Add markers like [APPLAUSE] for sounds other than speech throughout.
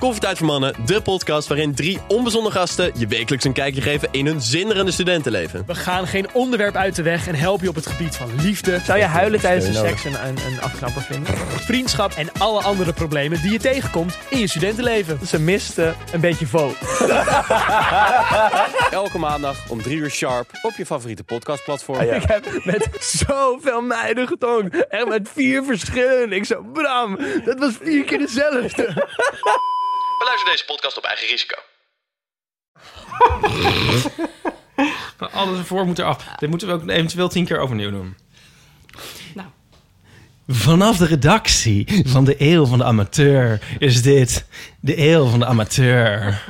Koffietijd voor Mannen, de podcast waarin drie onbezonnen gasten je wekelijks een kijkje geven in hun zinderende studentenleven. We gaan geen onderwerp uit de weg en helpen je op het gebied van liefde. Zou je huilen tijdens de seks een, een, een afknapper vinden? Vriendschap en alle andere problemen die je tegenkomt in je studentenleven. Ze miste een beetje vo. Elke maandag om drie uur sharp op je favoriete podcastplatform. Ah, Ik heb met zoveel meiden getongd. Echt met vier verschillen. Ik zo, Bram, dat was vier keer dezelfde. Beluister deze podcast op eigen risico. Alles ervoor moet eraf. Dit moeten we ook eventueel tien keer overnieuw doen. Nou. Vanaf de redactie van de Eeuw van de Amateur is dit de Eeuw van de Amateur.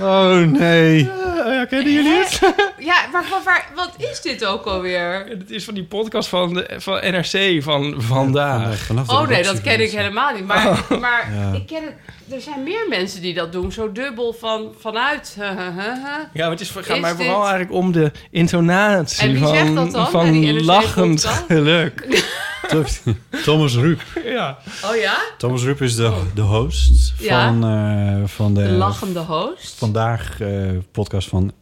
Oh nee. kennen jullie het? Ja, maar van waar, wat is dit ook alweer? Dit is van die podcast van, de, van NRC van vandaag. Oh nee, dat ken ik helemaal niet. Maar, Oh. maar ik ken het, er zijn meer mensen die dat doen. Zo dubbel van, vanuit. huh, huh, huh, huh. Ja, maar het is, voor- gaat Is mij dit- vooral eigenlijk om de intonatie En wie van, zegt dat dan bij die van NRC lachend podcast? geluk. [LAUGHS] Thomas Ruip. Ja. Oh ja? Thomas Ruip is de, de host Oh. Ja. van, eh, van de De lachende host. vandaag eh, podcast van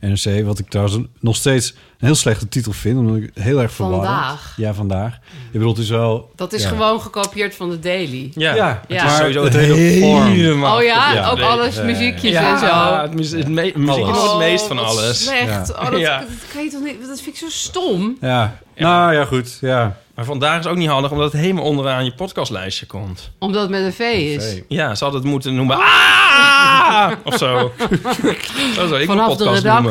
NRC. Wat ik trouwens nog steeds een heel slechte titel vind, omdat ik het heel erg verwarrend. Vandaag. Ja, vandaag. Ik bedoel, het is wel... Dat is ja. gewoon gekopieerd van de Daily. Ja. Ja, Ja. Het is Maar sowieso het hele vorm. Oh ja, Ja, ook nee. alles muziekjes en zo. Ja, het, mu- het me- muziek is Oh, het meest van wat alles. Slecht. Ja. Oh, dat, Ja. dat kan je toch niet. Dat vind ik zo stom. Ja. nou ja, goed. Ja. Maar vandaag is ook niet handig, omdat het helemaal onderaan je podcastlijstje komt. Omdat het met een V is. Ja, ze hadden het moeten noemen. Ah! Of [LAUGHS] zo. Dat zou ik een Vanaf de podcast redactie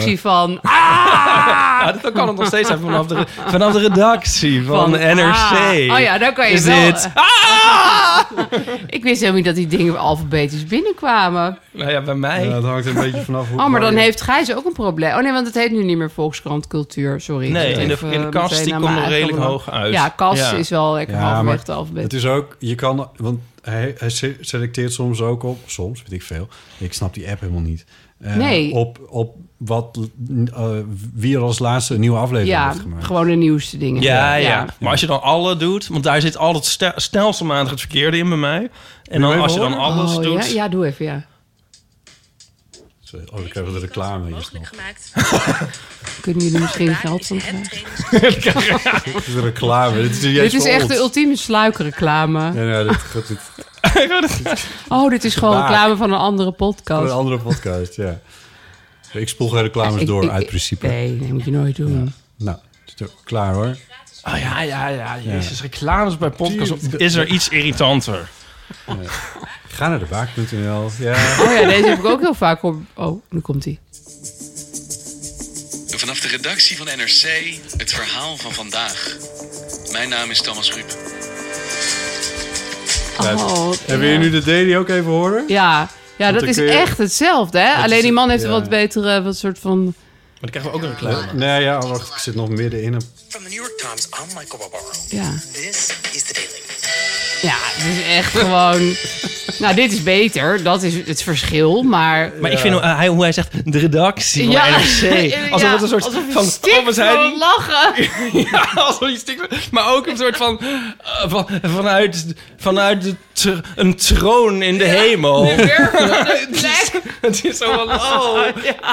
van. noemen. Ja, dat kan het nog steeds zijn vanaf [LAUGHS] de, vanaf de redactie van, NRC. Ah. Oh ja, dan kan je Is wel. eh, dit? Ah! Ik wist helemaal niet dat die dingen alfabetisch binnenkwamen. Nou ja, bij mij. Ja, dat hangt een beetje vanaf hoe... Oh, maar dan heeft Gijs ook een probleem. Oh nee, want het heet nu niet meer Volkskrant Cultuur. Sorry. ik nee, zat in de, even in de kast meteen die aan komt mijn nog eigen redelijk belang. hoog uit. Ja, kast is wel lekker Ja, halverwege maar het alfabet. Het is ook, je kan, want hij, hij se- selecteert soms ook op, soms weet ik veel. Ik snap die app helemaal niet. Eh, Nee. Op, op wat, eh, wie er als laatste een nieuwe aflevering ja, heeft gemaakt. gewoon de nieuwste dingen. Ja, ja, Maar als je dan alle doet, want daar zit altijd stel- stelselmatig het verkeerde in bij mij. En dan, even als je dan alles Oh, doet. Ja, ja, doe even, ja. Sorry, Oh, dan krijgen we de reclame eerst nog. Kunnen jullie misschien geld van krijgen? Dit is de reclame. Dit is, Dit is echt de ultieme sluikreclame. Ja, ja, dit gaat dit Oh, dit is gewoon Gebaar. reclame van een andere voor podcast. een andere podcast, ja. Ik spoel geen reclames Ik- door, ik- uit principe. Nee, dat moet je nooit doen. Nou, het is ook klaar hoor. Oh ja, ja, ja. Jezus, reclames bij podcasts. Is er iets irritanter? Ga naar de baak.nl. Ja. Oh ja, deze heb ik ook heel vaak op. Oh, nu komt hij. Vanaf de redactie van NRC het verhaal van vandaag. Mijn naam is Thomas Ruip. Oh, wat Hebben jullie nu de daily ook even horen? Ja, ja dat dan is kun je- eh, echt hetzelfde. Hè? Alleen die man heeft een ja. wat betere, wat soort van... Maar dan krijgen we ook een reclame. Nee, ja, wacht, ik zit nog midden in een From the New York Times, I'm Michael Barbaro. Ja, This is the Daily. ja het is echt gewoon... nou, dit is beter. Dat is het verschil. Maar Maar ik vind hoe hij, hoe hij zegt, de redactie van Ja. [LAUGHS] NRC. Ja, Alsof het een soort alsof je van... stikt oh, van we zijn- lachen. [LAUGHS] Ja, alsof je stikt. Maar ook een soort van... eh, van vanuit vanuit de tr- een troon in de [LAUGHS] hemel. Het is- [LAUGHS] het is zo van, oh,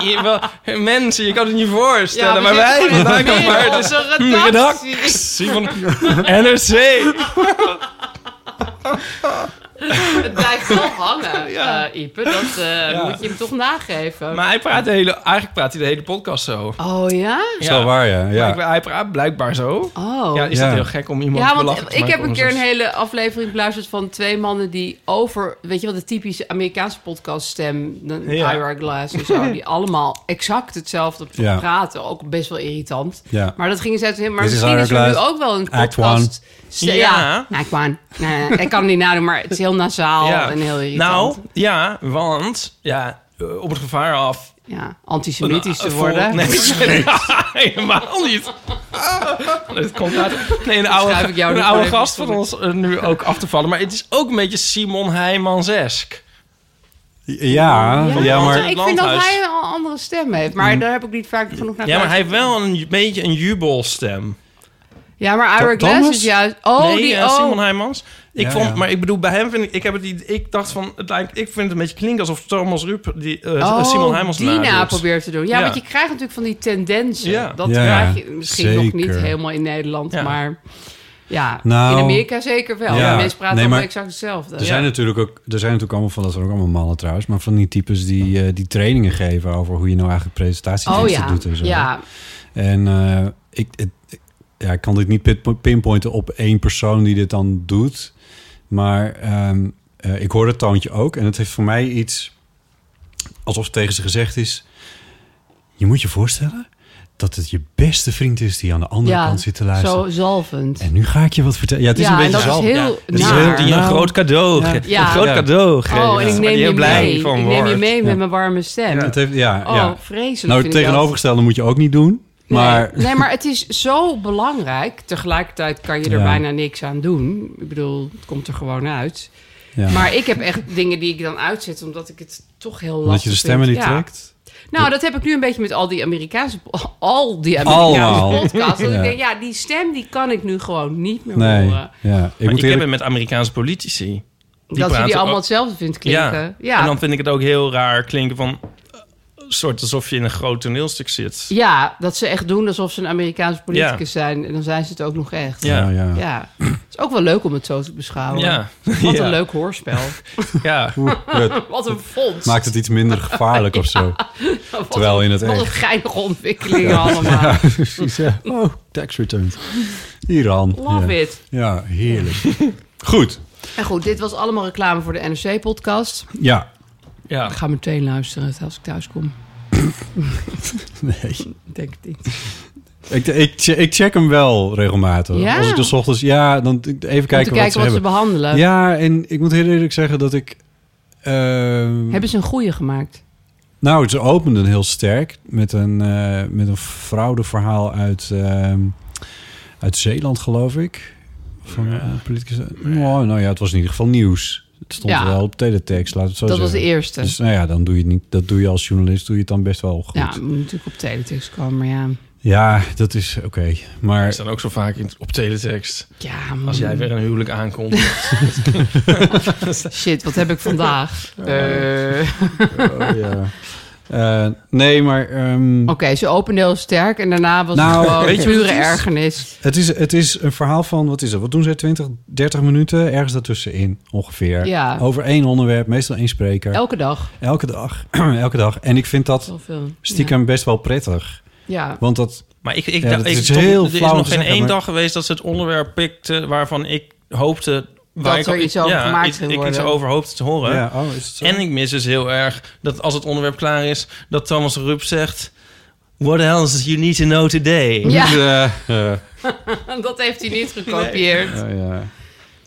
je- wel- mensen, je kan het niet voorstellen. maar wij [LAUGHS] vandaag nog maar de een redactie. redactie van NRC. [LAUGHS] Het blijft wel hangen, eh, Ipe. Dat eh, Ja. moet je hem toch nageven. Maar hij praat de hele, eigenlijk praat hij de hele podcast zo. Oh ja? Is wel waar, ja. ja. Blijkbaar- Hij praat blijkbaar zo. Oh. Ja, is Ja. dat heel gek om iemand Ja, te lachen want te ik maken heb een om keer zo'n- een hele aflevering beluisterd van twee mannen die over, weet je wel, de typische Amerikaanse podcaststem, de Ja. Ira Glass en [LAUGHS] zo, die allemaal exact hetzelfde Ja. praten, ook best wel irritant. Ja. Maar dat gingen ze uit, maar Dit is misschien is er Ira nu Glass, ook wel een Act podcast Ste- Ja. Nou, ik, wou- nee, nee, nee, ik kan het niet nadoen, maar het is heel nasaal en heel irritant. nou, ja, want ja, eh, op het gevaar af. Ja, antisemitisch Eh, te voor- worden. [LAUGHS] Nee, nee, helemaal niet. Ah, Het komt uit. Nee, een Schuif oude, ik jou een nu oude gewoon even gast van ons eh, nu ook af te vallen. Maar het is ook een beetje Simon Heijmans-esk. Ja, ja, maar... Mm. ik vind dat Landhuis. hij een andere stem heeft, maar daar heb ik niet vaak genoeg naar Ja, maar hij geluisterd. heeft wel een ju- beetje een jubelstem. Ja, maar Ira Thomas? Glass is juist... Oh, nee, die... eh, oh. Simon Heijmans. Ik Ja, vond, ja. maar ik bedoel, bij hem vind ik, ik heb het, idee- ik dacht van, het lijkt, ik vind het een beetje klinken alsof Thomas Rup die eh, Oh, Simon Heijmans die na nadoet. probeert te doen. Ja, Ja. want je krijgt natuurlijk van die tendensen. Ja. Dat Ja, krijg je misschien nog niet zeker. helemaal in Nederland, Ja. maar ja, Nou, in Amerika zeker wel. ja. Mensen praten Nee, allemaal maar- exact hetzelfde. Er zijn natuurlijk ook, er zijn natuurlijk allemaal van, dat zijn ook allemaal mannen trouwens, maar van die types die, eh, die trainingen geven over hoe je nou eigenlijk presentatieteksten Oh ja, doet en zo. ja, En eh, ik, het- ik- ja, ik kan dit niet pin- pinpointen op één persoon die dit dan doet. Maar ehm, eh, ik hoor dat toontje ook. En het heeft voor mij iets alsof het tegen ze gezegd is. Je moet je voorstellen dat het je beste vriend is die aan de andere ja. kant zit te luisteren. zo zalvend. En nu ga ik je wat vertellen. Ja, het is ja, een en beetje dat zo. is heel Het is naar. heel Die een Nou. groot cadeau, Ja. ge- Ja. een groot Ja. cadeau geeft. Oh, en ik neem Waar die je heel blij mee. Ik van neem je wordt. mee Ja. met mijn warme stem. Het heeft, ja, Oh, ja. vregelijk Nou, vind ik het dat. tegenovergestelde moet je ook niet doen. Nee. Maar [LAUGHS] Nee, maar het is zo belangrijk. Tegelijkertijd kan je er Ja. bijna niks aan doen. Ik bedoel, het komt er gewoon uit. ja. Maar ik heb echt dingen die ik dan uitzet... omdat ik het toch heel lastig dat je de stemmen niet vind. Ja. trekt. Nou, dat heb ik nu een beetje met al die Amerikaanse... [LAUGHS] al die Allemaal. Amerikaanse [LAUGHS] podcasts. Dat Ja. ik denk, ja, die stem die kan ik nu gewoon niet meer Nee. horen. Ja. Ik Maar moet ik eerlijk- heb het met Amerikaanse politici. dat je praten die allemaal ook- hetzelfde vindt klinken. Ja, ja. En dan vind ik het ook heel raar klinken van... eh, soort alsof je in een groot toneelstuk zit. dat ze echt doen alsof ze een Amerikaanse politicus zijn. En dan zijn ze het ook nog echt. Ja, Ja. ja. Ja. Het is ook wel leuk om het zo te beschouwen. Ja. Wat Ja. een leuk hoorspel. [LAUGHS] Ja. Het [LAUGHS] Wat een fonds. maakt het iets minder gevaarlijk of zo. Wat terwijl in het Wat een echt. [LAUGHS] geinige ontwikkelingen allemaal. Precies, ja. [LAUGHS] Oh, tax returns. Iran. Love ja. it. Ja, heerlijk. Goed. En goed, dit was allemaal reclame voor de NRC-podcast. Ja. ja. Ik ga meteen luisteren als ik thuis kom. Nee. Ik Denk het niet. Ik, ik, che- ik check hem wel regelmatig. Ja? Als ik dus 's ochtends... Ja, dan even kijken, Om te kijken wat, ze ze hebben. behandelen. ja, en ik moet heel eerlijk zeggen dat ik... ehm, Hebben ze een goede gemaakt? Nou, ze openden heel sterk met een, eh met een fraudeverhaal uit, ehm, uit Zeeland, geloof ik. Van een politicus. Nou, nou ja, het was in ieder geval nieuws. Het stond Ja. wel op teletext, laat het zo Dat was zeggen. de eerste. Dus nou ja, dan doe je het niet. Dat doe je als journalist, doe je het dan best wel goed. ja, Ja, het moet natuurlijk op teletext komen, maar ja. dat is oké. Maar Is dan ook zo vaak in, op teletext. Ja, man. Als jij weer een huwelijk aankomt. Shit, wat heb ik vandaag? [LAUGHS] Eh, Oké, oh, ja. [LAUGHS] Eh, nee, maar ehm, ze opende heel sterk en daarna was Nou, het weet gewoon pure je wat het is? ergernis. het, is, het is een verhaal van, wat is het? Wat doen zij? 20, 30 minuten? Ergens daartussenin ongeveer. Ja. Over één onderwerp, meestal één spreker. Elke dag. Elke dag. [CLEARS THROAT] elke dag. En ik vind dat Zoveel. stiekem best wel prettig. Ja. [LAUGHS] Want dat... [LAUGHS] Maar ik, ik, Ja, dacht- dat ik is stond- heel er is flauw om nog te geen zeggen, één maar- dag geweest dat ze het onderwerp pikte... waarvan ik hoopte... waar Dat ik er ook- iets over ja, gemaakt iets, ging ik iets worden. over hoopte te horen. Ja, oh, is het zo? En ik mis dus heel erg dat als het onderwerp klaar is... dat Thomas Rup zegt... What else you need to know today? Ja, Eh, eh, dat heeft hij niet gekopieerd. oh, ja.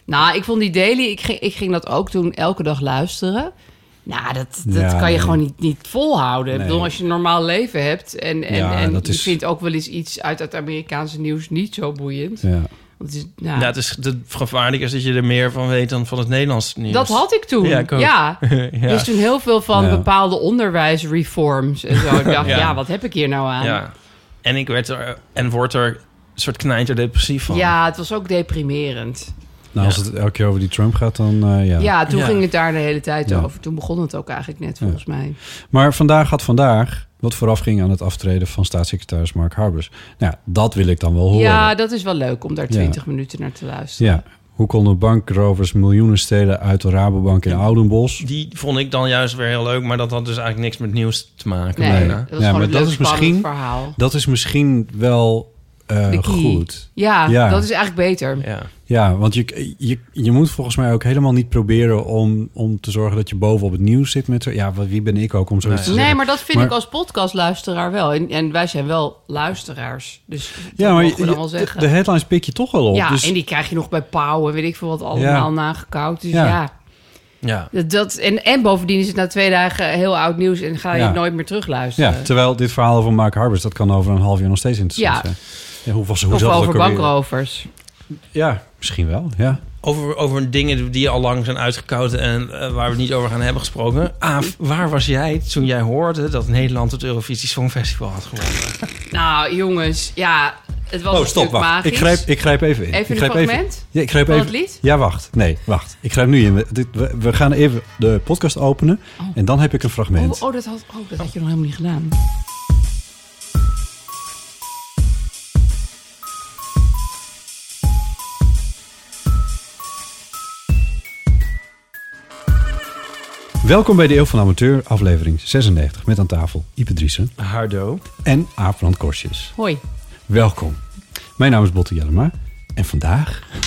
Nou, ik vond die daily, ik ging, ik ging dat ook doen, elke dag luisteren. Nou, dat, dat kan Ja, je nee. gewoon niet, niet volhouden. Ik Nee. bedoel, als je een normaal leven hebt en, en, Ja, en dat je is- vindt ook wel eens iets uit het Amerikaanse nieuws niet zo boeiend. ja. Want het is- Ja, nou, het is het gevaarlijke is dat je er meer van weet dan van het Nederlands nieuws. dat had ik toen. Ja, Ja, ik ook. [LAUGHS] ja. Dus toen heel veel van Ja. bepaalde onderwijsreforms en zo. Ik dacht, [LAUGHS] Ja. ja. wat heb ik hier nou aan? Ja. ja. En ik werd er en word er een soort knijter depressief van. het was ook deprimerend. Nou, als het elke keer over die Trump gaat, dan eh, ja. Ja, toen Ja. ging het daar de hele tijd Ja. over. Toen begon het ook eigenlijk net, volgens mij. Maar vandaag had vandaag, wat vooraf ging aan het aftreden van staatssecretaris Mark Harbers. Nou, ja, dat wil ik dan wel horen. Ja, dat is wel leuk om daar Ja. 20 minuten naar te luisteren. Ja. Hoe konden bankrovers miljoenen stelen uit de Rabobank in Oudenbos? Die vond ik dan juist weer heel leuk, maar dat had dus eigenlijk niks met nieuws te maken. Nee, bijna. dat was Ja, gewoon maar een dat leuk is spannend misschien- verhaal. Dat is misschien wel eh, eh, de key. goed. Ja, dat is eigenlijk beter. Ja. Ja, want je, je, je moet volgens mij ook helemaal niet proberen om, om te zorgen dat je boven op het nieuws zit met zo. Ja, wa- wie ben ik ook om zoiets te Nee, zeggen? maar dat vind Maar- ik als podcastluisteraar wel. En, en wij zijn wel luisteraars. Dus Ja, maar mogen we je- dan wel de- zeggen. de headlines pik je toch wel op. ja, dus, en die krijg je nog bij Pauw en weet ik veel wat allemaal Ja. nagekauwd. Dus ja. Ja. Ja. Dat, dat- en, en bovendien is het na twee dagen heel oud nieuws en ga je Ja. het nooit meer terugluisteren. ja, terwijl dit verhaal over Mark Harbers, dat kan over een half jaar nog steeds interessant Ja. zijn. Ja, hoe was hoe of zat dat ook over alweer? bankrovers. Ja, misschien wel. Ja. Over, over dingen die al lang zijn uitgekoud en eh, waar we het niet over gaan hebben gesproken. Aaf, waar was jij toen jij hoorde dat Nederland het Eurovisie Songfestival had gewonnen? Nou, jongens, ja, het was Oh, stop, natuurlijk wacht. magisch. Ik grijp, ik grijp even in. Even ik een grijp fragment Ja, ik grijp van even. het lied? Ja, wacht. Nee, wacht. Ik grijp nu in. We- dit- We, we gaan even de podcast openen en dan heb ik een fragment. Oh, oh, dat had, oh, dat had je nog helemaal niet gedaan. Welkom bij de Eeuw van de Amateur, aflevering 96. Met aan tafel Ipe Driessen Hardo. en Aafland Korsjes. Hoi. Welkom. Mijn naam is Botte Jellema en vandaag... [LAUGHS]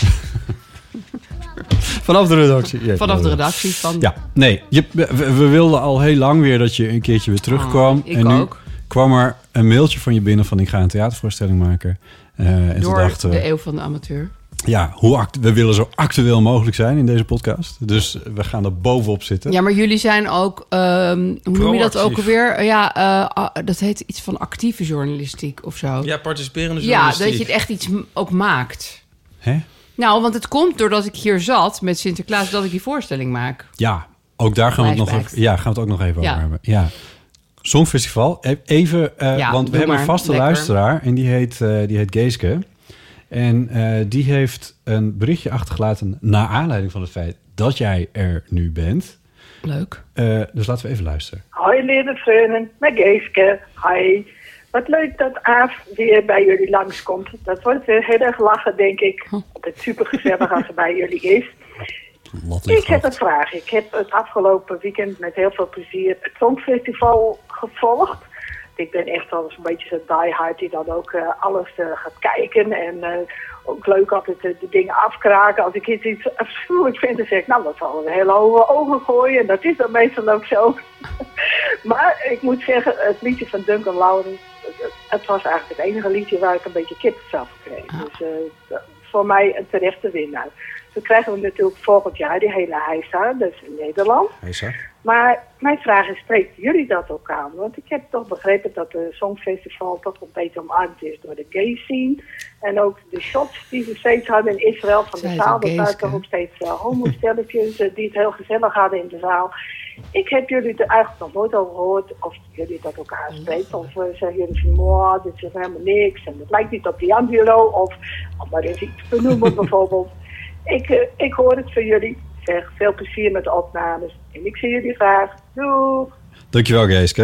Vanaf de redactie. Ja, eh, Vanaf de redactie van... Ja, nee. Je, we, we wilden al heel lang weer dat je een keertje weer terugkwam. Ah, ik en nu ook. kwam er een mailtje van je binnen van ik ga een theatervoorstelling maken. Eh, en Door toen dachten we, de eeuw van de amateur. ja, hoe act- we willen zo actueel mogelijk zijn in deze podcast. Dus we gaan er bovenop zitten. Ja, maar jullie zijn ook, ehm, hoe noem je dat ook Proactief. alweer? Ja, eh, ah, dat heet iets van actieve journalistiek of zo. Ja, participerende Ja, dat je journalistiek. het echt iets m- ook maakt. Hè? Nou, want het komt doordat ik hier zat met Sinterklaas dat ik die voorstelling maak. Ja, ook daar gaan we, het nog, Flashbacks. even- ja, gaan we het ook nog even Ja. over hebben. Ja. Songfestival. E- Even, eh, Ja, want we doe hebben een maar. vaste Lekker. luisteraar en die heet, eh, die heet Geeske. En eh, die heeft een berichtje achtergelaten naar aanleiding van het feit dat jij er nu bent. Leuk. Eh, dus laten we even luisteren. Hoi lieve vrienden, met Geeske. Hi. Wat leuk dat Aaf weer bij jullie langskomt. Dat wordt weer heel erg lachen, denk ik. Altijd super gezellig als hij bij jullie is. Ik heb een vraag. Ik heb het afgelopen weekend met heel veel plezier het Songfestival gevolgd. Ik ben echt wel eens een beetje zo'n diehard die dan ook eh, alles eh, gaat kijken. En eh, ook leuk altijd eh, de dingen afkraken. Als ik iets, iets afschuwelijk vind, dan zeg ik, nou, dat zal een hele hoge ogen gooien. En dat is dan meestal ook zo. [LAUGHS] maar ik moet zeggen, het liedje van Duncan Lawrence, eh, het was eigenlijk het enige liedje waar ik een beetje kippenvel van kreeg. Dus eh, voor mij een terechte winnaar. Dan krijgen we natuurlijk volgend jaar die hele heisa, dus in Nederland. Maar mijn vraag is, spreken jullie dat ook aan? Want ik heb toch begrepen dat de Songfestival toch een beetje omarmd is door de gay scene. En ook de shots die ze steeds hadden in Israël van de Zij zaal. is Dat een waren gayske. toch ook steeds eh, homostelletjes eh, die het heel gezellig hadden in de zaal. Ik heb jullie er eigenlijk nog nooit over gehoord of jullie dat ook aanspreken. Of eh, zeggen jullie van, "Mwah, dit is helemaal niks en het lijkt niet op D'Angelo. Of om maar eens iets te noemen bijvoorbeeld. Ik, eh, ik hoor het van jullie. Zeg, veel plezier met de opnames. En ik zie jullie graag. Doeg! Dankjewel, Geeske.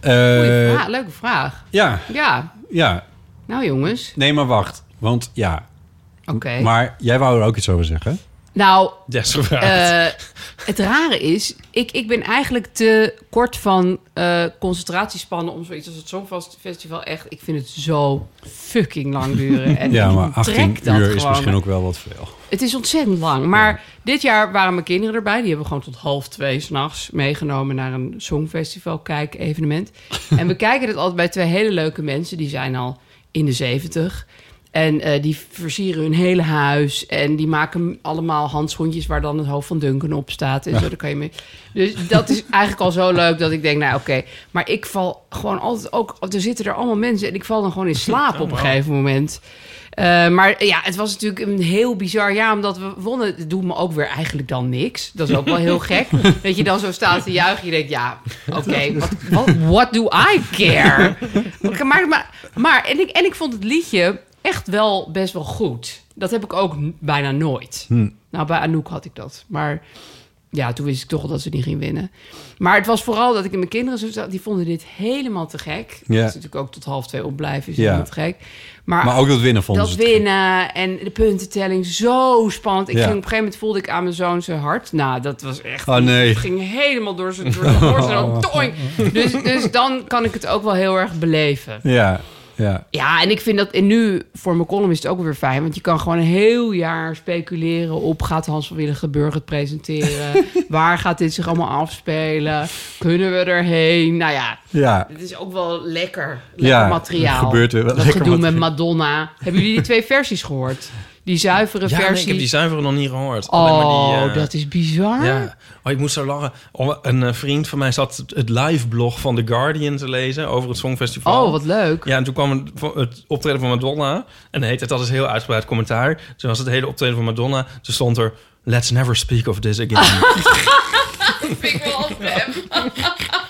Eh, Goeie vraag, leuke vraag. ja, Ja, ja. nou jongens, Nee, maar wacht. Want ja, oké. maar jij wou er ook iets over zeggen. Nou, Desgevraagd. eh, het rare is, ik, ik ben eigenlijk te kort van eh, concentratiespannen om zoiets als het Songfestival echt... Ik vind het zo fucking lang duren. En Ja, ik maar 18 trek uur dat is gewoon. misschien ook wel wat veel. Het is ontzettend lang. Maar dit jaar waren mijn kinderen erbij. Die hebben we gewoon tot half twee s'nachts meegenomen naar een songfestival kijk-evenement. en we kijken het altijd bij twee hele leuke mensen. Die zijn al in de zeventig. En eh, die versieren hun hele huis. En die maken allemaal handschoentjes waar dan het hoofd van Duncan op staat. En zo, daar kan je mee. Dus dat is eigenlijk al zo leuk dat ik denk, nou oké. Maar ik val gewoon altijd ook... Er zitten er allemaal mensen en ik val dan gewoon in slaap op een gegeven moment. Eh, maar ja, het was natuurlijk een heel bizar jaar, omdat we wonnen. Het doet me ook weer eigenlijk dan niks. Dat is ook wel heel gek. Dat je dan zo staat te juichen. Je denkt, ja, oké, wat- wat- what do I care? Oké, Maar, maar, maar en, ik, en ik vond het liedje echt wel best wel goed. Dat heb ik ook n- bijna nooit. Hm. Nou, bij Anouk had ik dat. Maar ja, toen wist ik toch al dat ze niet ging winnen. Maar het was vooral dat ik in mijn kinderen zo zat. Die vonden dit helemaal te gek. Ja. Dat is natuurlijk ook tot half twee opblijven is Ja. helemaal te gek. Maar, Maar ook dat winnen vonden Ah, dat ze te gek. winnen en de puntentelling, zo spannend. Ik Ja. ging, op een gegeven moment voelde ik aan mijn zoon zijn hart. Nou, dat was echt... Oh, nee. Het ging helemaal door [LAUGHS] zijn door zijn- door zijn- toing. Dus, dus dan kan ik het ook wel heel erg beleven. Ja, Ja. Ja, en ik vind dat... En nu, voor mijn column is het ook weer fijn. Want je kan gewoon een heel jaar speculeren op... gaat Hans van Willigenburg het presenteren? [LAUGHS] waar gaat dit zich allemaal afspelen? Kunnen we erheen? Nou ja, Ja. het is ook wel lekker. Lekker Ja, materiaal. er gebeurt weer wel dat lekker gedoe met materiaal. Madonna. Hebben jullie die [LAUGHS] twee versies gehoord? Die zuivere Ja, nee, versie... ik heb die zuivere nog niet gehoord. Oh, Alleen maar die, eh, dat is bizar. Ja. Oh, ik moest zo lachen. Oh, een eh, vriend van mij zat het- het live blog van The Guardian te lezen over het Songfestival. Oh, wat leuk. Ja, en toen kwam een- vo- het optreden van Madonna. En heet het, dat is heel uitgebreid commentaar. Toen was het hele optreden van Madonna. Toen stond er, let's never speak of this again. Ah, [LAUGHS] [LAUGHS]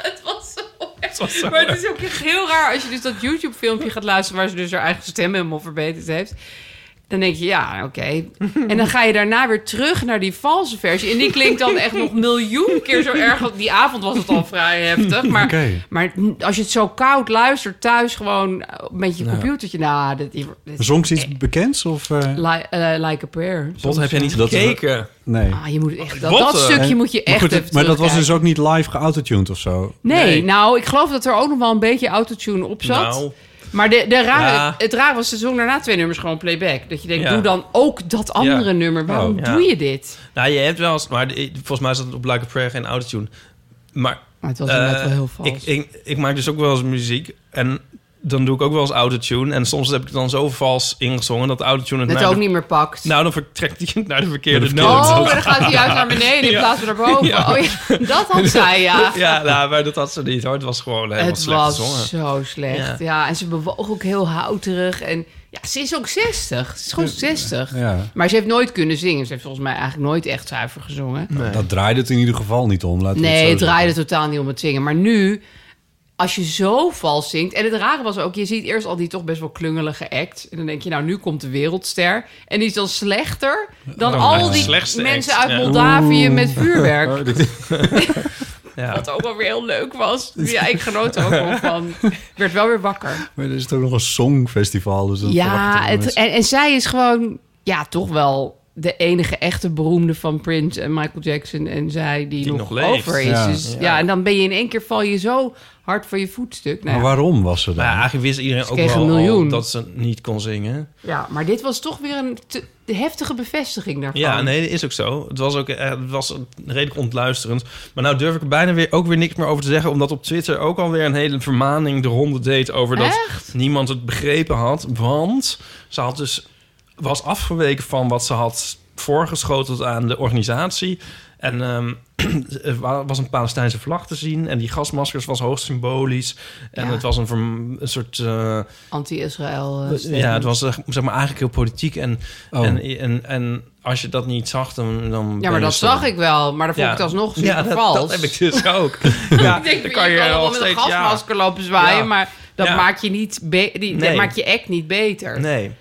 het was zo was zo Maar het erg. is ook echt heel raar als je dus dat YouTube-filmpje gaat luisteren... waar ze dus haar eigen stem helemaal verbeterd heeft. Dan denk je, ja, oké. En dan ga je daarna weer terug naar die valse versie. En die klinkt dan echt nog miljoen keer zo erg. want Die avond was het al vrij heftig. Maar, Oké. maar als je het zo koud luistert thuis gewoon eh, met je Ja. computertje... Nou, dat, dit- Zong ze iets bekends? Of, eh? Li- eh, like a prayer. Bot, heb jij niet Dat- gekeken? Nee. Ah, je moet echt, dat, dat eh? stukje En- moet je maar echt goed, het- even Maar dat was terugkijken. dus ook niet live geautotuned of zo? Nee, nou, ik geloof dat er ook nog wel een beetje autotune op zat. Nou. Maar de, de rare, Ja. het rare was, ze zong daarna twee nummers gewoon playback. Dat je denkt, Ja. doe dan ook dat andere Ja. nummer. Waarom Oh. doe Ja. je dit? Nou, je hebt wel eens, maar de- volgens mij zat het op Like a Prayer geen autotune. Maar, Maar het was eh, inderdaad wel heel vals. Ik, ik, ik maak dus ook wel eens muziek en dan doe ik ook wel eens autotune. En soms heb ik het dan zo vals ingezongen dat de autotune het Dat naar ook de- niet meer pakt. [LAUGHS] Nou, dan vertrekt hij het naar de verkeerde noot. Oh, maar dan gaat hij juist naar beneden in Ja. plaats van naar boven. Ja. Oh, ja, dat had zij, ja. [LAUGHS] ja, nou, maar dat had ze niet hoor. Het was gewoon helemaal het slecht was gezongen. zo slecht. Ja. Ja. en ze bewoog ook heel houterig. En ja, ze is ook 60. Ze is gewoon 60. Ja. Maar ze heeft nooit kunnen zingen. Ze heeft volgens mij eigenlijk nooit echt zuiver gezongen. Dat draaide het in ieder geval niet om. Laten we Nee, het het zo draaide totaal niet om het zingen. Maar nu, als je zo vals zingt... En het rare was ook, je ziet eerst al die toch best wel klungelige act. En dan denk je, nou, nu komt de wereldster. En die is dan slechter dan Oh, al ja. die Slechtste mensen act, uit ja. Moldavië Oeh. met vuurwerk. [LAUGHS] Oh, dit- Ja. Wat ook wel weer heel leuk was. Ja, ik genoot er ook wel van. Ik werd wel weer wakker. Maar er is toch nog een songfestival. Dus dan verwachten Ja, we het, mensen- en, en zij is gewoon, ja, toch wel de enige echte beroemde van Prince en Michael Jackson. En zij die, Die nog, nog leeft. over is. Ja. Dus ja. Ja. en dan ben je in één keer val je zo hard voor je voetstuk. Nou, Maar ja. waarom was ze dan? Maar ja, eigenlijk wist iedereen Ze ook kreeg wel een miljoen. al dat ze niet kon zingen. Ja, maar dit was toch weer een te- de heftige bevestiging daarvan. Ja, Ah, nee, dat is ook zo. Het was ook eh, het was redelijk ontluisterend. Maar nou durf ik er bijna weer, ook weer niks meer over te zeggen... omdat op Twitter ook alweer een hele vermaning de ronde deed... over dat niemand het begrepen had. Want ze had dus, was afgeweken van wat ze had voorgeschoteld aan de organisatie... En ehm, [CLEARS THROAT] er wa- was een Palestijnse vlag te zien. En die gasmaskers was hoogst symbolisch. En Ja. het was een, verm- een soort... eh, Anti-Israël. eh, statement. ja, het was eh, zeg maar eigenlijk heel politiek. En, Oh. en, en, en als je dat niet zag, dan... dan ben Ja, maar je dat stom. zag ik wel. Maar dat vond Ja. ik alsnog super Ja, dat, vals. dat heb ik [LAUGHS] dus ook. ja, ik denk, dan je kan, nog wel met een steeds- ja. gasmasker lopen zwaaien, Ja. maar dat, Ja. maakt je niet be- die, dat Nee. maakt je act niet beter. Nee.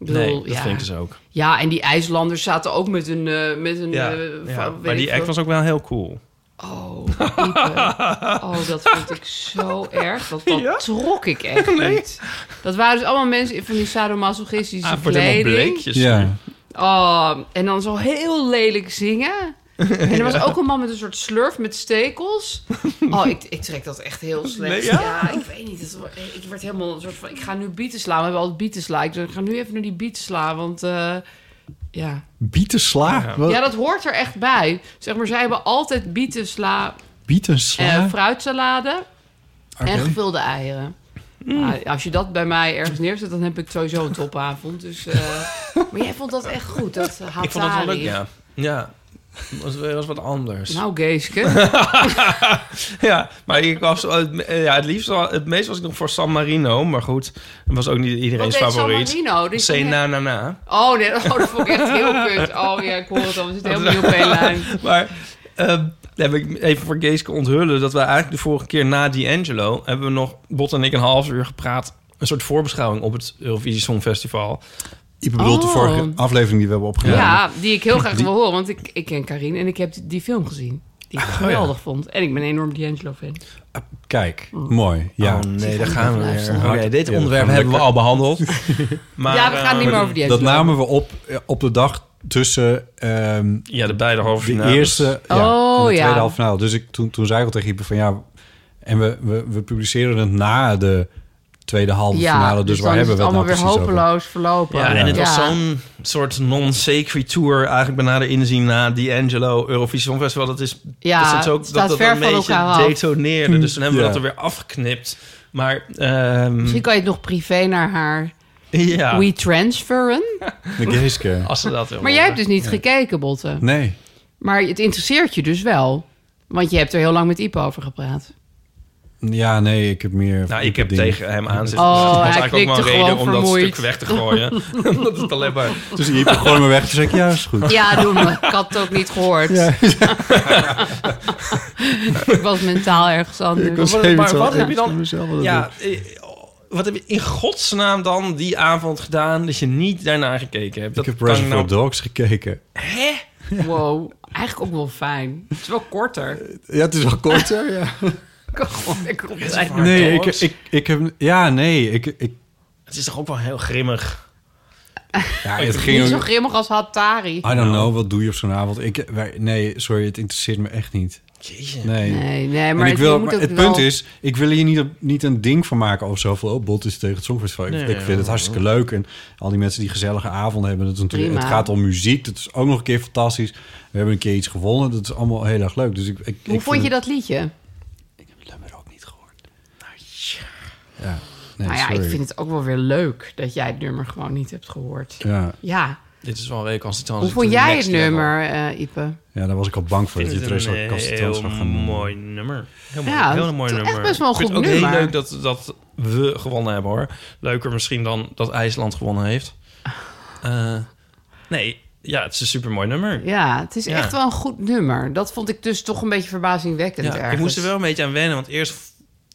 Ik bedoel, Nee, dat ja. vind ik dus ook. Ja, en die IJslanders zaten ook met een... eh, met een Ja, eh, ja, van- weet maar die ik act veel. was ook wel heel cool. Oh, Ipe. oh, dat vond ik zo [LAUGHS] erg. Dat, dat trok ik echt Nee. niet. Dat waren dus allemaal mensen in van die sadomasochistische Ah, het wordt helemaal kleding. bleekjes. Ja. Oh, en dan zo heel lelijk zingen. En er was [LAUGHS] Ja. ook een man met een soort slurf met stekels. Oh, ik, ik trek dat echt heel slecht. Nee, ja? ja? ik weet niet. Dat, wa- ik werd helemaal een soort van... Ik ga nu bieten slaan. We hebben altijd bieten slaan. Ik, dacht, ik ga nu even naar die bieten slaan, want... eh, ja. Bieten sla? Oh. Wat? ja, dat hoort er echt bij. Zeg maar, zij hebben altijd bieten sla, Bieten sla? eh, fruitsalade en Oké. gevulde eieren. Mm. Nou, als je dat bij mij ergens neerzet, dan heb ik sowieso een topavond. Dus, eh, [LAUGHS] maar jij vond dat echt goed, dat hatari. Ik vond dat wel leuk, ja. Ja, dat was, was wat anders. Nou, Geeske. [LAUGHS] ja, maar ik was, eh, eh, ja, het liefst, wel- het meest was ik nog voor San Marino. Maar goed, dat was ook niet iedereen's Wat deed San favoriet. Marino? Die Say ging- na na na. Oh, nee, [LAUGHS] oh, dat vond ik echt heel kut. Oh ja, ik hoor het al. We zitten helemaal niet op één [LAUGHS] lijn. maar ehm, dan heb ik even voor Geeske onthullen dat we eigenlijk de vorige keer na D'Angelo hebben we nog Bot en ik een half uur gepraat. Een soort voorbeschouwing op het Eurovisie Songfestival. Ik bedoel de Oh. vorige aflevering die we hebben Ja, opgenomen. die ik heel graag Die- wil horen, want ik, ik ken Karin en ik heb die, die film gezien. Die ik Oh, geweldig vond. En ik ben een enorm D'Angelo-fan. Kijk, mooi. Ja. Oh nee, daar gaan we weer. Oké, dit Ja, onderwerp gaan hebben we lekker. al [LAUGHS] behandeld. Maar, Ja, we gaan niet ehm, meer over die Dat Angelo. namen we op eh, op de dag tussen ehm, Ja, de beide dus- halve de finales. eerste ja, Oh, en de ja. tweede halve finale. Dus ik, toen, toen zei ik al tegen Ipe van ja... En we, we, we publiceren het na de tweede halve finale. Dus, dan waar is hebben we het allemaal nou weer precies over? hopeloos verlopen. Ja, en het was zo'n soort non-sequitur eigenlijk bijna de inzien na D'Angelo Eurovisie Songfestival. Dat is Ja, dat, is ook, dus het staat dat, dat ver een van beetje elkaar af. detoneerde. Dus toen hebben we Ja. dat er weer afgeknipt. Maar ehm, Misschien kan je het nog privé naar haar ja, Dus we transferen. De Geeske. als ze dat wil Maar jij hebt dus niet Nee. gekeken, Botten. Nee. Maar het interesseert je dus wel. Want je hebt er heel lang met Ipe over gepraat. Ja, nee, ik heb meer... Nou, ik heb dingen. tegen hem aan zitten. Oh, Dus dat hij was eigenlijk ook maar knikte een reden gewoon om dat vermoeid. stuk weg te gooien. [LAUGHS] dat is alleen maar... Dus ik gewoon me weg. Toen zei ik, ja, is goed. Ja, doe me. Ik had het ook niet gehoord. ik was mentaal ergens anders. Maar- even maar zo wat heb even je dan... voor mezelf wat Ja, eh, wat heb je in godsnaam dan die avond gedaan... dat je niet daarna gekeken hebt? Ik Dat heb kan ik Reservoir nou Dogs gekeken. Wow, eigenlijk ook wel fijn. Het is wel korter. Ja, het is wel korter, ja. Ik kan gewoon lekker op de lijn. Nee, ik, Dogs? ik, ik heb... Ja, nee, ik... ik Het is toch ook wel heel grimmig. ja, het Niet ging... zo ook- grimmig als Hatari. I don't know, wat doe je op zo'n avond? Ik, wij- nee, sorry, het interesseert me echt niet. Jezus. Nee. Nee, nee, maar Maar, en ik het- wil, je moet maar ook het wel- punt is, ik wil hier niet, niet een ding van maken of zo. Van, oh, Bot is tegen het Songfestival. Ik- Nee, ik vind het ja. hartstikke leuk. En al die mensen die gezellige avonden hebben. Dat is natuurlijk, het Prima. gaat om muziek. Dat is ook nog een keer fantastisch. We hebben een keer iets gewonnen. Dat is allemaal heel erg leuk. Dus ik, ik, ik Hoe vind vond je het- dat liedje? Ik heb het ook niet gehoord. ja. Nee, Ah, nou ja, sorry. ik vind het ook wel weer leuk dat jij het nummer gewoon niet hebt gehoord. Ja, Ja, Dit is wel een recalcitrant. hoe vond jij het nummer, eh Ipe? ja, daar was ik al bang voor. Ik Dat je vind het het rest een wel kast heel mooi nummer. Heel mooi, Ja, heel een mooi het is echt nummer. best wel een Ik vind goed het ook nummer. heel leuk dat, dat we gewonnen hebben, hoor. Leuker misschien dan dat IJsland gewonnen [LAUGHS] heeft. Eh, nee, ja, het is een supermooi nummer. Ja, het is Ja. echt wel een goed nummer. Dat vond ik dus toch een beetje verbazingwekkend Ja, ergens. ik moest er wel een beetje aan wennen, want eerst...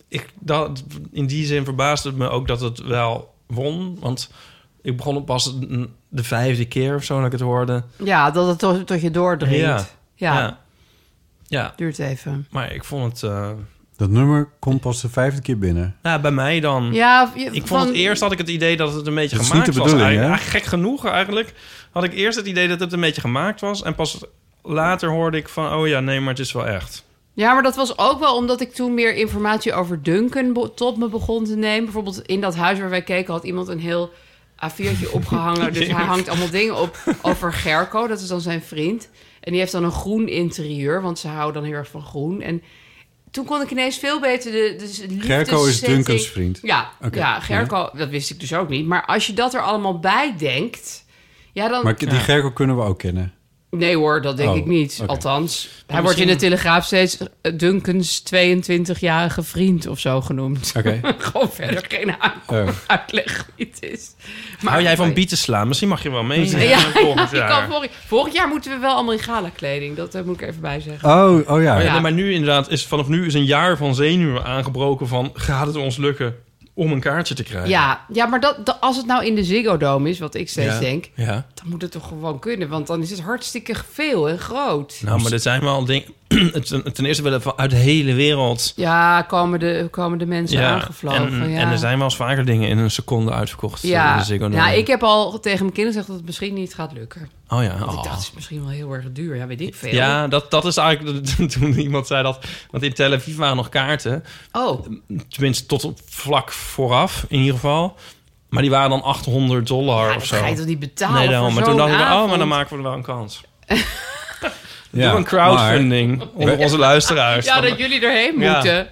Ik, dat, in die zin verbaasde het me ook dat het wel won. Want ik begon op pas de vijfde keer of zo dat ik het hoorde. Ja, dat het tot, tot je doordringt. Ja. Ja. Ja, ja. Ja, duurt even. maar ik vond het... eh, Dat nummer komt pas de vijfde keer binnen. nou, bij mij dan... Ja, je- Ik vond van- het eerst had ik het idee dat het een beetje Dat is gemaakt niet de was. bedoeling, Eigenlijk- ah, gek genoeg eigenlijk had ik eerst het idee dat het een beetje gemaakt was. En pas later hoorde ik van, oh ja, nee, maar het is wel echt. Ja, maar dat was ook wel omdat ik toen meer informatie over Duncan be- tot me begon te nemen. Bijvoorbeeld in dat huis waar wij keken had iemand een heel A4'tje [LAUGHS] opgehangen. Dus hij hangt allemaal dingen op over Gerco. Dat is dan zijn vriend. En die heeft dan een groen interieur, want ze houden dan heel erg van groen. En toen kon ik ineens veel beter de, de liefdes- Gerco is setting- Duncan's vriend. Ja, Oké. ja, Gerco, dat wist ik dus ook niet. Maar als je dat er allemaal bij denkt... Ja, dan... Maar die Gerco kunnen we ook [LAUGHS] kennen. Nee hoor, dat denk Oh, ik niet. oké. Althans, hij wordt in de Telegraaf steeds eh, Duncan's 22-jarige vriend of zo genoemd. [LAUGHS] Oké. Gewoon verder geen aan- Eh. uitleg wie het is. Maar Oh. Hou [LAUGHS] jij van bieten slaan? Misschien mag je wel mee. Ja, ja, volgend ik jaar. kan vorig, vorig jaar moeten we wel allemaal in gala-kleding. Dat eh, moet ik even bij zeggen. Oh, oh ja. Oh ja, Ja. nee, maar nu inderdaad, is, vanaf nu is een jaar van zenuwen aangebroken van... gaat het ons lukken om een kaartje te krijgen? Ja, ja maar dat, dat- als het nou in de Ziggo Dome is, wat ik steeds Ja. denk... Ja. Nou, dan moet het toch gewoon kunnen. Want dan is het hartstikke veel en groot. Nou, maar dat zijn wel dingen... [CLEARS THROAT] Het- Ten eerste willen we uit de hele wereld... Ja, komen de, komen de mensen aangevlogen. en, ja. en er zijn wel eens vaker dingen in een seconde uitverkocht. eh, in de Ja, Ziggo ja, Dome. ik heb al tegen mijn kinderen gezegd dat het misschien niet gaat lukken. Oh ja. Want ik oh. dacht, het is misschien wel heel erg duur. Ja, weet ik veel. Ja, dat, dat is eigenlijk [LAUGHS] toen iemand zei dat. Want in Tel Aviv waren nog kaarten. Oh, Tenminste, tot op vlak vooraf in ieder geval. Maar die waren dan 800 dollar ja, dat of zo. ga je toch niet betalen nee, voor daarom. Maar zo'n toen dacht ik, oh, avond? maar dan maken we er wel een kans. [LAUGHS] Ja, Doe een maar- crowdfunding onder onze [LAUGHS] luisteraars. Ja, dat jullie erheen Ja. moeten.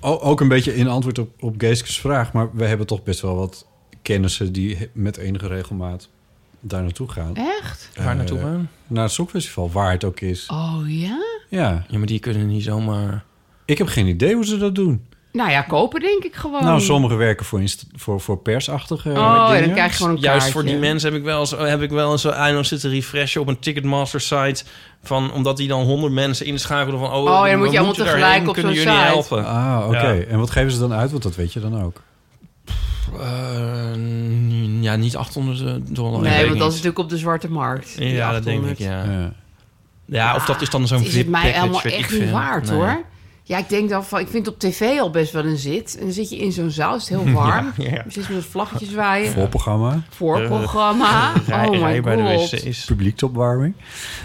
O- ook een beetje in antwoord op, op Geeske's vraag, maar we hebben toch best wel wat kennissen die he- met enige regelmaat daar naartoe gaan. Echt? Waar naartoe Eh, gaan? Naar het Songfestival, waar het ook is. Oh ja? Ja, Ja, maar die kunnen niet zomaar... ik heb geen idee hoe ze dat doen. Nou ja, kopen denk ik gewoon. Nou, sommigen werken voor, inst- voor, voor persachtige Oh, dingen. en dan krijg je gewoon een eh, Juist kaartje. voor die mensen heb ik wel eens, heb ik wel eens zo eindig zitten refreshen op een Ticketmaster site. Van, omdat die dan 100 mensen inschakelen van... Oh, dan moet je we allemaal moeten tegelijk daarheen, op kunnen zo'n jullie site. helpen. Ah, oké. Ja. En wat geven ze dan uit? Want dat weet je dan ook. Eh, ja, niet 800 dollar. Nee, ik weet want dat is niet. natuurlijk op de zwarte markt. die Ja, dat denk 800. ik, ja. ja. Ja. of dat is dan zo'n Is het mij VIP-package, helemaal weet ik echt niet veel. waard Nee. hoor. Ja, ik denk dan van, ik vind het op tv al best wel een zit. En dan zit je in zo'n zaal, is het heel warm. [LAUGHS] Ja, ja. Precies met een vlaggetje zwaaien. Voorprogramma, Voorprogramma. Eh, Rij- Oh my rij bij de god. wc's. publieksopwarming.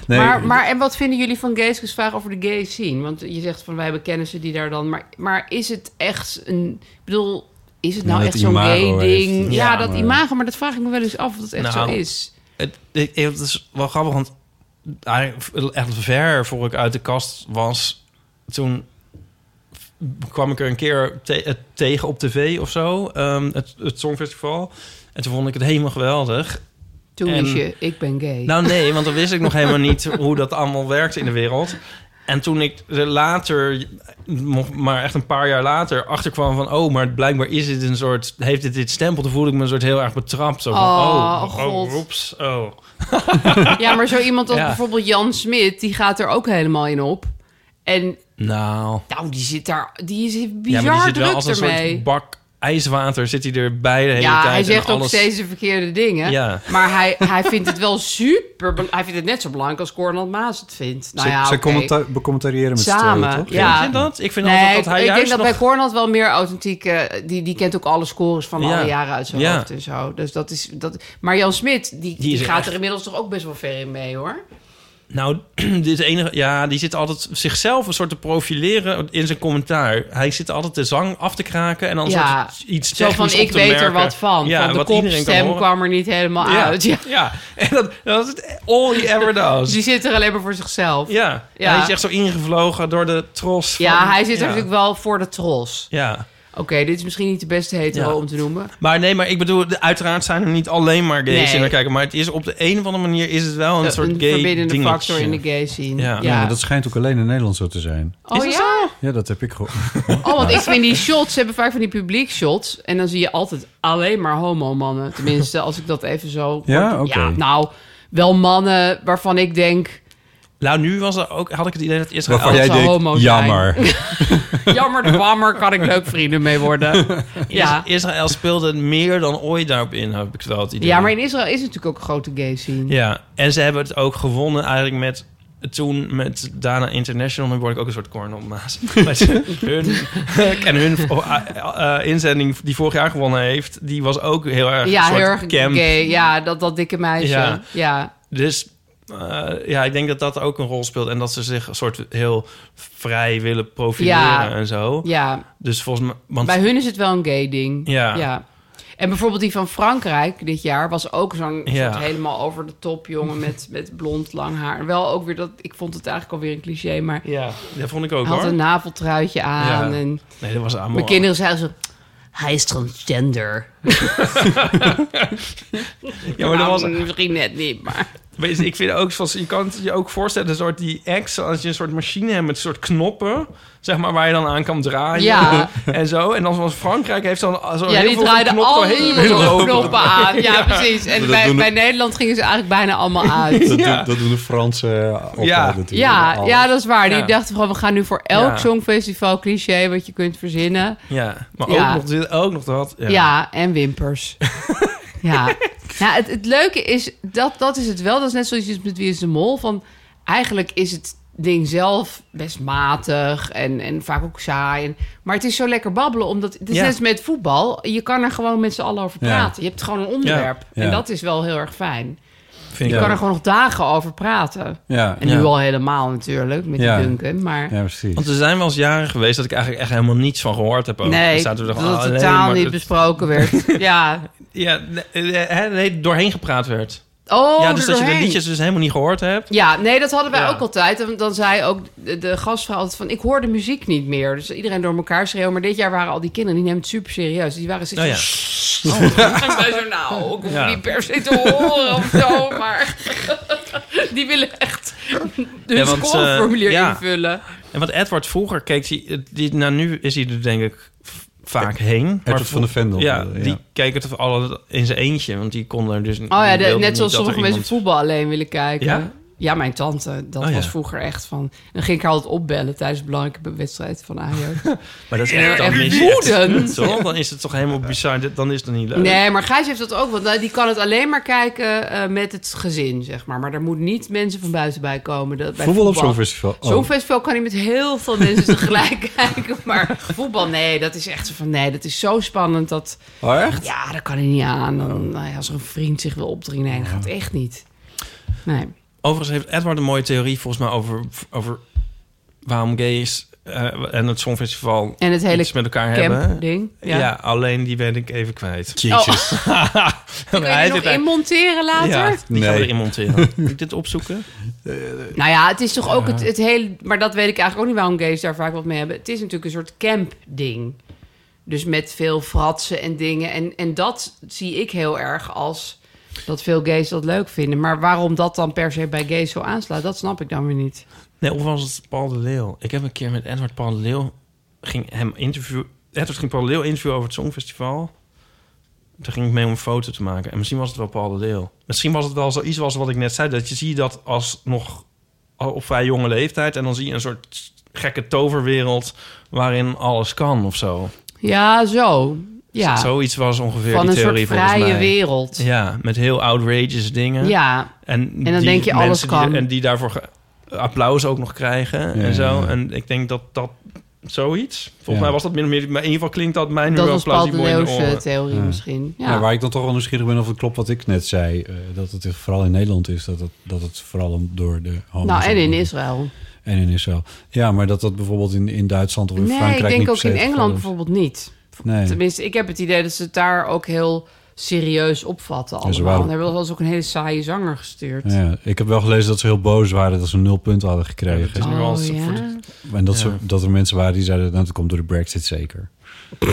Nee, maar, maar en wat vinden jullie van Geeske's vraag over de gay scene? Want je zegt van wij hebben kennissen die daar dan. Maar, maar is het echt een. Ik bedoel, is het Ja, nou dat echt zo'n imago gay heeft. ding? Ja, Ja, dat maar- imago, maar dat vraag ik me wel eens af of dat echt Nou, zo is. Het, ik- ik- het is wel grappig, want eigenlijk echt ver voor ik uit de kast was, toen kwam ik er een keer te- het tegen op tv of zo, ehm, het, het Songfestival. En toen vond ik het helemaal geweldig. Toen en- wist je, ik ben gay. Nou nee, want dan wist ik nog helemaal niet hoe dat allemaal werkte in de wereld. En toen ik er later, nog maar echt een paar jaar later, achterkwam van... oh, maar blijkbaar is dit een soort, heeft dit dit stempel? Toen voelde ik me een soort heel erg betrapt. Zo van, Oh, oh, God. oh, oeps, oh. Ja, maar zo iemand als Ja. bijvoorbeeld Jan Smit, die gaat er ook helemaal in op. En Nou, nou, die zit daar, die is ja, bizar maar die zit druk wel als een ermee. soort bak ijswater zit hij erbij de hele ja, tijd. hij en zegt ook alles- steeds de verkeerde dingen. Ja. Maar hij, hij vindt het wel super... bel- Hij vindt het net zo belangrijk als Cornel Maas het vindt. Nou ze ja, ze oké. commenta- becommentariëren met z'n Samen, tweeën, toch? ja. Vind je dat? Ik vind Nee, altijd dat hij ik juist denk dat nog... bij Cornel wel meer authentiek... eh, die, die kent ook alle scores van Ja. alle jaren uit zijn Ja. hoofd en zo. Dus dat is... Dat... Maar Jan Smit, die, die, is gaat echt- er inmiddels toch ook best wel ver in mee, hoor. Nou, [CLEARS THROAT] dit is enige, ja, die zit altijd zichzelf een soort te profileren in zijn commentaar. Hij zit altijd de zang af te kraken en dan Ja, een soort iets Zo technisch van, op ik te weet er merken. wat van. Ja, van de wat iedereen kan kopstem horen. kwam er niet helemaal ja, uit. Ja. ja. [LAUGHS] en dat, dat is het all he ever does. Dus die zit er alleen maar voor zichzelf. Ja, ja. Ja. hij is echt zo ingevlogen door de tros. van- hij zit er ja. natuurlijk wel voor de trolls. Ja. Oké, dit is misschien niet de beste hetero Ja. om te noemen. Maar nee, maar ik bedoel, de- uiteraard zijn er niet alleen maar gays Nee. in de kijker. Maar het is op de een of andere manier is het wel een soort gay verbindende dingetje. factor in de gay scene. Ja. Ja, maar dat schijnt ook alleen in Nederland zo te zijn. oh ja? Ja, dat heb [LAUGHS] ik gehoord. Oh, want ik vind die shots, ze hebben vaak van die publiek shots. En dan zie je altijd alleen maar homo-mannen. Tenminste, als ik dat even zo... Ja, oké. nou, wel mannen waarvan ik denk... Nou, nu was er ook, had ik het idee dat Israël... Waarvan dat jij ze homo denkt, zijn. jammer. [LAUGHS] Jammer de bammer, kan ik leuk vrienden mee [LAUGHS] worden. Ja. Israël speelde meer dan ooit daarop in, heb ik wel het idee. ja, maar in Israël is natuurlijk ook een grote gay scene. Ja, en ze hebben het ook gewonnen eigenlijk met... Toen met Dana International, dan word ik ook een soort cornel [LAUGHS] maas. Met hun, [LAUGHS] en hun eh, eh, inzending die vorig jaar gewonnen heeft, die was ook heel erg Ja, een soort heel erg camp. gay. Ja, dat, dat dikke meisje. Ja. Ja. Dus eh, ja, ik denk dat dat ook een rol speelt. En dat ze zich een soort heel vrij willen profileren Ja. en zo. ja. Dus volgens mij... Want, Bij hun is het wel een gay ding. Ja. En bijvoorbeeld die van Frankrijk dit jaar was ook zo'n Ja. soort helemaal over de top jongen met, met blond lang haar. Wel ook weer dat, ik vond het eigenlijk alweer een cliché, maar ja, dat vond ik ook hij had hoor. een naveltruitje aan. Ja. En Nee, dat was allemaal... mijn kinderen zeiden zo, hij is transgender. Ja, maar dat was... Nou, Misschien net niet, maar... Maar is- ik vind ook, zoals, je kan het je ook voorstellen, een soort die ex, als je een soort machine hebt met een soort knoppen, zeg maar, waar je dan aan kan draaien Ja. [LAUGHS] en zo. En dan zoals Frankrijk heeft dan zo ja, [LAUGHS] heel die veel draaiden knoppen al heel- die knoppen [LAUGHS] aan. Ja, precies. En Dat bij, doen- bij Nederland gingen ze eigenlijk bijna allemaal uit. Dat, Ja. doen, dat doen de Fransen eh, altijd Ja. natuurlijk. Ja, Al- ja, dat is waar. Die Ja. dachten gewoon, we gaan nu voor elk Ja. songfestival cliché wat je kunt verzinnen. Ja, maar Ja. Ook, nog, dit- ook nog dat. Ja, en [LAUGHS] wimpers. ja. Nou, het, het leuke is, dat, dat is het wel. Dat is net zoals iets met Wie is de Mol. Van, eigenlijk is het ding zelf best matig en, en vaak ook saai. En, maar het is zo lekker babbelen, omdat... Het is Ja. net als met voetbal. Je kan er gewoon met z'n allen over Ja. praten. Je hebt gewoon een onderwerp. Ja. En Ja. dat is wel heel erg fijn. vind Je Ja. kan er gewoon nog dagen over praten. Ja, En Ja. nu al helemaal natuurlijk, met Ja. die Duncan. Maar... ja, precies. Want er zijn wel eens jaren geweest dat ik eigenlijk echt helemaal niets van gehoord heb. Ook. Dan Nee, dat zaten we het er gewoon alleen totaal maar- niet besproken werd. [LAUGHS] ja. Ja, nee, eh, hè, nee, doorheen gepraat werd. Oh, ja, dus er dat je de doorheen. liedjes dus helemaal niet gehoord hebt. Ja, nee, dat hadden wij Ja. ook altijd. Dan, dan zei ook de, de gastvrouw altijd van... ik hoor de muziek niet meer. Dus iedereen door elkaar schreeuwen. Maar dit jaar waren al die kinderen, die nemen het super serieus. Die waren Nou ja. steeds zo... "Shh." En wij zo, nou, Oh, ik hoef Ja. niet per se te horen of zo. Maar [LAUGHS] die willen echt hun Ja, want, scoreformulier eh, ja. invullen. En wat Edward vroeger keek, die, die, nou nu is hij er denk ik v- vaak heen. Maar Edward van de Vendel. Ja, eh, die keek het alle in zijn eentje, want die kon er dus niet. Oh ja, de- wilde net niet zoals dat er sommige mensen iemand- voetbal alleen willen kijken. Ja? Ja? mijn tante. Dat Oh ja. was vroeger echt van... Dan ging ik haar altijd opbellen tijdens een belangrijke wedstrijd van Ajax. Maar dat is Ja, echt, dan echt is het echt- woedend. [LAUGHS] Toch? Dan is het toch helemaal bizar. Dit- Dan is het niet leuk. Nee, maar Gijs heeft dat ook. Want nou, die kan het alleen maar kijken eh, met het gezin, zeg maar. Maar er moet niet mensen van buiten bij komen. Dat, bij Voetbal op zo'n voetbal. festival. Oh. Zo'n festival kan hij met heel veel mensen [LAUGHS] tegelijk kijken. Maar voetbal, nee, dat is echt zo van... Nee, dat is zo spannend. Dat, Oh, echt? ja, dat kan hij niet aan. Dan, nou ja, als er een vriend zich wil opdringen, nee, dat gaat echt niet. Nee. Overigens heeft Edward een mooie theorie volgens mij over, over waarom gays eh, en het Songfestival En het hele iets met elkaar camp hebben. ding, ja. Ja. alleen die ben ik even kwijt. Jezus. [LAUGHS] Die Kun je die nog inmonteren later? Ja, die gaan we Nee. erin monteren. Moet ik dit opzoeken? Nou ja, het is toch ook Ja. het, het hele... Maar dat weet ik eigenlijk ook niet waarom gays daar vaak wat mee hebben. Het is natuurlijk een soort campding. Dus met veel fratsen en dingen. En, en dat zie ik heel erg als dat veel gays dat leuk vinden. Maar waarom dat dan per se bij gays zo aanslaat, dat snap ik dan weer niet. Nee, of was het Paul de Leeuw? Ik heb een keer met Edward Paul de Leeuw... Ging hem interview, Edward ging Paul de Leeuw interviewen over het Songfestival. Toen ging ik mee om een foto te maken. En misschien was het wel Paul de Leeuw. Misschien was het wel zoiets was wat ik net zei. Dat je ziet dat als nog al op vrij jonge leeftijd. En dan zie je een soort gekke toverwereld waarin alles kan of zo. Ja, zo. Ja. Zoiets was ongeveer Van die een soort theorie volgens vrije mij. wereld. Ja, met heel outrageous dingen. Ja. En, En dan die denk je, alles mensen kan. Die, en die daarvoor ge- applaus ook nog krijgen en zo. ja. En ik denk dat dat zoiets... Volgens Ja. mij was dat min of meer... Maar in ieder geval klinkt dat mij nu Dat wel was Paul de plausibel in de Leeuw's eh, oren. theorie misschien. Ja. Ja, waar ik dan toch wel nieuwsgierig ben of het klopt wat ik net zei. eh, dat het vooral in Nederland is. Dat het, dat het vooral om- door de homo's... nou, en in Israël. En in Israël. Ja, maar dat dat bijvoorbeeld in, in Duitsland of in Nee, Frankrijk ik niet denk per ook se in het geval Engeland is. bijvoorbeeld niet. Nee. Tenminste, ik heb het idee dat ze het daar ook heel serieus opvatten allemaal. ze Ze waren- hebben wel eens ook een hele saaie zanger gestuurd. Ja, ik heb wel gelezen dat ze heel boos waren dat ze nul punten hadden gekregen. Het is nu Oh, al... ja. voor de- En dat, ze, dat er mensen waren die zeiden, nou, dat komt door de brexit zeker. [LAUGHS]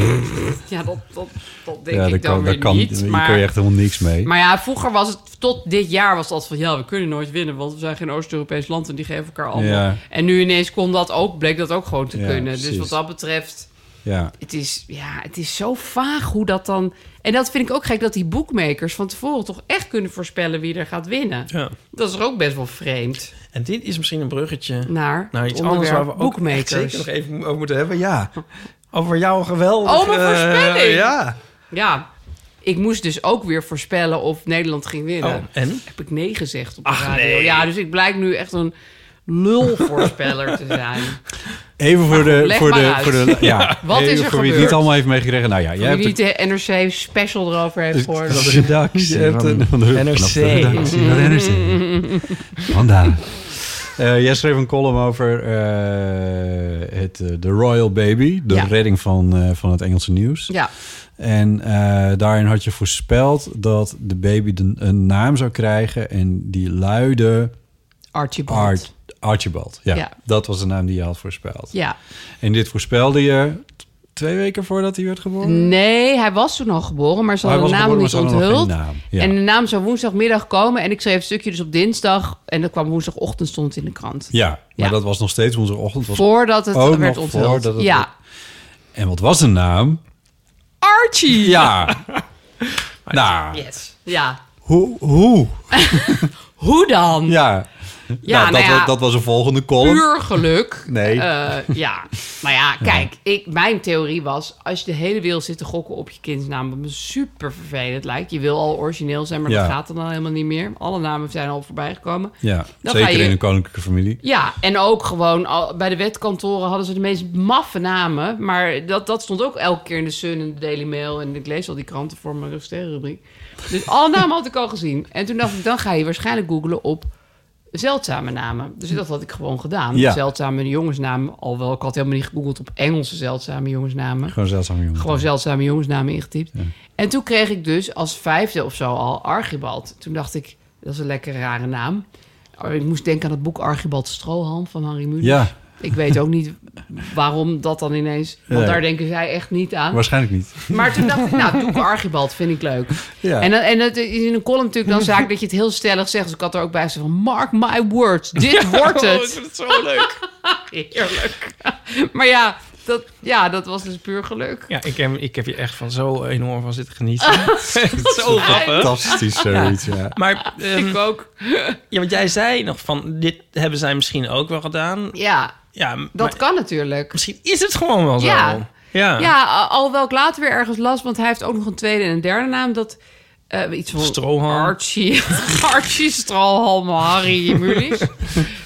Ja, dat, dat, dat denk ja, ik dat dan kan, weer dat kan, niet. Hier maar, kun je echt helemaal niks mee. maar ja, vroeger was het, tot dit jaar was dat van... ja, we kunnen nooit winnen, want we zijn geen Oost-Europees land... en die geven elkaar allemaal. Ja. En nu ineens kon dat ook, bleek dat ook gewoon te Ja, kunnen. Dus precies. wat dat betreft... ja. Het is, ja, het is zo vaag hoe dat dan... En dat vind ik ook gek, dat die boekmakers van tevoren... toch echt kunnen voorspellen wie er gaat winnen. Ja. Dat is er ook best wel vreemd. En dit is misschien een bruggetje... Naar, Nou, het iets anders waar we onderwerp ook echt boekmakers. zeker nog even over moeten hebben. Ja, over jouw geweldige... Oh, mijn voorspelling! eh, ja. Ja, ik moest dus ook weer voorspellen of Nederland ging winnen. Oh, en? Heb ik nee gezegd op de radio. Ja, dus ik blijk nu echt een lulvoorspeller te [LAUGHS] zijn. Even voor Maar goed, de... Nou, leg Voor maar de, uit. voor de ja. [LAUGHS] Wat Even is er voor wie het gebeurd? niet allemaal heeft meegekregen. Nou ja, jij Wie hebt Dus- niet de NRC special erover heeft [LAUGHS] gehoord. Dat is redactie. Je hebt een van de NRC. van de redactie van de NRC. Vandaar. Eh, jij schreef een column over eh, het, eh, The Royal Baby, de Ja. redding van, eh, van het Engelse nieuws. Ja, En eh, daarin had je voorspeld dat de baby de- een naam zou krijgen en die luidde Archibald. Art, Archibald. Ja, Ja. dat was de naam die je had voorspeld. Ja. En dit voorspelde je t- twee weken voordat hij werd geboren? Mm. Nee, hij was toen al geboren, maar ze Hij hadden de was naam geboren, niet maar ze hadden nog onthuld. geen naam. Ja. En de naam zou woensdagmiddag komen. En ik schreef een stukje dus op dinsdag. En dat kwam woensdagochtend stond het in de krant. Ja, maar Ja. dat was nog steeds woensdagochtend. was Voordat het ook werd nog onthuld. voordat het- Ja, En wat was de naam? Archie! Ja. [LAUGHS] nou, Yes. Ja. hoe? hoe? Hoe dan? Ja. Ja, nou Nou, dat, ja. Was, dat was een volgende column. puur geluk. Nee. Eh, ja. Maar [LAUGHS] ja, kijk, ik, mijn theorie was... als je de hele wereld zit te gokken op je kindsnaam... wat me super vervelend lijkt. Je wil al origineel zijn, maar Ja. dat gaat dan al helemaal niet meer. Alle namen zijn al voorbij gekomen. Ja, Dan ga zeker je- in een koninklijke familie. Ja, en ook gewoon al, bij de wetkantoren hadden ze de meest maffe namen. Maar dat, dat stond ook elke keer in de Sun en de Daily Mail. En ik lees al die kranten voor mijn sterrenrubriek. Dus alle namen had ik al gezien. En toen dacht ik, dan ga je waarschijnlijk googlen op zeldzame namen. Dus dat had ik gewoon gedaan. Ja. Zeldzame jongensnamen. Alhoewel, ik had helemaal niet gegoogeld op Engelse zeldzame jongensnamen. Gewoon zeldzaam jongen. Gewoon zeldzame jongensnamen ingetypt. En toen kreeg ik dus als vijfde of zo al Archibald. Toen dacht ik, dat is een lekker rare naam. Oh, Ik moest denken aan het boek Archibald Strohalm van Harry Mulisch. Ja, Ik weet ook niet waarom dat dan ineens... Want Nee. daar denken zij echt niet aan. waarschijnlijk niet. Maar toen dacht ik, nou, doe ik Archibald, vind ik leuk. Ja. En, dan- en het is in een column natuurlijk dan zaak dat je het heel stellig zegt. Dus ik had er ook bij gezegd van, mark my words, dit wordt Oh, het. ik vind het zo leuk. Heerlijk. [LAUGHS] Maar ja dat, ja, dat was dus puur geluk. Ja, ik heb, ik heb je echt van zo enorm van zitten genieten. Ah. [LAUGHS] zo grappig. Fantastisch [LAUGHS] zoiets, ja. Maar ehm, Ik ook. ja, want jij zei nog van, dit hebben zij misschien ook wel gedaan. Ja, Ja, dat maar kan natuurlijk. misschien is het gewoon wel zo. Ja. ja. Ja, al- alhoewel ik later weer ergens las, want hij heeft ook nog een tweede en een derde naam. Dat eh, iets van Strohalm. Archie, [LAUGHS] Archie Strohalm, Harry [LAUGHS] Mulisch.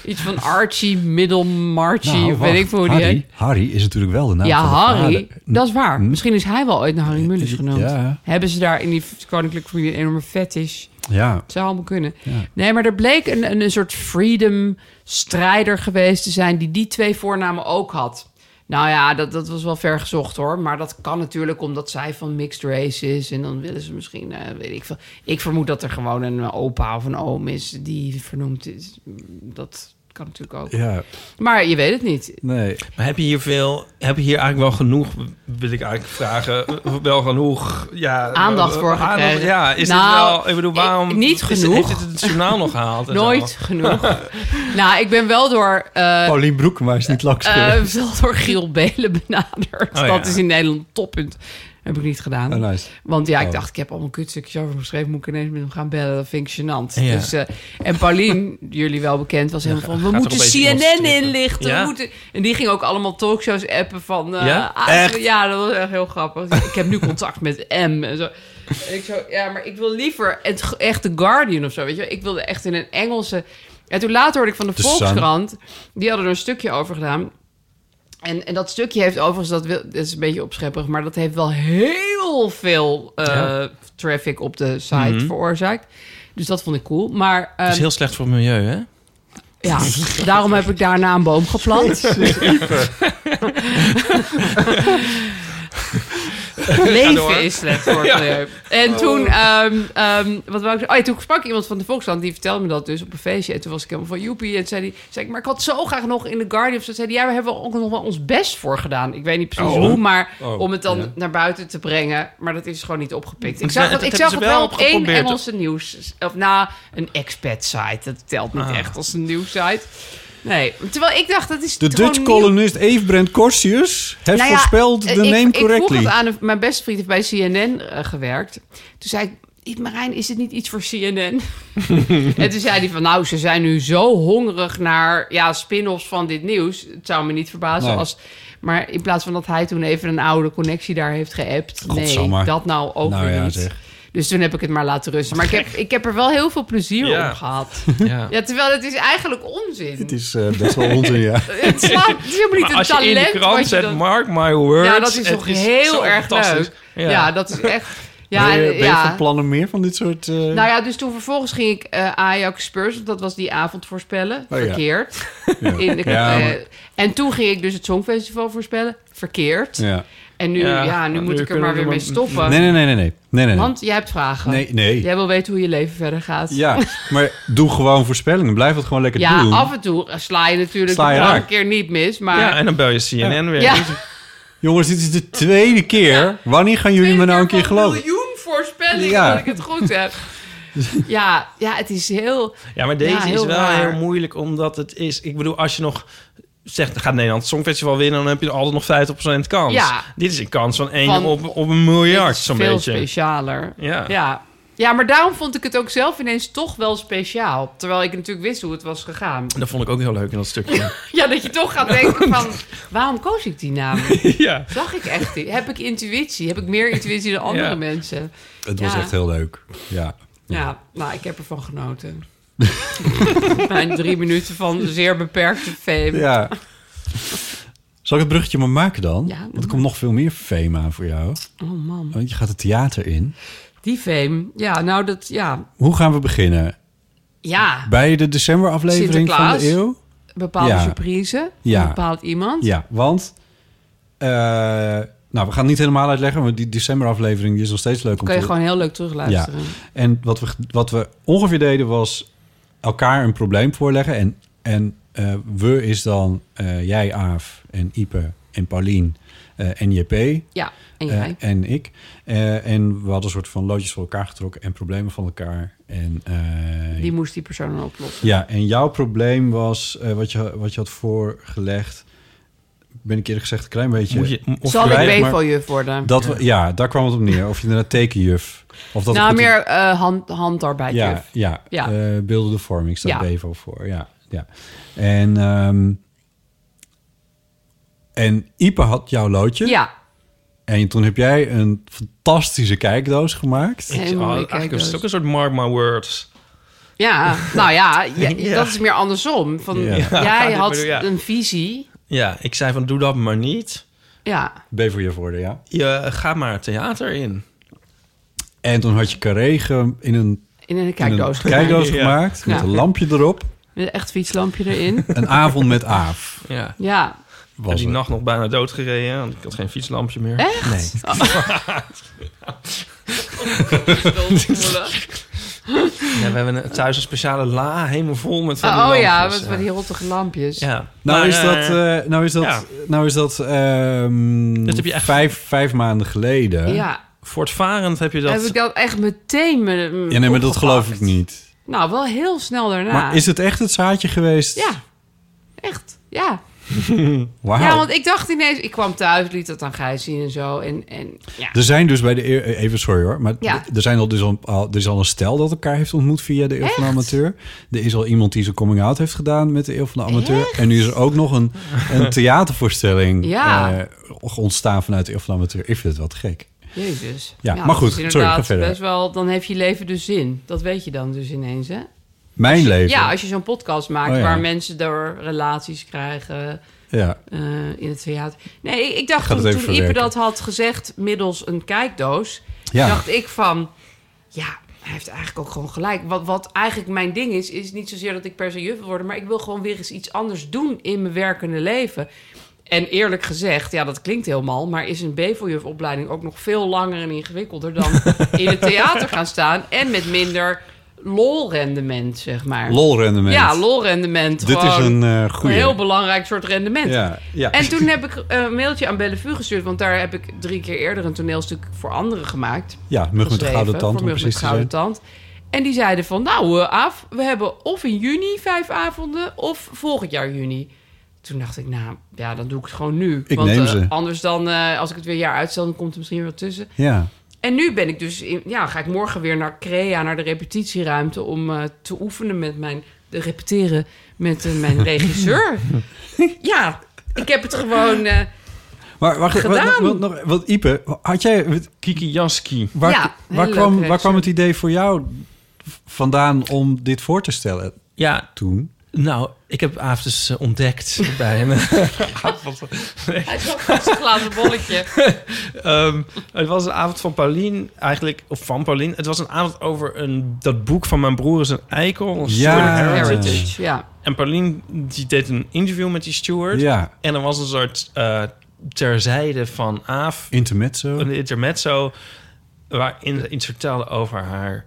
iets van Archie Middelmarchie, Nou, of wacht, weet ik veel hoe die Harry, Nou, heet. Harry is natuurlijk wel de naam Ja, van de Harry. vader. Dat is waar. Misschien is hij wel ooit naar Harry Mulisch Hm? Ja. genoemd. Hebben ze daar in die koninklijke familie een enorme fetish? Ja, Het zou allemaal kunnen. Nee, maar er bleek een, een, een soort freedom-strijder geweest te zijn... die die twee voornamen ook had. Nou ja, dat, dat was wel ver gezocht hoor. Maar dat kan natuurlijk omdat zij van mixed race is. En dan willen ze misschien, eh, weet ik veel. Ik vermoed dat er gewoon een opa of een oom is die vernoemd is. Dat kan natuurlijk ook. Ja, Maar je weet het niet. nee. Maar heb je hier veel, heb je hier eigenlijk wel genoeg, wil ik eigenlijk vragen, wel genoeg ja, Aandacht eh, voor gekregen. ja, is Nou, dit wel, ik bedoel, waarom ik- niet is- genoeg. heeft dit het journaal nog gehaald? [LAUGHS] en Nooit ehm, zo? genoeg. [LAUGHS] nou, ik ben wel door, eh Paulien Broekema is niet laks eh, geweest. wel door Giel Belen benaderd. Oh, dat ja. is in Nederland een toppunt. Heb ik niet gedaan. Oh, nice. Want ja, ik Oh. dacht, ik heb allemaal kutstukjes over hem geschreven. Moet ik ineens met hem gaan bellen? Dat vind ik gênant. Ja. Dus, eh, en Paulien, [LAUGHS] jullie wel bekend, was helemaal van... We gaat moeten er opeens iemand CNN strippen. inlichten. Ja? We moeten... En die ging ook allemaal talkshows appen van... eh, Ja? ah, Echt? ja, dat was echt heel grappig. ik heb nu contact met M en zo. En ik zo, ja, maar ik wil liever het, ge- echt The Guardian of zo, weet je wel. Ik wilde echt in een Engelse... En toen later hoorde ik van de The Sun. Volkskrant... Die hadden er een stukje over gedaan... En, en dat stukje heeft overigens, dat, wil, dat is een beetje opschepperig, maar dat heeft wel heel veel eh, Ja. traffic op de site Mhm. veroorzaakt. Dus dat vond ik cool. Maar Dat is ehm, heel slecht voor het milieu, hè? ja, daarom heb ik daarna een boom [LAUGHS] geplant. Leven is slecht voor het milieu. En Oh. toen, ehm, ehm, wat wou ik zeggen? Oh ja, toen sprak ik iemand van de Volkskrant, die vertelde me dat dus op een feestje. En toen was ik helemaal van joepie. En zei hij, zei ik, maar ik had zo graag nog in The Guardian. Of zo zei hij, ja, we hebben ook nog wel ons best voor gedaan. Ik weet niet precies hoe, maar Oh, om het dan ja. naar buiten te brengen. Maar dat is gewoon niet opgepikt. Ik Het zag zijn- het, het ik hebben zag ze het wel wel op één geprobeerd. Engelse nieuws. Of na een expat site. Dat telt niet Ah. echt als een nieuwssite. Nee, terwijl ik dacht, dat is De gewoon Dutch nieuw. columnist Eve Brent Corsius heeft Nou ja, voorspeld eh, de ik- name Ik vroeg correctly. het aan een- mijn beste vriend, heeft bij CNN eh, gewerkt. Toen zei ik, Marijn, is dit niet iets voor [LAUGHS] CNN? en toen zei hij van, nou, ze zijn nu zo hongerig naar ja, spin-offs van dit nieuws. Het zou me niet verbazen Nee. als... Maar in plaats van dat hij toen even een oude connectie daar heeft geappt. Nee, Godsamme. dat nou ook Nou weer ja, niet. zeg. Dus toen heb ik het maar laten rusten. Maar ik heb, ik heb er wel heel veel plezier Ja. op gehad. Ja. Ja, terwijl het is eigenlijk onzin. [LAUGHS] Het is eh, best wel onzin, ja. Het, slaat, het is helemaal niet Maar een als je talent. in de wat krant je zet, dan- mark my words. ja, dat is het toch heel zo erg fantastisch. leuk. Ja. dat is echt... [LAUGHS] Ja, [LAUGHS] ben je, en- ben je van ja. plannen meer van dit soort... eh, Nou ja, dus toen vervolgens ging ik eh, Ajax Spurs, want dat was die avond voorspellen, Oh ja. verkeerd. [LAUGHS] ja. In de, Ja, eh, maar- en toen ging ik dus het Songfestival voorspellen, verkeerd. ja. En nu, ja, Ja, nu nu moet ik er kunnen maar we weer maar- mee stoppen. Nee, nee, nee, nee. Nee, nee, nee. Want jij hebt vragen. nee, nee. Jij wil weten hoe je leven verder gaat. Ja, maar doe gewoon voorspellingen. Blijf het gewoon lekker Ja, doen. af en toe eh, sla je natuurlijk Sla je de vorige raak. keer niet mis, maar... Ja, en dan bel je CNN weer. Ja. Jongens, dit is de tweede keer. Wanneer gaan jullie me nou een keer van geloven? miljoen voorspellingen Ja. dat ik het goed [LAUGHS] heb. Ja, ja, het is heel... Ja, maar Ja, deze is heel wel raar. heel moeilijk, omdat het is... Ik bedoel, als je nog zegt, gaat Nederland het Songfestival winnen... dan heb je altijd nog 50% kans. Ja. Dit is een kans van 1 Van- op, op een het miljard, is zo'n veel beetje. specialer. Ja. ja. Ja, maar daarom vond ik het ook zelf ineens toch wel speciaal. Terwijl ik natuurlijk wist hoe het was gegaan. [LAUGHS] Dat vond ik ook heel leuk in dat stukje. Ja, dat je toch gaat denken [LAUGHS] van... waarom koos ik die naam? [LAUGHS] ja. Zag ik echt die? Heb ik intuïtie? Heb ik meer intuïtie dan andere Ja. mensen? Het was Ja. echt heel leuk. Ja. Ja, nou, ik heb ervan [LAUGHS] genoten. Mijn drie minuten van zeer beperkte fame. ja. Zal ik het bruggetje maar maken dan? Ja. Want er komt nog veel meer fame aan voor jou. Oh man, Want je gaat het theater in. die fame. Ja, nou dat, ja. Hoe gaan we beginnen? Ja, Bij de decemberaflevering van Sinterklaas. de eeuw? bepaalde Ja. surprise. Ja. Bepaald iemand. Ja, want... eh, nou, we gaan het niet helemaal uitleggen, want die decemberaflevering die is nog steeds leuk om Kan te je gewoon heel leuk terugluisteren. En wat we, wat we ongeveer deden was elkaar een probleem voorleggen. En, en eh, we is dan eh, jij, Aaf en Ipe en Paulien eh, en JP Ja, en eh, jij. en ik. Eh, en we hadden een soort van loodjes voor elkaar getrokken en problemen van elkaar. En, eh, die moest die persoon dan oplossen. ja, en jouw probleem was, eh, wat, je, wat je had voorgelegd, ben ik eerder gezegd een klein beetje... Moet je, of Zal wij- ik maar- BVO-juf worden? dat we, ja, daar kwam het op neer. Of je inderdaad tekenjuf. Of dat nou, het- meer eh hand, handarbeid. Ja, juf. ja. Ja. Eh, beeldende vorming staat Ja. Bevo voor. Ja, ja. En, ehm, en Ipe had jouw loodje. Ja, En toen heb jij een fantastische kijkdoos gemaakt. Heel Oh, mooi, eigenlijk kijk is het dus. ook een soort mark my words. ja. [LAUGHS] nou ja, ja, dat is meer andersom. Van, Ja. Jij ik had bedoel, ja. een visie. Ja, ik zei van doe dat maar niet. Ja, Bevo je voorde, ja. Je gaat maar het theater in. En toen had je carré ge- in een in een in een kijkdoos gedaan. kijkdoos gemaakt. Ja. Met een lampje erop. Met een echt fietslampje erin. Een avond met Aaf. Ja. Ja, Ik ben die nacht nog bijna doodgereden, want ik had geen fietslampje meer. Echt? Oh. Nee. [LAUGHS] Ja, we hebben een- thuis een speciale la helemaal vol met van die [LAUGHS] oh ja, lampjes, met, met die rottige lampjes. Ja. Nou, Maar, is eh, dat, eh, nou is dat, ja. nou is dat, ehm, Dat heb je echt- vijf, vijf maanden geleden. Ja. Voortvarend heb je dat... Heb ik dat echt meteen me, me Ja, nee, maar dat opgepakt. geloof ik niet. Nou, wel heel snel daarna. Maar is het echt het zaadje geweest? Ja, echt. Ja. Wauw. ja, want ik dacht ineens... Ik kwam thuis, liet dat aan Gijs zien en zo. En, en ja. Er zijn dus bij de... eer- eh, Even sorry hoor, maar Ja. d- er, zijn al dus al, al- er is al een stel dat elkaar heeft ontmoet via de Eeuw van de Amateur. Er is al iemand die zijn coming-out heeft gedaan met de Eeuw van de Amateur. En nu is er ook nog een, [LAUGHS] een theatervoorstelling Ja. eh, ontstaan vanuit de Eeuw van de Amateur. Ik vind het wel te gek. Jezus. Ja, Nou, maar dat goed, is sorry, inderdaad ga verder. Best wel, dan heeft je leven dus zin. Dat weet je dan dus ineens, hè? Mijn leven? Ja, als je zo'n podcast maakt Oh ja. waar mensen door relaties krijgen Ja. eh, in het theater. Nee, ik, ik dacht Ga dat toen, even toen Ipe verwerken. dat had gezegd middels een kijkdoos... Ja. dacht ik van... Ja, hij heeft eigenlijk ook gewoon gelijk. Wat, wat eigenlijk mijn ding is, is niet zozeer dat ik per se juf wil worden... maar ik wil gewoon weer eens iets anders doen in mijn werkende leven. En eerlijk gezegd, ja, dat klinkt heel mal... maar is een beveljufopleiding ook nog veel langer en ingewikkelder... dan [LAUGHS] in het theater gaan staan en met minder lolrendement, zeg maar. Lolrendement. Ja, lolrendement. Dit is Gewoon een eh goeie. een heel belangrijk soort rendement. Ja, ja. En toen heb ik eh, een mailtje aan Bellevue gestuurd, want daar heb ik drie keer eerder een toneelstuk voor anderen gemaakt. Ja, Mug met de Geschreven, Gouden Tand, voor om Mug met precies de te Gouden zijn. Tand. En die zeiden van, nou eh, af, we hebben of in juni vijf avonden of volgend jaar juni. Toen dacht ik, nou ja, dan doe ik het gewoon nu. Ik want neem eh, ze. anders dan, eh, als ik het weer een jaar uitstel, dan komt er misschien wel tussen. Ja. En nu ben ik dus, in, ja, ga ik morgen weer naar Crea, naar de repetitieruimte om eh, te oefenen met mijn, te repeteren met eh, mijn regisseur. ja, ik heb het gewoon. eh, Maar wacht, wat, Gedaan. wat, wat, nog- wat Ipe, had jij... wat- Kiki Jaski. Waar, Ja, hele waar, leuke kwam, waar regisseur. kwam het idee voor jou vandaan om dit voor te stellen Ja, toen? nou, ik heb Aafdes eh, ontdekt [LAUGHS] bij hem. hij is ook vast een glazen bolletje. Ehm, het was een avond van Paulien, eigenlijk, of van Paulien. Het was een avond over een, dat boek van mijn broer is een eikel. Een Ja. Stuart Heritage. Heritage, ja. En Paulien die deed een interview met die steward. Ja, En er was een soort eh, terzijde van Aaf, intermezzo. een intermezzo, waarin ze iets vertelde over haar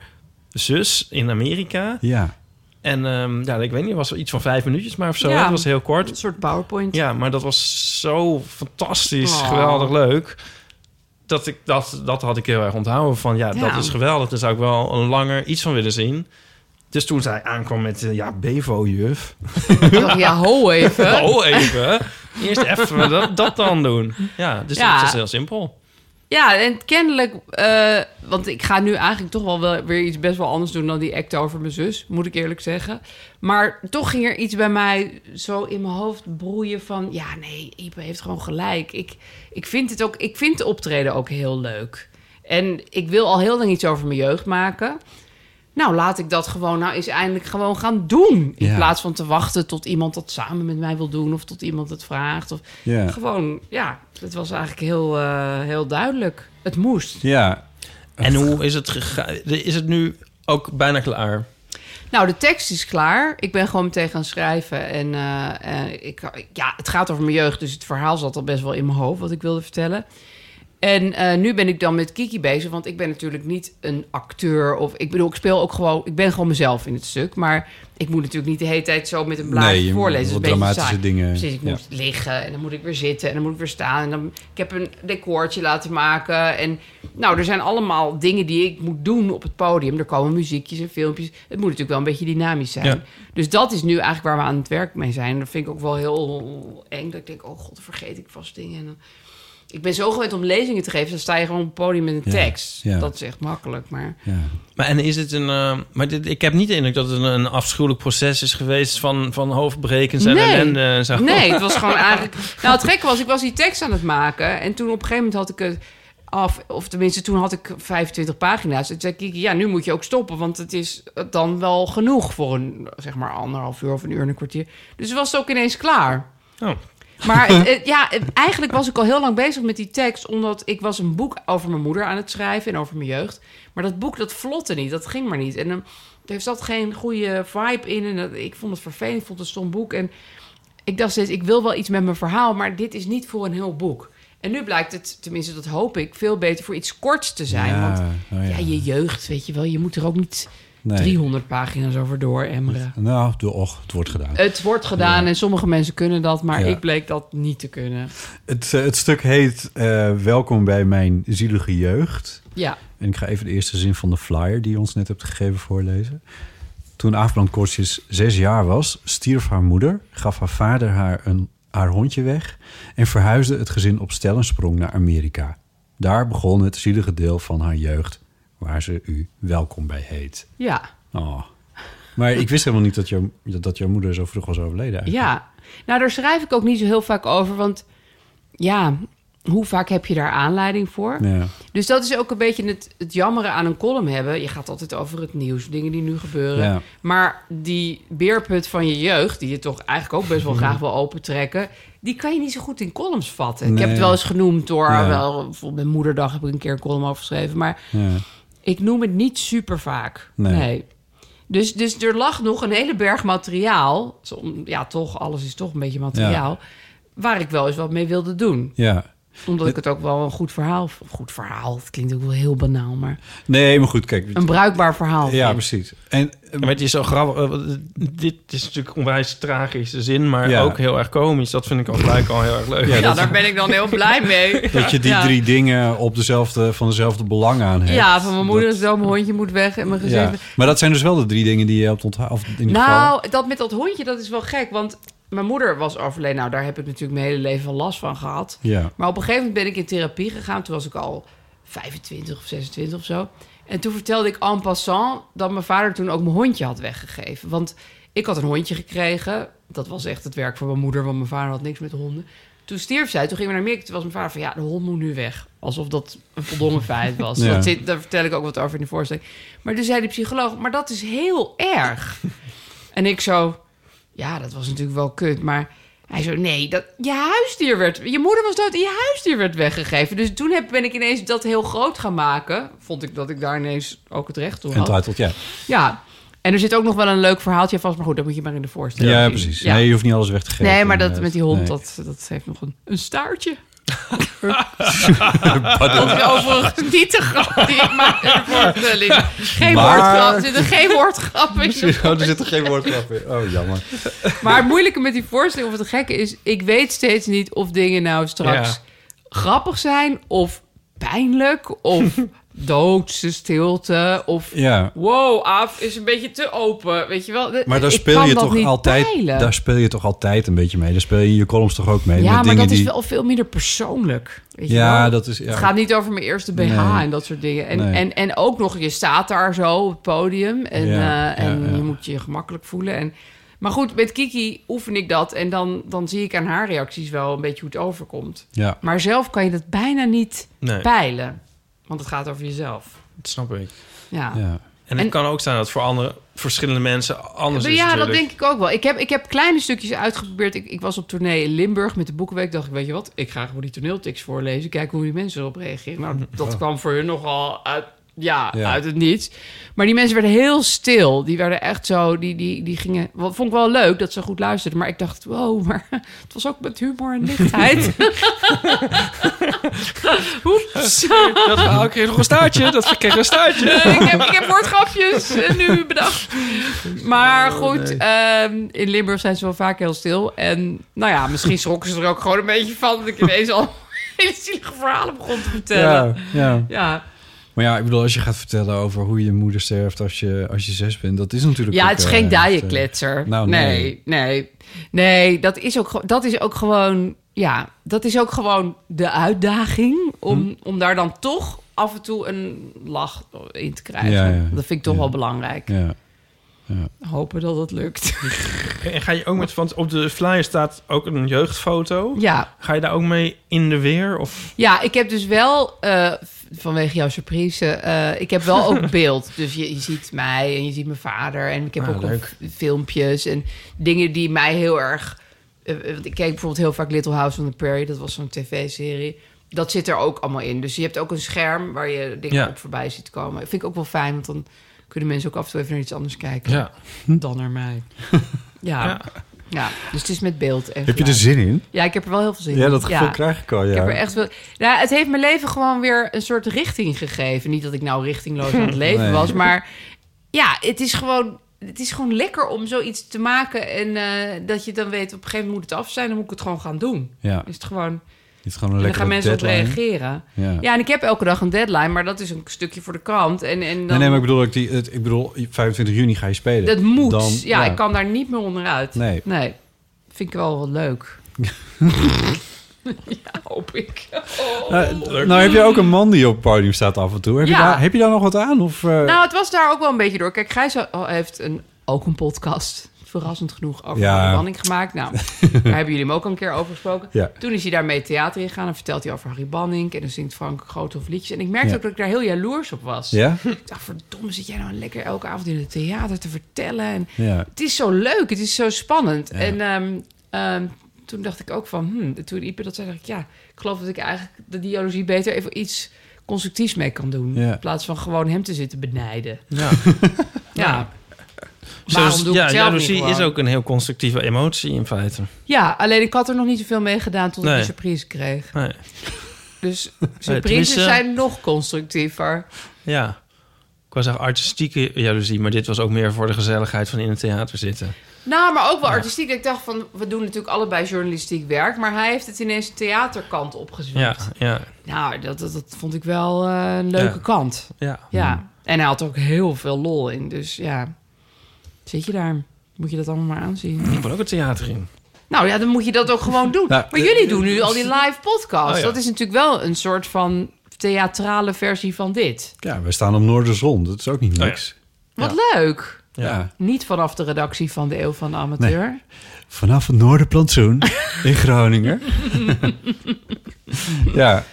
zus in Amerika. Ja, En ehm, ja, ik weet niet, het was iets van vijf minuutjes maar of zo. Ja. hè? Dat was heel kort. Een soort PowerPoint. Ja, maar dat was zo fantastisch, Oh. geweldig leuk. Dat, ik, dat, dat had ik heel erg onthouden van, ja, Ja. dat is geweldig. Daar zou ik wel een langer iets van willen zien. Dus toen zij aankwam met, eh, ja, Bevo-juf. Ik dacht, ja, ho even. Oh, even. [LAUGHS] Eerst even dat, dat dan doen. Ja, dus Ja. dat is heel simpel. Ja, en kennelijk, eh, want ik ga nu eigenlijk toch wel, wel weer iets best wel anders doen dan die act over mijn zus, moet ik eerlijk zeggen. Maar toch ging er iets bij mij zo in mijn hoofd broeien van, ja nee, Ipe heeft gewoon gelijk. Ik, ik vind het ook, ik vind optreden ook heel leuk. En ik wil al heel lang iets over mijn jeugd maken. Nou, laat ik dat gewoon nou eens eindelijk gewoon gaan doen. In Ja. plaats van te wachten tot iemand dat samen met mij wil doen of tot iemand het vraagt. Of ja, gewoon, ja, het was eigenlijk heel, eh, heel duidelijk. Het moest. ja. En hoe is het gegaan? Is het nu ook bijna klaar? Nou, de tekst is klaar. Ik ben gewoon meteen gaan schrijven. En eh, eh, ik, ja, het gaat over mijn jeugd, dus het verhaal zat al best wel in mijn hoofd wat ik wilde vertellen. En eh, nu ben ik dan met Kiki bezig, want ik ben natuurlijk niet een acteur. Of ik bedoel, ik speel ook gewoon, ik ben gewoon mezelf in het stuk. Maar ik moet natuurlijk niet de hele tijd zo met een blaadje Nee, je moet voorlezen. wat Dat is een beetje dramatische saai. dingen, Precies, ik ja. moet liggen en dan moet ik weer zitten en dan moet ik weer staan. En dan, ik heb een decoortje laten maken. En nou, er zijn allemaal dingen die ik moet doen op het podium. Er komen muziekjes en filmpjes. Het moet natuurlijk wel een beetje dynamisch zijn. Ja. Dus dat is nu eigenlijk waar we aan het werk mee zijn. Dat vind ik ook wel heel eng. Dat ik denk, oh god, dan vergeet ik vast dingen. En dan... Ik ben zo gewend om lezingen te geven. Dan sta je gewoon op het podium met een Ja, tekst. ja. Dat is echt makkelijk, maar... ja. Maar en is het een. eh, maar dit, ik heb niet de indruk dat het een, een afschuwelijk proces is geweest van, van hoofdbrekens en Nee. ellende en zo. Nee, het was [LAUGHS] gewoon eigenlijk... Nou, het gekke was, ik was die tekst aan het maken. En toen op een gegeven moment had ik het af... Of tenminste, toen had ik 25 pagina's. En toen zei Kiki, ja, nu moet je ook stoppen. Want het is dan wel genoeg voor een, zeg maar, anderhalf uur of een uur en een kwartier. Dus was het ook ineens klaar. Oh. Maar [LAUGHS] het- het- ja, het- eigenlijk was ik al heel lang bezig met die tekst... omdat ik was een boek over mijn moeder aan het schrijven en over mijn jeugd. Maar dat boek, dat vlotte niet. Dat ging maar niet. En dan er zat geen goede vibe in. En dat, ik vond het vervelend. Ik vond het een stom boek. En ik dacht steeds, ik wil wel iets met mijn verhaal, maar dit is niet voor een heel boek. En nu blijkt het, tenminste dat hoop ik, veel beter voor iets korts te zijn. Ja, want nou ja. ja, je jeugd, weet je wel, je moet er ook niet Nee. 300 pagina's over door emmeren. Nou, doe- och, het wordt gedaan. Het wordt gedaan en sommige mensen kunnen dat, maar Ja. ik bleek dat niet te kunnen. Het, eh, het stuk heet eh, Welkom bij mijn zielige jeugd. Ja. En ik ga even de eerste zin van de flyer die je ons net hebt gegeven voorlezen. Toen Aafbrand Kortjes zes jaar was, stierf haar moeder, gaf haar vader haar, een, haar hondje weg en verhuisde het gezin op stel en sprong naar Amerika. Daar begon het zielige deel van haar jeugd, waar ze u welkom bij heet. Ja. Oh. Maar ik wist helemaal niet dat jouw, dat jouw moeder zo vroeg was overleden. eigenlijk. Ja, nou daar schrijf ik ook niet zo heel vaak over, want ja, hoe vaak heb je daar aanleiding voor? Ja. Dus dat is ook een beetje het, het jammeren aan een column hebben. Je gaat altijd over het nieuws, dingen die nu gebeuren. Ja. Maar die beerput van je jeugd, die je toch eigenlijk ook best wel graag wil opentrekken... die kan je niet zo goed in columns vatten. Ik heb Nee. het wel eens genoemd door, Ja. wel, bijvoorbeeld mijn moederdag heb ik een keer een column over geschreven. Maar Ja. ik noem het niet super vaak. Nee. Nee. Dus, dus er lag nog een hele berg materiaal. Som- Ja, toch, alles is toch een beetje materiaal. Waar ik wel eens wat mee wilde doen. Ja. Omdat ik het ook wel een goed verhaal... of een goed verhaal, het klinkt ook wel heel banaal, maar... Nee, maar goed, kijk. Een bruikbaar verhaal. Ja, precies. En, maar het is zo grappig. eh, want, eh, dit is natuurlijk onwijs tragische zin, maar Ja. ook heel erg komisch. Dat vind ik al gelijk al heel erg leuk. Ja, Ja, dat- daar ben ik dan heel blij mee. [LAUGHS] Dat je die Ja. drie dingen op dezelfde, van dezelfde belang aan hebt. Ja, van mijn moeder is dood, mijn hondje moet weg en mijn gezin... Ja. Maar dat zijn dus wel de drie dingen die je hebt onthouden. Of in ieder geval. Nou, dat met dat hondje, dat is wel gek. Want mijn moeder was overleden. Nou, daar heb ik natuurlijk mijn hele leven al last van gehad. Ja. Maar op een gegeven moment ben ik in therapie gegaan. Toen was ik al 25 of 26 of zo. En toen vertelde ik en passant dat mijn vader toen ook mijn hondje had weggegeven. Want ik had een hondje gekregen. Dat was echt het werk van mijn moeder, want mijn vader had niks met honden. Toen stierf zij, toen gingen we naar Amerika. Toen was mijn vader van, ja, de hond moet nu weg. Alsof dat een voldongen feit was. Ja. Dat zit, daar vertel ik ook wat over in de voorstelling. Maar toen zei de psycholoog, maar dat is heel erg. En ik zo, ja, dat was natuurlijk wel kut, maar hij zo, nee, dat, je huisdier werd, je moeder was dood en je huisdier werd weggegeven. Dus toen heb, ben ik ineens dat heel groot gaan maken. Vond ik dat ik daar ineens ook het recht toe had. Entitled, ja. Ja, en er zit ook nog wel een leuk verhaaltje aan vast, maar goed, dat moet je maar in de voorstelling Ja, zien. precies. Nee, je hoeft niet alles weg te geven. Nee, maar dat inderdaad. met die hond, Nee. dat, dat heeft nog een, een staartje. [LAUGHS] Pardon. Dat is overigens niet de grap die ik maak in de voorstelling. Geen Maar- woordgrap, er zitten geen woordgrappen in de [LAUGHS] [LAUGHS] Oh, er zit er geen woordgrap in. Oh, jammer. Maar het moeilijke met die voorstelling, of het gekke is... ik weet steeds niet of dingen nou straks Ja. grappig zijn... of pijnlijk, [LAUGHS] of doodse stilte, of... Ja. Wow, af is een beetje te open, weet je wel. Maar daar Ik speel, kan je dat toch niet altijd, peilen. daar speel je toch altijd een beetje mee. Daar speel je in je columns toch ook mee. ja, met maar dingen dat is die... wel veel minder persoonlijk. Weet je Ja, wel? dat is- ja. Het gaat niet over mijn eerste BH Nee. en dat soort dingen. En, Nee. en, en ook nog, je staat daar zo op het podium en, Ja, eh, ja, en ja. je moet je gemakkelijk voelen. En, maar goed, met Kiki oefen ik dat en dan, dan zie ik aan haar reacties wel een beetje hoe het overkomt. Ja. Maar zelf kan je dat bijna niet Nee. peilen, want het gaat over jezelf. Dat snap ik. Ja. En het kan ook zijn dat voor andere, verschillende mensen anders Maar is. ja, dat natuurlijk. denk ik ook wel. Ik heb, ik heb kleine stukjes uitgeprobeerd. Ik, ik was op tournee in Limburg met de Boekenweek. Dacht ik, weet je wat, ik ga gewoon die toneeltekst voorlezen. Kijken hoe die mensen erop reageren. [LAUGHS] Nou, dat Oh. kwam voor hun nogal uit, ja, Ja. uit het niets. Maar die mensen werden heel stil. Die werden echt zo, die, die, die gingen... Wat vond ik wel leuk dat ze goed luisterden. Maar ik dacht, wow, maar [LAUGHS] het was ook met humor en [LAUGHS] lichtheid. [LAUGHS] Oeps. Dat verhaal Oh, kreeg nog een staartje. Dat kreeg een staartje. Eh, ik, heb, ik heb woordgrapjes eh, nu bedacht. Oh, Maar goed, nee. ehm, in Limburg zijn ze wel vaak heel stil. En nou ja, misschien schrokken ze er ook gewoon een beetje van... dat ik ineens al [LAUGHS] hele zielige verhalen begon te vertellen. Ja, ja. ja. Maar ja, ik bedoel, als je gaat vertellen over hoe je moeder sterft als je, als je zes bent, dat is natuurlijk. Ja, ook, het is eh, geen echt, eh, daaienkletser. Nou, nee, nee. nee, nee. dat is ook, ge- dat is ook gewoon... Ja, dat is ook gewoon de uitdaging... om, Hm? om daar dan toch af en toe een lach in te krijgen. Ja, ja. Dat vind ik toch Ja. wel belangrijk. Ja. Hopen dat het lukt. [LAUGHS] [LAUGHS] En ga je ook met, want op de flyer staat ook een jeugdfoto. Ja. Ga je daar ook mee in de weer? Of Ja, ik heb dus wel, eh, vanwege jouw surprise, eh, ik heb wel [LAUGHS] ook beeld. Dus je, je ziet mij en je ziet mijn vader. En ik heb Ah, ook nog leuk. f- filmpjes en dingen die mij heel erg... eh, eh, want ik keek bijvoorbeeld heel vaak Little House on the Prairie. Dat was zo'n tv-serie. Dat zit er ook allemaal in. Dus je hebt ook een scherm waar je dingen Ja. op voorbij ziet komen. vind ik ook wel fijn, want dan kunnen mensen ook af en toe even naar iets anders kijken Ja. dan naar mij. Ja. Ja. Ja, dus het is met beeld. En Heb je er geluid. zin in? Ja, ik heb er wel heel veel zin in. Ja, dat gevoel krijg ik al, ja. Ik heb er echt wel... Nou, het heeft mijn leven gewoon weer een soort richting gegeven. Niet dat ik nou richtingloos [LAUGHS] aan het leven Nee. was, maar ja, het is gewoon... Het is gewoon lekker om zoiets te maken en eh, dat je dan weet op een gegeven moment moet het af zijn, dan moet ik het gewoon gaan doen. Ja. Is het gewoon. Dit is gewoon een en Dus dan gaan lekkere mensen op deadline. reageren. Ja. Ja. en ik heb elke dag een deadline, maar dat is een stukje voor de krant. En, en dan, Nee, nee, maar ik bedoel, ook die, het, ik bedoel, 25 juni ga je spelen. dat moet. Dan- ja, ik kan daar niet meer onderuit. Nee. nee. Vind ik wel wat [LAUGHS] leuk. [LAUGHS] ja, hoop ik. Oh. Nou, nou heb je ook een man die op het podium staat af en toe. Heb, Ja. je, daar, heb je daar nog wat aan? Of, eh, Nou, het was daar ook wel een beetje door. Kijk, Gijs oh, heeft een, ook een podcast, verrassend genoeg, over Ja. Harry Banning gemaakt. [LAUGHS] Nou, daar hebben jullie hem ook al een keer over gesproken. Ja. Toen is hij daarmee het theater ingegaan en vertelt hij over Harry Banning. En dan zingt Frank Groothoff liedjes. En ik merkte Ja. ook dat ik daar heel jaloers op was. Ja? Ik dacht, verdomme, zit jij nou lekker elke avond in het theater te vertellen? En Ja. Het is zo leuk, het is zo spannend. En ehm, ehm, toen dacht ik ook van, hmm, toen Ipe dat zei, dacht ik, ja, ik geloof dat ik eigenlijk de dialogie beter even iets constructiefs mee kan doen. Ja. In plaats van gewoon hem te zitten benijden. [LAUGHS] Ja. ja. Waarom doe ik ja, het zelf jaloezie niet is gewoon? ook een heel constructieve emotie in feite. Ja, alleen ik had er nog niet zoveel mee gedaan tot ik Nee. een surprise kreeg. Nee. [LAUGHS] Dus surprises tenminste- zijn nog constructiever. Ja. Ik was zeggen artistieke jaloezie, maar dit was ook meer voor de gezelligheid van in het theater zitten. Nou, maar ook wel artistiek. Ik dacht van, we doen natuurlijk allebei journalistiek werk, maar hij heeft het ineens de theaterkant opgezwaaid. Ja, ja. Nou, dat, dat, dat vond ik wel eh, een leuke Ja. Mm. kant. Ja. ja. En hij had er ook heel veel lol in. Dus ja, zit je daar? Moet je dat allemaal maar aanzien? Ik wil ook het theater in. Nou ja, dan moet je dat ook gewoon [LAUGHS] doen. Nou, maar eh, jullie eh, doen nu al die live podcast. Oh ja. Dat is natuurlijk wel een soort van theatrale versie van dit. ja, we staan op Noorderzon. Dat is ook niet niks. Wat leuk. Ja. Niet vanaf de redactie van de Eeuw van de Amateur. Vanaf het Noorderplantsoen in [LAUGHS] Groningen. ja.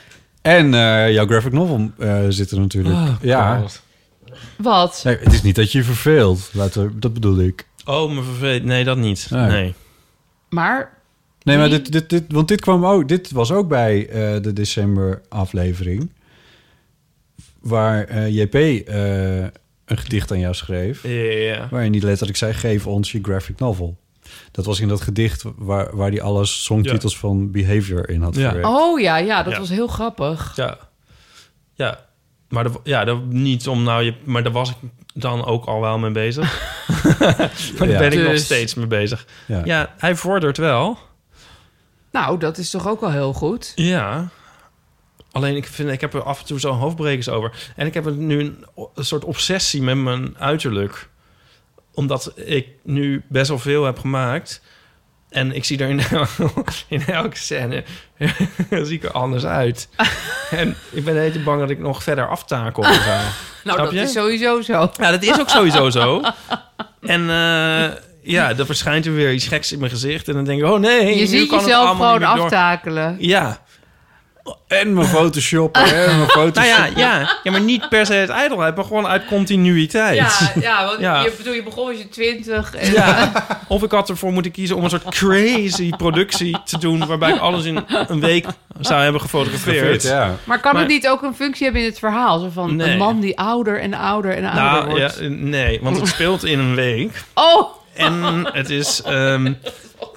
En eh, jouw graphic novel eh, zit er natuurlijk. Oh, ja. God. Wat? Nee, het is niet dat je je verveelt. Laten we- dat bedoel ik. Oh, me verveet. Nee, dat niet. Nee. Nee. Maar Nee, maar dit, dit, dit, want dit, kwam ook, dit was ook bij eh, de december aflevering. Waar eh, JP eh, een gedicht aan jou schreef. Ja. Waarin die letterlijk zei, geef ons je graphic novel. Dat was in dat gedicht waar, waar die alle songtitels van Behavior in had Ja. verwerkt. Oh ja, ja dat Ja. was heel grappig. Ja. Ja. Maar dat, ja, dat, niet om nou je... Maar daar was ik dan ook al wel mee [LAUGHS] bezig. maar daar Ja. ben ik nog Dus- steeds mee bezig. Ja. Ja. hij vordert wel. Nou, dat is toch ook al heel goed. Ja. Alleen ik, vind, ik heb er af en toe zo'n hoofdbrekers over. En ik heb er nu een, o- een soort obsessie met mijn uiterlijk. Omdat ik nu best wel veel heb gemaakt. En ik zie er in, [LAUGHS] in elke scène [LAUGHS] zie ik er anders [LAUGHS] uit. en ik ben heel bang dat ik nog verder aftakel. of zo. Nou, Snap dat je? is sowieso zo. [LAUGHS] Ja, dat is ook sowieso zo. En eh, ja, er verschijnt er weer iets geks in mijn gezicht. En dan denk ik, oh nee, je nu ziet kan het jezelf allemaal niet gewoon meer door. aftakelen. Ja, En mijn Photoshop, [LAUGHS] en mijn Nou Photoshop. [LAUGHS] ja, ja. ja, maar niet per se uit ijdelheid, maar gewoon uit continuïteit. Ja, ja, want Ja. Je, bedoel, je begon als je twintig. En, Ja. [LAUGHS] Of ik had ervoor moeten kiezen om een soort crazy productie te doen... waarbij ik alles in een week zou hebben gefotografeerd. Ja. Maar kan het Maar- niet ook een functie hebben in het verhaal? Zo van Nee. een man die ouder en ouder en ouder Nou, ja, Ah, wordt. nee, want het speelt in een week. Oh, En het is... ehm,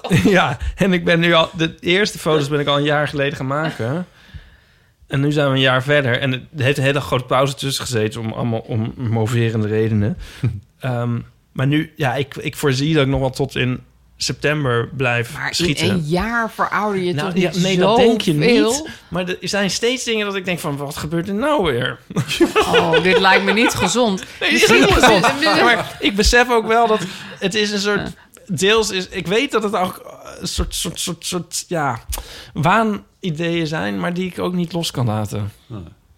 [LAUGHS] ja, en ik ben nu al... De eerste foto's ben ik al een jaar geleden gaan maken. En nu zijn we een jaar verder. En het heeft een hele grote pauze tussen gezeten... om allemaal om moverende redenen. Ehm, maar nu... Ja, ik, ik voorzie dat ik nog wel tot in september blijf maar schieten. in een jaar verouder je Nou, toch niet ja, nee, zo dat denk je veel? niet. Maar er zijn steeds dingen dat ik denk van... wat gebeurt er nou weer? Oh, dit lijkt me niet gezond. Nee, dit is Misschien ook is wel. het- Ja, maar ik besef ook wel dat het is een soort... Deels is... Ik weet dat het ook eh, een soort, soort, soort, soort ja, waanideeën zijn... maar die ik ook niet los kan laten.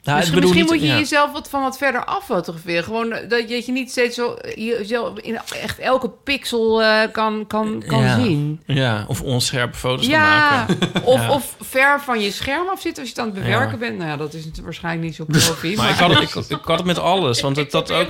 Ja, misschien ik bedoel misschien niet- moet je ja. jezelf wat van wat verder af fotograferen. Gewoon dat je, dat je niet steeds zo jezelf in echt elke pixel eh, kan, kan, kan Ja. zien. Ja, of onscherpe foto's kan Ja, maken. [LAUGHS] of, Ja. of ver van je scherm af zitten als je het aan het bewerken Ja. bent. Nou ja, dat is natuurlijk waarschijnlijk niet zo profi. Maar ik had, het, ik, ik had het met alles, want het, dat ook...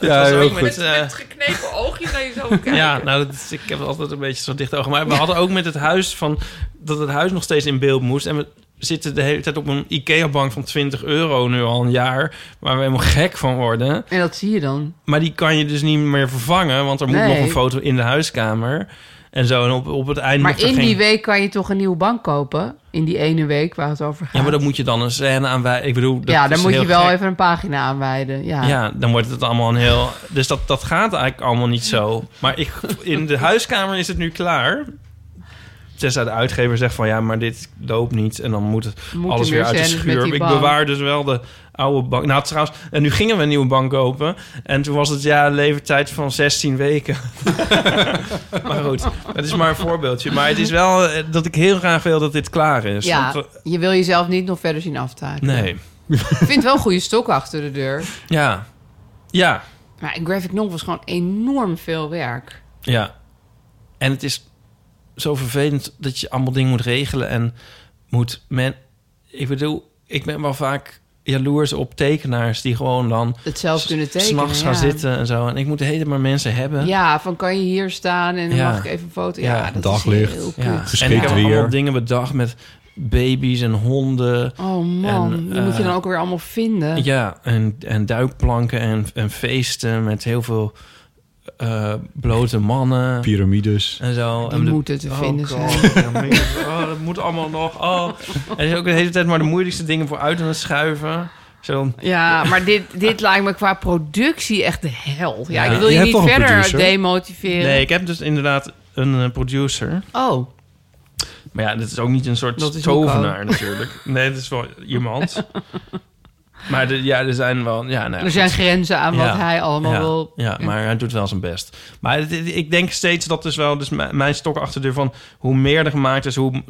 Ja, was heel ook goed. met, eh, geknepen oogjes naar jezelf kijken. Ja, nou, dat is- ik heb altijd een beetje zo dicht ogen. Maar we hadden ook met het huis van dat het huis nog steeds in beeld moest. En we zitten de hele tijd op een IKEA-bank van 20 euro nu al een jaar, waar we helemaal gek van worden. En dat zie je dan. Maar die kan je dus niet meer vervangen, want er moet Nee. nog een foto in de huiskamer. en zo. En op, op het einde Maar moet er in geen- die week kan je toch een nieuwe bank kopen? In die ene week waar het over gaat. Ja, maar dan moet je dan een scène aanwijden. Ik bedoel, dat Ja, is dan moet heel je wel gek. even een pagina aanwijden. Ja. Ah. Ja. dan wordt het allemaal een heel... Dus dat, dat gaat eigenlijk allemaal niet zo. Maar ik, in de huiskamer is het nu klaar. Tenzij de uitgever zegt van... ja, maar dit loopt niet. En dan moet, het Moet alles er weer meer uit de scènes met schuur. die Ik bank. bewaar dus wel de oude bank. Nou, trouwens... En nu gingen we een nieuwe bank kopen. En toen was het, ja, levertijd van 16 weken. [LAUGHS] maar goed, het is maar een voorbeeldje. Maar het is wel eh, dat ik heel graag wil dat dit klaar is. Ja, Want, eh, je wil jezelf niet nog verder zien aftaken. nee, Ik vind wel een goede stok achter de deur. ja. Ja, Maar een graphic novel is gewoon enorm veel werk. Ja. En het is zo vervelend dat je allemaal dingen moet regelen en moet men. Ik bedoel, ik ben wel vaak jaloers op tekenaars die gewoon dan Het zelf kunnen tekenen, s'nachts gaan ja. zitten en zo. En ik moet de hele tijd maar mensen hebben. Ja, van kan je hier staan en dan mag ik even een foto. Ja, dat daglicht. is heel kut. ja. En ik Geschikt heb weer. allemaal dingen bedacht met baby's en honden. Oh man, En, die moet je eh, dan ook weer allemaal vinden. Ja, en, en duikplanken en, en feesten met heel veel eh, blote mannen. Pyramides. En zo. Die en de- moeten te Oh, vinden God. zijn. Ja, meer. Oh, dat moet allemaal nog. Oh. En er is ook de hele tijd maar de moeilijkste dingen voor uit aan het schuiven. Zo. Ja, maar dit, dit lijkt me qua productie echt de hel. Ja, ik wil Je je, hebt niet toch een verder producer? demotiveren. Nee, ik heb dus inderdaad een eh, producer. Oh. Maar ja, dat is ook niet een Dat is soort Nico. tovenaar natuurlijk. Nee, dat is wel iemand. Maar de- ja, er zijn wel... Ja, nou ja, Er zijn goed. grenzen aan wat hij allemaal ja, wil. Ja, maar hij doet wel zijn best. Maar het- het- ik denk steeds dat is wel dus mijn, mijn stok achter de deur van... hoe meer er gemaakt is, hoe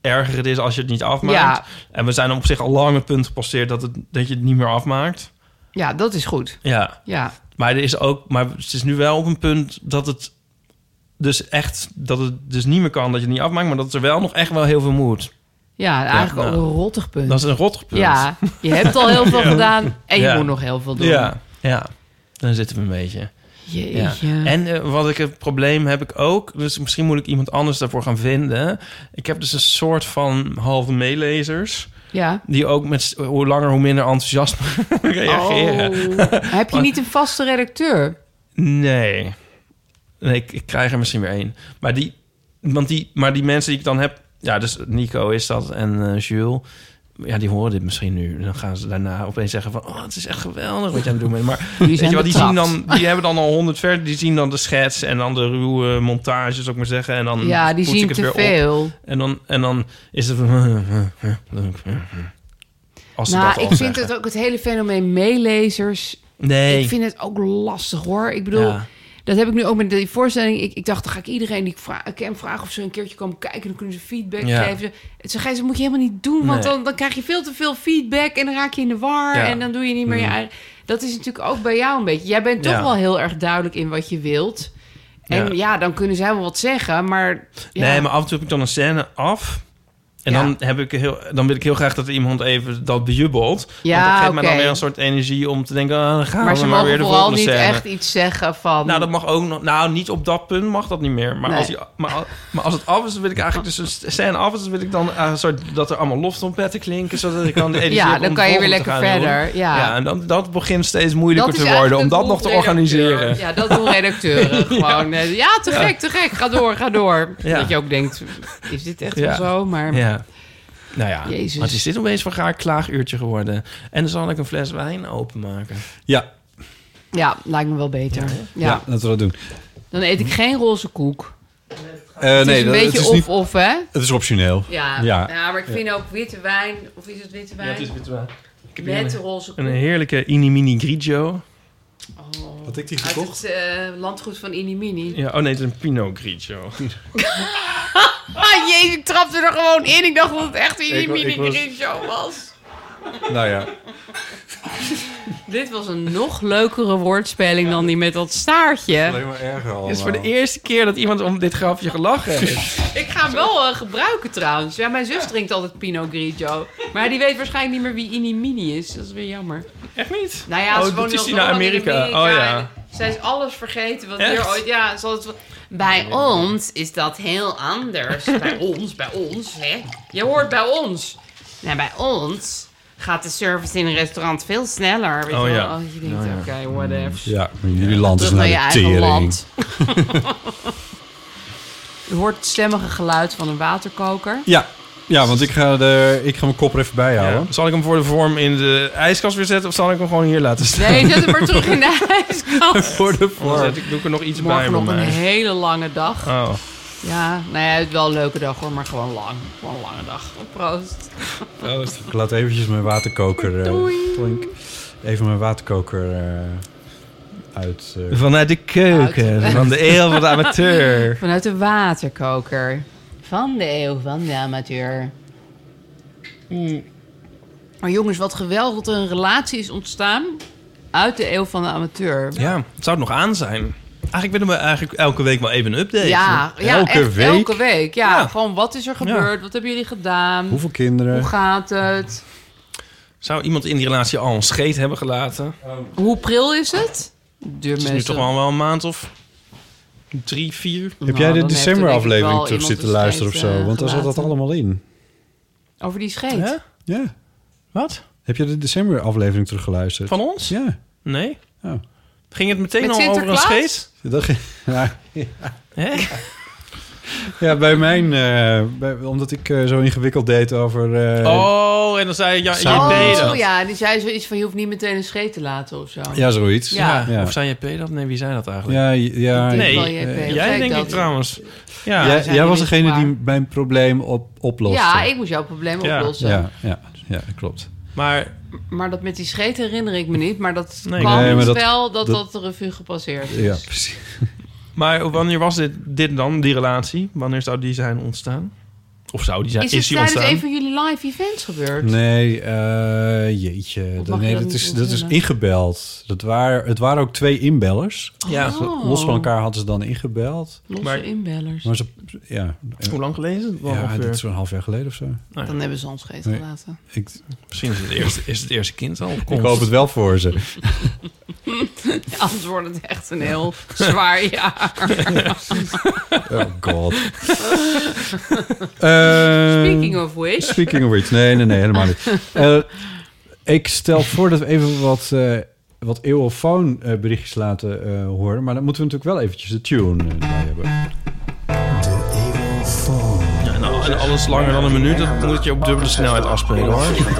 erger het is als je het niet afmaakt. Ja. En we zijn op zich al lang het punt gepasseerd dat, het, dat je het niet meer afmaakt. Ja, dat is goed. Ja. Ja. Maar, er is ook, maar het is nu wel op een punt dat het dus echt... dat het dus niet meer kan dat je het niet afmaakt... maar dat er wel nog echt wel heel veel moet. Ja, eigenlijk Ja, ook nou. een rottig punt. Dat is een rottig punt. Ja, je hebt al heel veel Ja. gedaan en je Ja. moet nog heel veel doen. Ja, ja. Dan zitten we een beetje. Jeetje. Ja. En eh, wat ik het probleem heb ik ook, dus misschien moet ik iemand anders daarvoor gaan vinden. Ik heb dus een soort van halve meelezers. Ja. Die ook met s- hoe langer hoe minder enthousiasme [LAUGHS] reageren. Oh. [LAUGHS] Heb je niet een vaste redacteur? Nee. nee ik, ik krijg er misschien weer één. Maar die, want die, maar die mensen die ik dan heb... Ja, dus Nico is dat en eh, Jules. Ja, die horen dit misschien nu. En Dan gaan ze daarna opeens zeggen van... Oh, het is echt geweldig wat je aan het doen bent. Maar Die weet zijn je wel, die, zien betrapt. dan, die hebben dan al honderd verder. Die zien dan de schets en dan de ruwe montages, zou ik maar zeggen. En dan Ja, die poets zien ik het te weer op. veel. En dan, en dan is het... van, [LAUGHS] Als ze nou, dat al ik vind zeggen. het ook het hele fenomeen meelezers. Nee. Ik vind het ook lastig hoor. Ik bedoel, Ja. dat heb ik nu ook met die voorstelling. Ik, ik dacht, dan ga ik iedereen die ik vra- ken vragen of ze een keertje komen kijken. Dan kunnen ze feedback Ja. geven. Het zeg, dat moet je helemaal niet doen, want Nee. dan, dan krijg je veel te veel feedback en dan raak je in de war Ja. en dan doe je niet meer je Mm. eigen. Dat is natuurlijk ook bij jou een beetje. Jij bent toch Ja. wel heel erg duidelijk in wat je wilt. En ja, Ja. dan kunnen zij wel wat zeggen, maar. Ja. Nee, maar af en toe heb ik dan een scène af. En Ja. dan, heb ik heel, dan wil ik heel graag dat iemand even dat bejubelt. Ja, want dat geeft me oké. dan weer een soort energie om te denken... ah, dan gaan maar we ze maar mogen weer de vooral volgende niet scène. echt iets zeggen van. Nou, dat mag ook nog. Nou, niet op dat punt mag dat niet meer. Maar, Nee. als, die, maar, al- maar als het af is, dan wil ik eigenlijk... Dus een scène af is, dan wil ik dan eh, een soort, dat er allemaal loftrompetten klinken. Zodat ik [LAUGHS] dan de energie Ja, heb dus om dan de kan je weer volgende te lekker gaan doen. verder, ja. en dan, dat begint steeds moeilijker Dat is te worden om eigenlijk het dat nog te doel redacteur. organiseren. Ja, dat doen [LAUGHS] redacteuren gewoon. Eh, Ja, te Ja. gek, te gek. Ga door, ga door. Ja. Dat je ook denkt, is dit echt Ja. wel zo? Maar Ja. Nou ja, Jezus. wat is dit opeens voor gaar klaaguurtje geworden? En dan zal ik een fles wijn openmaken. Ja. ja, lijkt me wel beter. Ja, Ja, laten we dat doen. Dan eet ik geen roze koek. Eh, het is een dat- het beetje is niet- of-of, hè? Het is optioneel. Ja. ja. maar ik vind ook witte wijn, of is het witte wijn? het is witte wijn. Met Met roze koek. Een heerlijke inimini grigio. Had ik die Uit het eh, landgoed van Inimini. Ja, oh nee, het is een pinot grigio. Ah, jezus, ik trapte er gewoon in. Ik dacht dat het echt Ik wa- Inimini ik was- Grincho was. Nou ja. Dit was een nog leukere woordspeling dan die met dat staartje. maar erger Het is voor de eerste keer dat iemand om dit grapje gelachen heeft. Ik ga hem wel eh, gebruiken trouwens. Ja, mijn zus drinkt altijd Pinot Grigio. Maar die weet waarschijnlijk niet meer wie Inimini is. Dat is weer jammer. [LAUGHS] Echt niet? Nou ja, Oh, ze dat woont is nog die naar Amerika. Amerika. Amerika. Oh, ja. en Zij is alles vergeten. Wat Echt? hier ooit, ja, ze had het wel- Bij ons is dat heel [LAUGHS] anders. bij ons, bij ons, hè? Je hoort bij ons. Nou, bij ons gaat de service in een restaurant veel sneller. Weet Oh, je wel. ja. Oh, je denkt, Oh, ja. oké, whatever. nou Ja, maar jullie land is [LAUGHS] Terug naar naar je de eigen tering. land. Je hoort het stemmige geluid van een waterkoker. Ja. ja, want ik ga, de, ik ga mijn kop er even bij houden. Zal ik hem voor de vorm in de ijskast weer zetten of zal ik hem gewoon hier laten staan? Nee, zet hem maar terug in de ijskast. [LAUGHS] voor de vorm. Zet ik, doe ik er nog iets bij Morgen bij nog een mij. hele lange dag. Oh. Ja, nou ja, het is wel een leuke dag hoor, maar gewoon lang. Gewoon een lange dag. Proost. Proost. Ik laat eventjes mijn waterkoker... eh, klink. Even mijn waterkoker eh, uit... eh, Vanuit de keuken van de eeuw van de [LAUGHS] amateur. Vanuit de waterkoker. Van de eeuw van de amateur. Mm. Maar jongens, wat geweldig dat er een relatie is ontstaan uit de eeuw van de amateur. Ja, het zou het nog aan zijn. Eigenlijk willen we eigenlijk elke week wel even een update. Ja, ja, echt elke week. Ja, gewoon wat is er gebeurd? Wat hebben jullie gedaan? Hoeveel kinderen? Hoe gaat het? Zou iemand in die relatie al een scheet hebben gelaten? Hoe pril is het? het is nu meestal. toch al wel een maand of drie, vier. Nou, Heb jij de decemberaflevering terug zitten luisteren of zo? Want eh, daar zat dat allemaal in. eh, Over die scheet? Ja. Wat? Heb je de decemberaflevering teruggeluisterd? Van ons? Ja. Nee. Oh. Ging het meteen Met al over een Sinterklaas? scheet? Dat ging- [LAUGHS] ja. Hè? Ja, bij mijn... eh, bij- omdat ik eh, zo ingewikkeld deed over... eh, Oh, en dan zei je, ja, Samen JP met- dat. Oh ja, die zei zoiets van je hoeft niet meteen een scheet te laten of zo. Ja, zoiets. Ja. Ja. Of zei JP dat? Nee, wie zei dat eigenlijk? Ja, ja, Ik denk nee, wel JP, eh, dat jij zei denk ik ik dat. trouwens. Ja, Ja, Ja, jij, zijn jij was jullie degene klaar? die mijn probleem op, oploste. Ja, ik moest jouw probleem Ja. oplossen. Ja, ja, ja, dat klopt. maar Maar dat met die scheet herinner ik me niet. Maar dat Nee, kwam dus nee, maar dat- wel dat dat, dat- de revue gepasseerd Ja, is. precies. Maar wanneer was dit, dit dan, die relatie? Wanneer zou die zijn ontstaan? Of zou die zijn, Is is, het die tijdens ontstaan? een van jullie live events gebeurd? Nee, eh, jeetje. Of Dat, mag je nee, dat dat, niet is, dat is onthullen? ingebeld. Dat waren, het waren ook twee inbellers. Ja, Oh. Los van elkaar hadden ze dan ingebeld. Losse Maar- inbellers. Maar ze, ja, Hoe lang geleden is het? Wel ja ongeveer? dat is zo'n half jaar geleden of zo. Dan hebben ze ons scheet Nee. gelaten. Ik, Misschien is het, eerste, is het eerste kind al op ik komst. hoop het wel voor ze. Ja, anders wordt het echt een heel zwaar [LAUGHS] jaar. Ehm, Oh god. Eh, [LAUGHS] Speaking of which. Speaking of which. Nee, nee, nee, helemaal niet. [LAUGHS] Eh, ik stel voor dat we even wat, eh wat eeuwofoon eh, berichtjes laten eh, horen. Maar dan moeten we natuurlijk wel eventjes de tune eh, erbij hebben. Ja, en, al- en alles langer dan een minuut, dat moet je op dubbele snelheid afspelen hoor.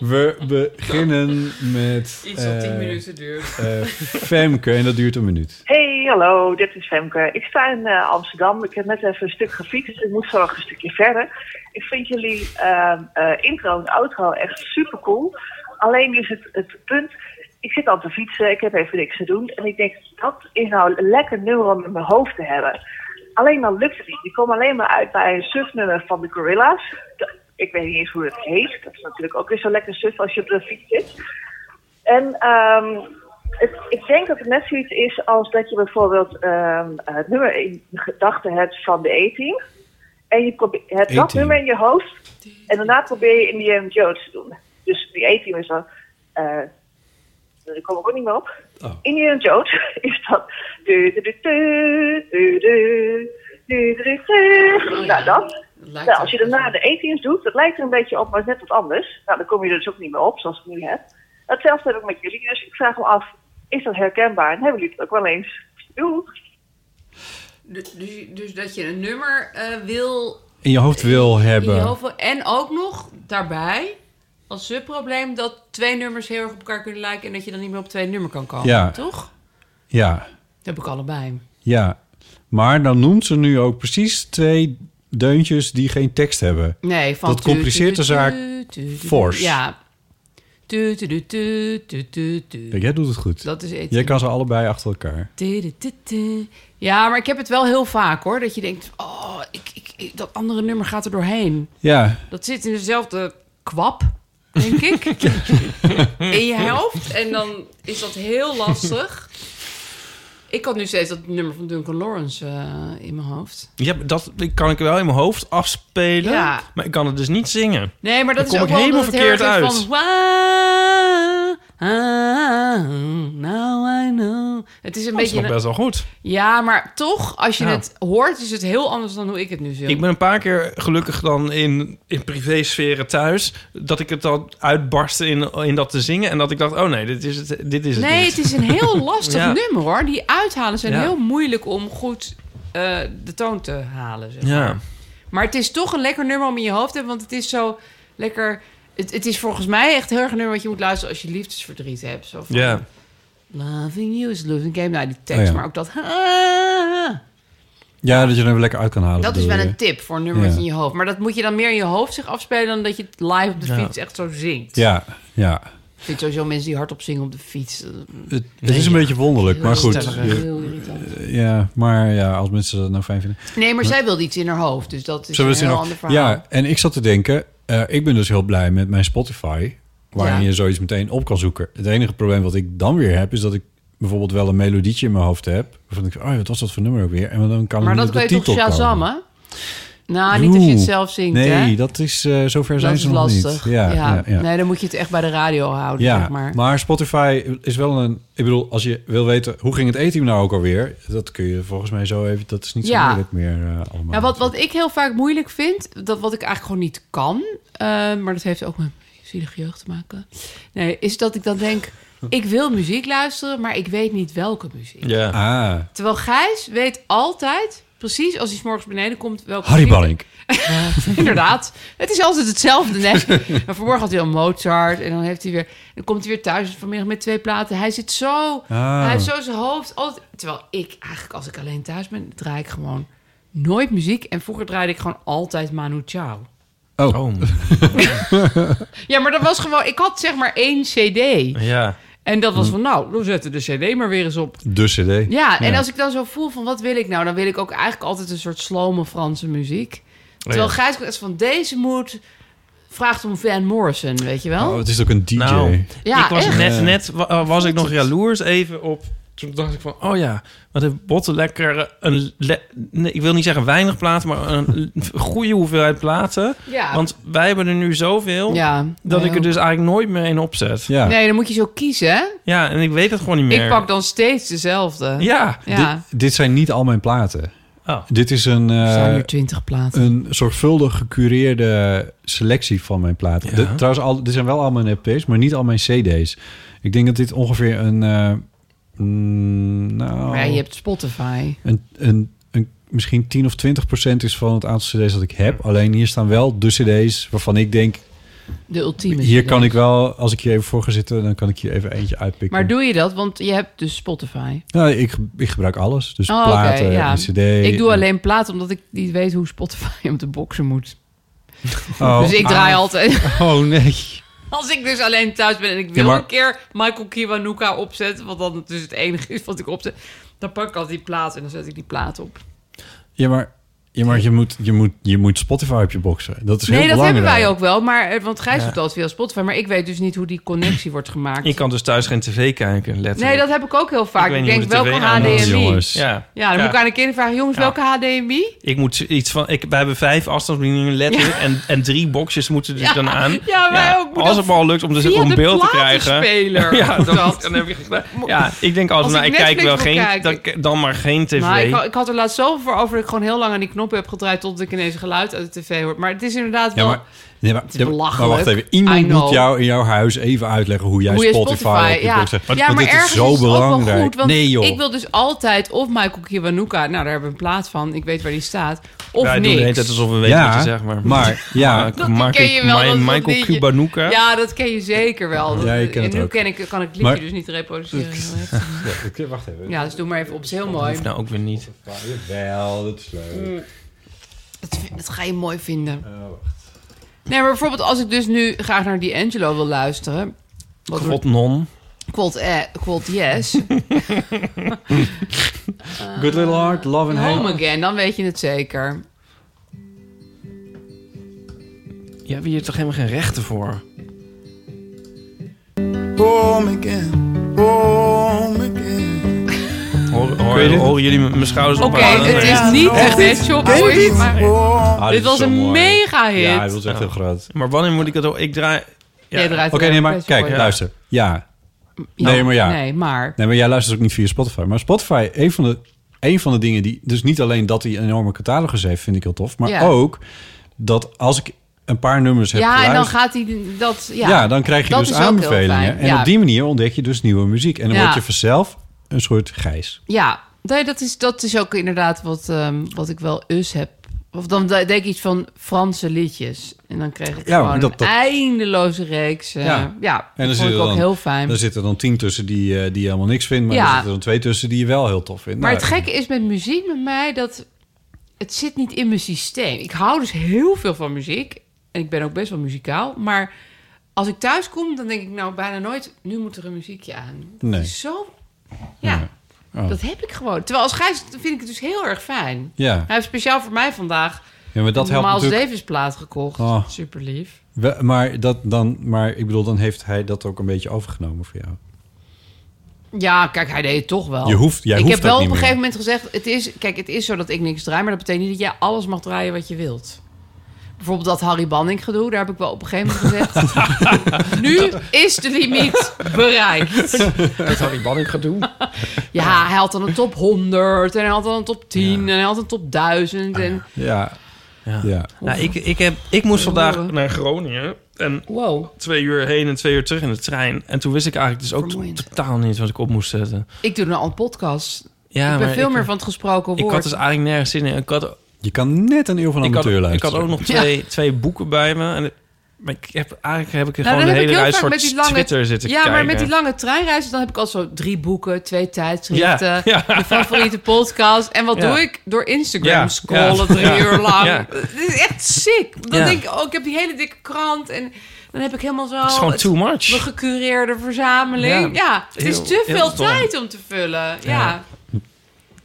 We beginnen met... eh, duurt. eh, Femke, en dat duurt een minuut. Hey, hallo, dit is Femke. Ik sta in eh, Amsterdam. Ik heb net even een stuk gefietst. Ik moet zo nog een stukje verder. Ik vind jullie ehm, eh, intro en outro echt super cool. Alleen is het, het punt, ik zit al te fietsen, ik heb even niks te doen. En ik denk, dat is nou een lekker nummer om in mijn hoofd te hebben. Alleen dan lukt het niet. Ik kom alleen maar uit bij een surfnummer van de Gorilla's. Ik weet niet eens hoe het heet. Dat is natuurlijk ook weer zo lekker suf als je op de fiets zit. En ehm, het, ik denk dat het net zoiets is als dat je bijvoorbeeld ehm, het nummer in gedachten hebt van de E-team. En je probeert, hebt dat 18. nummer in je hoofd. En daarna probeer je Indiana Jones te doen. Dus die E-team is dan... eh daar kom ik ook niet meer op. Indiana Jones [LAUGHS] is dat... du- du- du- du- du- du- du- du- du- Nou, dat. lijkt Nou, als je wel. daarna de E-teams doet, dat lijkt er een beetje op, maar is net wat anders. Nou, dan kom je er dus ook niet meer op, zoals ik nu heb. Hetzelfde heb ik met jullie, dus ik vraag me af, is dat herkenbaar? En hebben jullie het ook wel eens? Doe. Dus, dus dat je een nummer eh, wil In je hoofd wil in je hebben. hoofd wil- En ook nog daarbij, als subprobleem, dat twee nummers heel erg op elkaar kunnen lijken... en dat je dan niet meer op twee nummer kan komen, Ja. toch? Ja, Dat heb ik allebei. ja. Maar dan noemt ze nu ook precies twee deuntjes die geen tekst hebben. Nee, van Dat compliceert de zaak fors. Ja. Tu, tu, tu, tu, tu, tu, tu. Kijk, jij doet het goed. Dat is eten. Jij kan ze allebei achter elkaar. Tu, tu, tu, tu. Ja, maar ik heb het wel heel vaak hoor. Dat je denkt, oh, ik, ik, ik- dat andere nummer gaat er doorheen. Ja, Dat zit in dezelfde kwap, denk [LAUGHS] ik. in je helft. En dan is dat heel lastig. Ik had nu steeds dat nummer van Duncan Lawrence eh, in mijn hoofd. Ja, dat kan ik wel in mijn hoofd afspelen, Ja. maar ik kan het dus niet zingen. Nee, maar dat Dan is kom ook ik wel helemaal dat het heel verkeerd erg is uit. Van, "Wa- Ah, now I know. Het is een Dat is beetje... nog best wel goed. Ja, maar toch, als je Ja. het hoort, is het heel anders dan hoe ik het nu zing. Ik ben een paar keer gelukkig dan in, in privésferen thuis... dat ik het dan uitbarstte in, in dat te zingen... en dat ik dacht, oh nee, dit is het, dit Dus is het nee, niet. het is een [LAUGHS] heel lastig Ja. nummer hoor. Die uithalen zijn Ja. heel moeilijk om goed eh, de toon te halen. Zeg maar. Ja. maar het is toch een lekker nummer om in je hoofd te hebben, want het is zo lekker. Het, het is volgens mij echt heel erg een nummer wat je moet luisteren als je liefdesverdriet hebt. Zo van, Ja. Loving you is losing game. Nou, die tekst, Oh ja. maar ook dat. ah. Ja, dat je er weer lekker uit kan halen. dat is wel bedoel een je. tip voor een nummer wat Ja. je in je hoofd. Maar dat moet je dan meer in je hoofd zich afspelen dan dat je het live op de Ja. fiets echt zo zingt. Ja, ja. Ik vind sowieso mensen die hardop zingen op de fiets. eh, Het, het is een beetje wonderlijk, Heel maar goed. stellig, Je- heel irritant. ja, maar ja, als mensen dat nou fijn vinden. Nee, maar zij wilde iets in haar hoofd. Dus dat is Zullen een we het heel zien? ander verhaal. Ja, en ik zat te denken, eh, ik ben dus heel blij met mijn Spotify, waarin Ja. je zoiets meteen op kan zoeken. Het enige probleem wat ik dan weer heb, is dat ik bijvoorbeeld wel een melodietje in mijn hoofd heb. Waarvan ik, oh ja, wat was dat voor nummer ook weer? En dan kan maar ik dat niet kun op je de toch titel komen. Shazam, hè? Nou, niet als je het Oeh, zelf zingt, nee, hè? dat is, eh, zover Dat zijn is ze nog lastig. niet. Ja, ja, ja. Nee, dan moet je het echt bij de radio houden, Ja, zeg maar. Spotify is wel een... Ik bedoel, als je wil weten, hoe ging het eten nou ook alweer? Dat kun je volgens mij zo even... Dat is niet Ja. zo moeilijk meer eh, allemaal. Ja, wat, wat ik heel vaak moeilijk vind, dat wat ik eigenlijk gewoon niet kan... eh, maar dat heeft ook met zielige jeugd te maken... Nee, is dat ik dan denk... Ik wil muziek luisteren, maar ik weet niet welke muziek. Ja. Ah. Terwijl Gijs weet altijd, precies als hij 's morgens beneden komt, welke Harry muziek- Ballink. [LAUGHS] Inderdaad. Het is altijd hetzelfde net. Maar vanmorgen had hij al Mozart. En dan, heeft hij weer, dan komt hij weer thuis vanmiddag met twee platen. Hij zit zo... Ah. Hij heeft zo zijn hoofd. Altijd, terwijl ik eigenlijk, als ik alleen thuis ben, draai ik gewoon nooit muziek. En vroeger draaide ik gewoon altijd Manu Chao. Oh. Ja, maar dat was gewoon... Ik had zeg maar één cd. Ja. En dat was van, nou, we zetten de cd maar weer eens op. dus De cd. Ja, en als ik dan zo voel van, wat wil ik nou? Dan wil ik ook eigenlijk altijd een soort slome Franse muziek. Terwijl ja. Gijs is van deze moed vraagt om Van Morrison, weet je wel? Oh, het is ook een DJ. Nou, Ja, ik was echt. net, Ja. net wa- eh, was ik nog jaloers even op. Toen dacht ik van, oh ja, wat heeft Botten lekker eh, een... le- nee, ik wil niet zeggen weinig platen, maar een goede hoeveelheid platen. Ja. Want wij hebben er nu zoveel, Ja, dat wij ik er ook. dus eigenlijk nooit meer een opzet. Ja. Nee, dan moet je zo kiezen, hè? ja, en ik weet het gewoon niet meer. Ik pak dan steeds dezelfde. Ja. ja. Dit, dit zijn niet al mijn platen. Oh. Dit is een... eh, zijn nu 20 platen. Een zorgvuldig gecureerde selectie van mijn platen. Ja. Dit- trouwens, al, dit zijn wel al mijn EP's, maar niet al mijn CD's. Ik denk dat dit ongeveer een... eh, mm, nou, Maar ja, je hebt Spotify. een, een, een, misschien 10 of 20 procent is van het aantal cd's dat ik heb. Alleen hier staan wel de cd's waarvan ik denk... De ultieme Hier cd. kan ik wel, als ik hier even voor ga zitten... dan kan ik hier even eentje uitpikken. Maar doe je dat? Want je hebt dus Spotify. Nou, ik, ik gebruik alles. Dus Oh, oké, platen, ja. en cd. Ik doe en- alleen platen omdat ik niet weet hoe Spotify [LAUGHS] om te boksen moet. Oh, dus ik draai ah. altijd. [LAUGHS] Oh, nee. Als ik dus alleen thuis ben en ik wil Ja, maar- een keer Michael Kiwanuka opzetten, want dan dus het enige [LAUGHS] is wat ik opzet, dan pak ik altijd die plaat en dan zet ik die plaat op. Ja, maar, ja, maar je, moet, je, moet, je moet Spotify op je boxen. Dat is nee, heel dat belangrijk. hebben wij ook wel, maar eh, want Gijs Ja. doet altijd via Spotify, maar ik weet dus niet hoe die connectie wordt gemaakt. Ik kan dus thuis geen tv kijken, letterlijk. nee, dat heb ik ook heel vaak. Ik Ik, weet niet denk hoe de welke TV aanhangt. HDMI. Jongens. Ja. ja, dan Ja. moet ik aan de kinderen vragen, jongens, Ja. welke HDMI? Ik moet iets van. Ik, wij hebben vijf afstandsbedieningen letterlijk. Ja. En, en drie boxjes moeten dus Ja. dan aan. Ja, wij ook. Moet Als dat het maar al lukt om, dus, via om de beeld te krijgen. platenspeler. ja, Moet dan, dat. dan heb je gedaan. [LAUGHS] Ja, ik denk Als altijd, nou, ik ik kijk wel Netflix wil geen. Dan, kijken. dan maar geen tv. Nou, ik, ik had er laatst zoveel voor over dat ik gewoon heel lang aan die knoppen heb gedraaid tot ik ineens geluid uit de tv hoor. Maar het is inderdaad Ja, wel... maar, nee, maar, is ja, maar- maar wacht belachelijk. even. Iemand I know. moet jou in jouw huis even uitleggen hoe jij Hoe je Spotify, op je ja. box hebt. ja, Want maar dit ergens is zo belangrijk. ook wel goed. Want nee, joh. ik wil dus altijd of Michael Kiwanuka... Nou, daar hebben we een plaat van. Ik weet waar die staat. Of Wij doen de hele niks. tijd alsof we weten Ja, wat je zegt, maar... maar, ja. [LAUGHS] Maar Dat maak ken ik je wel, dat is mijn dat Michael liedje. Cubanuka. Ja, dat ken je zeker wel. Dat- Ja, ik ken en het nu ook. Ken ik, kan ik het liedje Maar- dus niet [LAUGHS] reproduceren. Heel heftig. Ja, ik- wacht even. Ja, dus doe maar even op. Het is heel Dat mooi. hoeft nou ook weer niet. Wel, dat is leuk. Mm. Dat, vind- dat ga je mooi vinden. Oh, Nee, maar bijvoorbeeld als ik dus nu graag naar die Angelo wil luisteren. Wat God non. Quote, eh, quote [LAUGHS] yes. [LAUGHS] Good Little Heart, Love and Home Hate. again, dan weet je het zeker. Je hebt hier toch helemaal geen rechten voor? Home again, home again. Hoor, hoor, horen jullie m- mijn schouders Oké, ophalen? het Nee. is niet echt dit shop Ken je Boys, dit? maar Ah, dit was is zo een mooi. mega hit. Ja, dat is echt heel groot. Maar wanneer moet ik het... ook- Ik draai... Jij draait Oké, er nee, wel maar best wel kijk, voor. luister. Ja, Nee, maar ja. Nee, maar... Nee, maar jij luistert ook niet via Spotify. Maar Spotify, een van de, een van de dingen die... Dus niet alleen dat hij een enorme catalogus heeft, vind ik heel tof. Maar Ja. ook dat als ik een paar nummers heb Ja, en dan geluisterd- gaat hij dat... Ja, Ja, dan krijg je dat dus is ook heel aanbevelingen. fijn, En ja. op die manier ontdek je dus nieuwe muziek. En dan Ja. word je vanzelf een soort gijs. Ja, nee, dat, is, dat is ook inderdaad wat, ehm, wat ik wel us heb. Of dan denk ik iets van Franse liedjes. En dan kreeg ik Ja, gewoon dat- dat- een eindeloze reeks. eh, ja. En dan dat zit vond er ik ook dan, heel fijn. Dan zitten er dan tien tussen die, eh, die helemaal niks vinden. Maar Ja. er zitten er dan twee tussen die je wel heel tof vindt. Maar Nou, het gekke is met muziek met mij dat het zit niet in mijn systeem. Ik hou dus heel veel van muziek en ik ben ook best wel muzikaal, maar als ik thuis kom, dan denk ik nou bijna nooit nu moet er een muziekje aan. Dat Nee. is zo ja. Oh. Dat heb ik gewoon. Terwijl als gijs vind ik het dus heel erg fijn. Ja. Hij heeft speciaal voor mij vandaag Ja, maar dat een helpt Miles natuurlijk- Davis plaat gekocht. Oh. Super lief. we- maar, dat dan, maar ik bedoel, dan heeft hij dat ook een beetje overgenomen voor jou. Ja, kijk, hij deed het toch wel. Je hoeft- jij Oh. ik hoeft heb dat wel niet op een meer. gegeven moment gezegd: het is, kijk, het is zo dat ik niks draai, maar dat betekent niet dat jij alles mag draaien wat je wilt. Bijvoorbeeld dat Harry Banning gedoe, daar heb ik wel op een gegeven moment [LAUGHS] gezegd. nu is de limiet bereikt. Dat had ik banning gaan doen. Ja, hij had dan een top 100 en hij had dan een top 10 en hij had een top 1000. Ah, En Ja. Ja. ja. Nou, ik, ik, heb, ik moest vandaag naar Groningen. En twee uur heen en twee uur terug in de trein. En toen wist ik eigenlijk dus ook totaal niet wat ik op moest zetten. ik doe nou al een podcast. Ja, ik ben maar veel ik- meer van het gesproken woord. Ik had dus eigenlijk nergens zin in. Ik had, Je kan net een eeuw van ik had, amateur ik luisteren. had ook nog twee, twee boeken bij me. En, maar ik heb, eigenlijk heb ik Nou, gewoon dan heb ik de hele heel reis vaak voor Twitter zitten Ja, kijken. maar met die lange treinreizen... dan heb ik al zo drie boeken, twee tijdschriften... Ja, ja. mijn [LAUGHS] favoriete podcast. En wat Ja. doe ik? Door Instagram Ja, scrollen ja. drie Ja. uur lang. Ja. Dit is echt sick. Dan Ja. denk ik, oh, ik heb die hele dikke krant... en dan heb ik helemaal zo... Dat is gewoon het- too much. Mijn gecureerde verzameling. Ja, Ja. het is Heel- te heel veel dom. tijd om te vullen. Ja. Ja.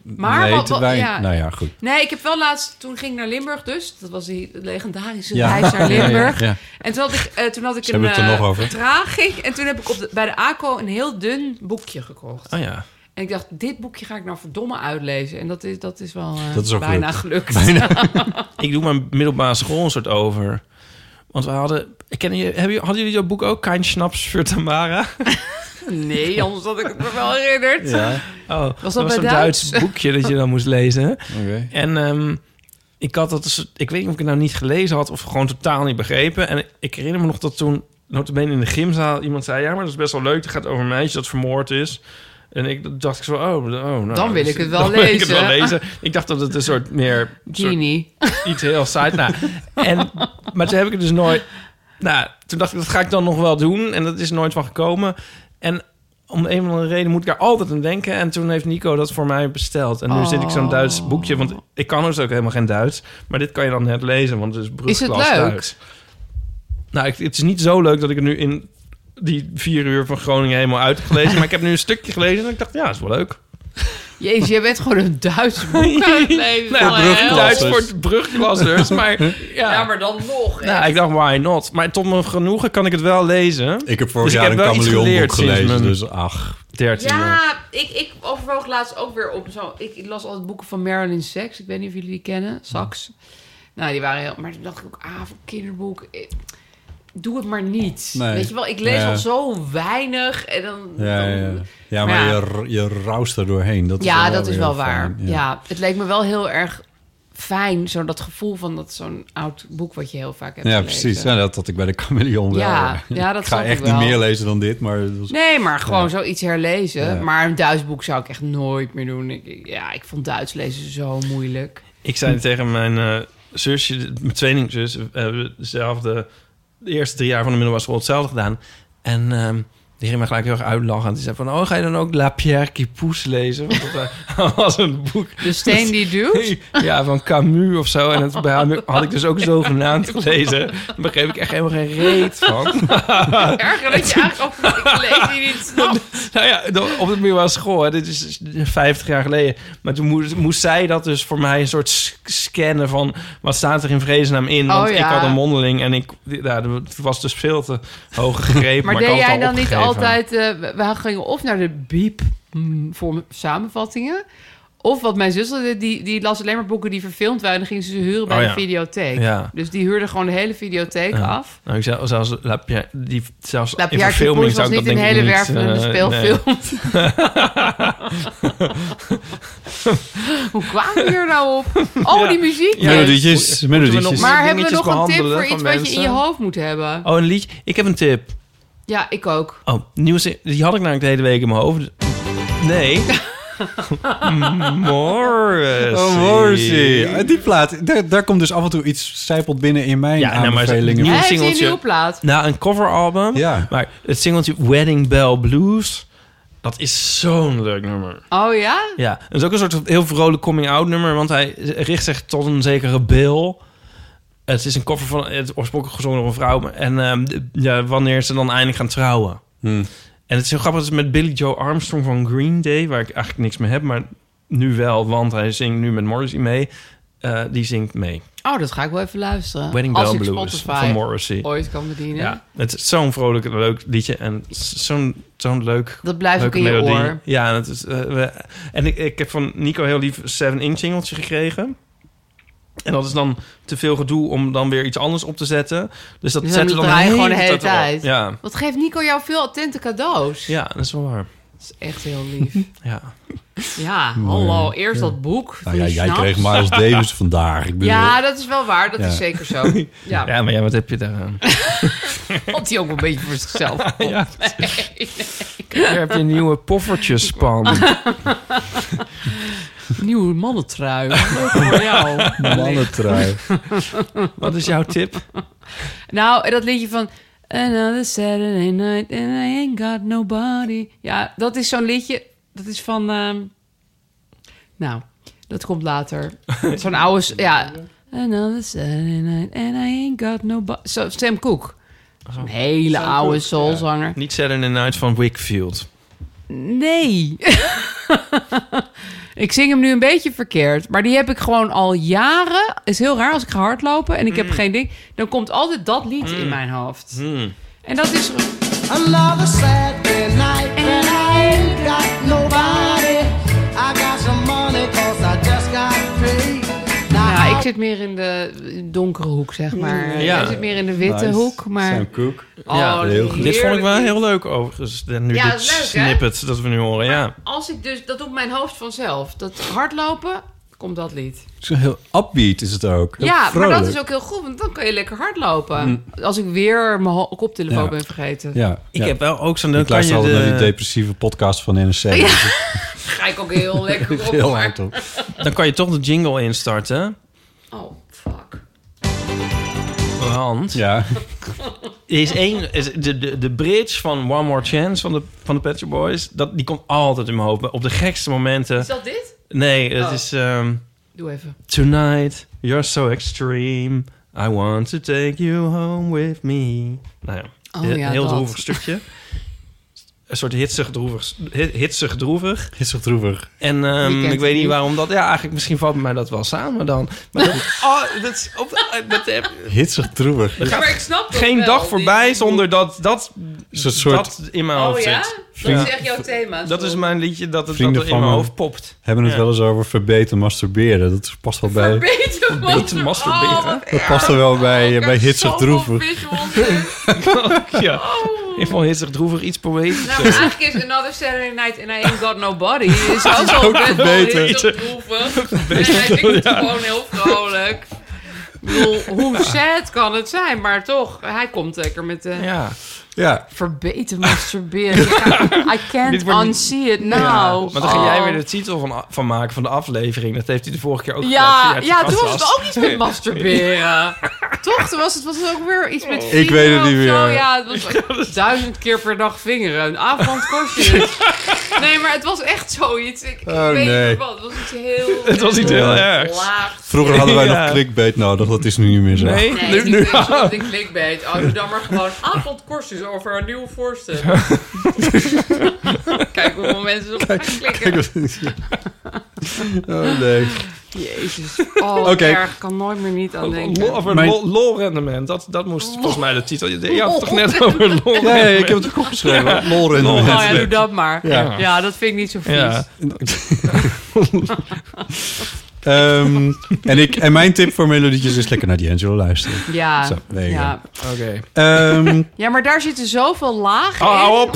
Maar Nee, wat- te wat- weinig. Nou ja, goed. Nee, ik heb wel laatst, toen ging ik naar Limburg dus. Dat was die legendarische Ja. reis naar [LAUGHS] Ja, ja, Limburg. ja. En toen had ik, eh, toen had ik Ze een hebben het er eh, nog over. tragik. En toen heb ik op de- bij de ACO een heel dun boekje gekocht. Oh ja. En ik dacht, dit boekje ga ik nou verdomme uitlezen. En dat is, dat is wel eh, Dat is ook bijna gelukt. gelukt. [LAUGHS] ik doe mijn middelbare school een soort over. Want we hadden... Kennen jullie, hebben, jullie- hadden jullie dat boek ook? Kein Schnaps voor Tamara? [LAUGHS] nee, anders had ik het me wel herinnerd. Oh, Was dat, dat was bij zo'n Duits? Duits boekje dat je dan moest lezen. Oké. En ehm, ik had dat... dus- Ik weet niet of ik het nou niet gelezen had of gewoon totaal niet begrepen. En ik herinner me nog dat toen... Notabene in de gymzaal iemand zei... Ja, maar dat is best wel leuk. Het gaat over een meisje dat vermoord is. En ik dat dacht ik zo... Oh, oh nou, Dan wil ik dus- [LAUGHS] het wel dan wil ik het lezen. wel lezen. Ik dacht dat het een soort meer... Genie. soort iets heel saai. Nou, en, maar toen heb ik het dus nooit... Nou, toen dacht ik, dat ga ik dan nog wel doen. En dat is nooit van gekomen. En om een of andere reden moet ik daar altijd aan denken. En toen heeft Nico dat voor mij besteld. En nu zit ik zo'n Oh. Duits boekje. Want ik kan dus ook helemaal geen Duits. Maar dit kan je dan net lezen, want het is Is het brugklas leuk? Duits. Nou, ik- het is niet zo leuk dat ik er nu in die vier uur van Groningen helemaal uit heb gelezen. maar ik heb nu een stukje gelezen en ik dacht, ja, is wel leek. Jezus, jij bent gewoon een Duits [LAUGHS] boek aan het lezen. Nou, Wat een hel. Duits voor [LAUGHS] brugklassers, maar... Ja. maar dan nog. Nou, ik dacht, why not? Maar tot mijn genoegen kan ik het wel lezen. Ik heb vorig Dus ik jaar heb een wel iets kameleonboek geleerd sinds gelezen, mijn dus ach. 13 Ja, ik, ik overwoog laatst ook weer op zo. Ik, ik las altijd boeken van Marilyn Sachs. Ik weet niet of jullie die kennen. Mm. Sachs. Nou, die waren heel. Maar toen dacht ik ook, ah, voor kinderboek. ik- Doe het maar niet. Nee. Weet je wel, ik lees Ja. al zo weinig. En dan. Ja, dan- ja. ja maar ja. Je, r- je roust er doorheen. Dat ja, is wel dat is weer wel fijn, waar. ja. ja. het leek me wel heel erg fijn. Zo dat gevoel van dat zo'n oud boek wat je heel vaak hebt. Ja, gelezen. precies. Ja, dat had ik bij de chameleon wel. Ja, ja, dat ik ga snap ik echt wel. niet meer lezen dan dit, maar... het was- Nee, maar gewoon Ja. zoiets herlezen. Ja. Maar een Duits boek zou ik echt nooit meer doen. Ik- Ik, ja, ik vond Duits lezen zo moeilijk. Ik zei tegen mijn eh, zusje, mijn tweelingzus, eh, we hebben dezelfde, de eerste drie jaar van de middelbare school hetzelfde gedaan. En ehm, die ging mij gelijk heel erg uitlachen. En die zei van, oh, ga je dan ook La Pierre qui Pousse lezen? Want dat eh, [LAUGHS] was een boek. De steen die duwt? [LAUGHS] Ja, van Camus of zo. En dat bij- had ik dus ook zogenaamd gelezen. Daar begreep ik echt helemaal geen reet van. [LAUGHS] Erger dat je eigenlijk ook lees die [LAUGHS] niet snapt. Nou ja, dan- op de middelbare school, hè, dit is 50 jaar geleden. Maar toen moest, moest zij dat dus voor mij een soort s- scannen van... wat staat er in vreesnaam in? Want Oh, ik ja. had een mondeling en ik, ja, het was dus veel te hoog [LAUGHS] gegrepen. Maar maar ik deed had het jij al dan niet opgegeven. altijd... eh, we we gingen of naar de biep mm, voor hm, samenvattingen... Of wat mijn zus al deed, die, die las alleen maar boeken die verfilmd waren. En dan ging ze ze huren bij Oh, de ja. videotheek. Ja. Dus die huurde gewoon de hele videotheek Ja. af. Nou, ik zou zelfs La Pierre, die, zelfs La in Pierre verfilming Kipoes zou was ik dat niet denk een ik hele niet, wervelende eh, speelfilm. nee. Hoe kwamen we hier nou [LAUGHS] op? Oh, die muziek. Melodietjes, melodietjes. Maar hebben we nog een tip behandelen voor van iets wat je in mensen? je hoofd moet hebben? Oh, een liedje? Ik heb een tip. Ja, ik ook. Oh, nieuws, die had ik namelijk de hele week in mijn hoofd. [LAUGHS] Nee. Morrissey. Oh, Morrissey. Uit Die plaat, daar, daar komt dus af en toe iets zijpelt binnen in mijn Ja, nou, maar het aanbevelingen. Hij nieuwe heeft singeltje. een nieuwe plaat. Nou, een coveralbum. Ja. Maar het singeltje Wedding Bell Blues, dat is zo'n leuk nummer. Oh ja? Ja, het is ook een soort heel vrolijk coming-out nummer, want hij richt zich tot een zekere Bill. Het is een cover van het oorspronkelijk gezongen door een vrouw. maar- En ehm, de- ja, wanneer ze dan eindelijk gaan trouwen. En het is heel grappig, het is met Billy Joe Armstrong van Green Day, waar ik eigenlijk niks mee heb, maar nu wel, want hij zingt nu met Morrissey mee. Eh, die zingt mee. Oh, dat ga ik wel even luisteren. Wedding Als Bell ik Blues Spotify van Morrissey. ooit kan bedienen. Ja, het is zo'n vrolijk, leuk liedje en zo'n zo'n leuk. Dat blijft leuke ook in je melodie. oor. Ja, en, het is, eh, we- en ik, ik heb van Nico heel lief 7 inch singeltje gekregen. En dat is dan te veel gedoe om dan weer iets anders op te zetten. Dus dat Dus dan zetten we dan draai je gewoon de hele hele tijd erop. tijd. Ja. Wat geeft Nico jou veel attente cadeaus? ja, dat is wel waar. Dat is echt heel [LAUGHS] lief. Ja. Ja, Mooi, hallo. ja. Eerst Ja. dat boek. Nou van ja, die jij snaps. kreeg Miles Davis vandaag. Ik bedoel, Ja, dat is wel waar. Dat Ja. is zeker [LAUGHS] zo. Ja. Ja, maar ja, wat heb je daaraan? Want die ook een beetje voor zichzelf. [LAUGHS] Ja. Nee, Daar heb je een nieuwe poffertjespan. Nieuwe [LAUGHS] mannentrui. Leuk voor jou. Mannentrui. [LAUGHS] Wat is jouw tip? Nou, dat liedje van... Another Saturday night and I ain't got nobody. Ja, dat is zo'n liedje. Dat is van... ehm, nou, dat komt later. Zo'n oude... s- Ja. Another Saturday night and I ain't got nobody. Zo, Sam Cooke. Zo'n hele oude soulzanger. Niet Saturday Night van Wickfield. Nee. [LAUGHS] ik zing hem nu een beetje verkeerd. Maar die heb ik gewoon al jaren. is heel raar als ik ga hardlopen en ik heb geen ding. Dan komt altijd dat lied in mijn hoofd. Hmm. En dat is... Another Saturday night and I ain't got nobody. I got some money 'cause I just got paid. Nou, ik zit meer in de donkere hoek, zeg Mm, maar. Ja. Jij zit meer in de witte Nice. hoek, maar... Sam Cooke. Oh, Dit vond ik heerlijk. wel heel leuk overigens. En nu Ja, dat dit is leuk, hè? snippet dat we nu horen, ja. Als ik dus... Dat doet mijn hoofd vanzelf. Dat hardlopen, komt dat lied. Zo'n heel upbeat is het ook. Heel ja, maar vrolijk. Mm. dat is ook heel goed, want dan kan je lekker hardlopen. Als ik weer mijn ho- koptelefoon Ja. ben vergeten. Ja, Ik heb wel ook zo'n- dan leuk. Ik luister kan je altijd de- naar die depressieve podcast van NRC. Ga ik ook [LAUGHS] heel lekker op. dus Heel hard [LAUGHS] op. Dan kan je toch de jingle instarten. Oh, Want... Ja. Er is één... is De, de, de bridge van One More Chance van de, van de Pet Shop Boys... Dat, die komt altijd in mijn hoofd. Op de gekste momenten... Is dat dit? Nee, het Oh. is... ehm, Doe even. Tonight, you're so extreme. I want to take you home with me. Nou ja, Oh een ja, heel dat. droevig stukje. Een soort hitsig droevig. hi- Hitsig droevig. Hitsig droevig. En ehm, Wie kent ik het weet niet niet? waarom dat... Ja, eigenlijk misschien valt bij mij dat wel samen dan. Maar dat, [LAUGHS] oh, dat is... Op, dat heb, Hitsig [LAUGHS] droevig. er gaat maar ik snap dat geen wel, dag die- Oh voorbij zonder dat dat, Is het soort- dat in mijn hoofd zit. Vriend- echt jouw thema. Dat is mijn liedje dat het dat Vrienden er in van mijn me hoofd [LAUGHS] popt. hebben het Ja. wel eens over verbeten masturberen. Dat past wel bij... Beter Beter Oh, masturberen. Dat past er wel bij, bij hitsig droevig. Nou, [LAUGHS] ja. Oh. Ik vond hitsig droevig iets poëtisch. Nou, maar eigenlijk is Another Saturday Night and I Ain't Got Nobody. Is [LAUGHS] ook, is ook best wel verbeterd. heel [LAUGHS] droevig. En ik vind het gewoon heel vrolijk. Ik bedoel, hoe sad kan het zijn? Maar toch, hij komt lekker met de... Ja. Ja. Verbeten [LAUGHS] masturberen. Ja, I Dit can't wordt niet- unsee it now. Ja, maar dan ga Oh. jij weer de titel van, van maken van de aflevering. Dat heeft hij de vorige keer ook Ja, gedaan. ja, toen was het ook iets [LAUGHS] met masturberen. Toch? Toen was het, was het ook weer iets met vingeren weet het niet of zo. meer. Ja, het [LAUGHS] was duizend keer per dag vingeren. Een avond kost je het. Nee, maar het was echt zoiets. Ik, ik Oh, weet nee. niet wat. Het was iets heel... [LAUGHS] Het was iets heel ergs. laag. Vroeger hadden wij Ja. nog clickbait nodig. Dat is nu niet meer zo. Nee, Nee, het nu, is nu. niet eens op de clickbait. Oh, doe dan maar gewoon avondkorstjes dus over een nieuw [LAUGHS] voorstel. [LAUGHS] Kijk hoeveel mensen erop gaan klikken. Kijk wat- Oh nee. Jezus. Oh, Oké. erg. Kan nooit meer niet aan denken. Lo- Over Mijn- lo- lol-rendement, dat, dat moest volgens mij de titel. Je, je had het toch [LAUGHS] net over lol-rendement? Nee, ik heb het ook opgeschreven. Lol-rendement. Nou ja, doe dat maar. Ja. Ja. dat vind ik niet zo vies. Ja. Ehm, en, ik, en mijn tip voor melodietjes is lekker naar D'Angelo luisteren. Ja, Zo, there you ja. go. Oké. Ehm, Ja, maar daar zitten zoveel lagen Oh, in. hou op.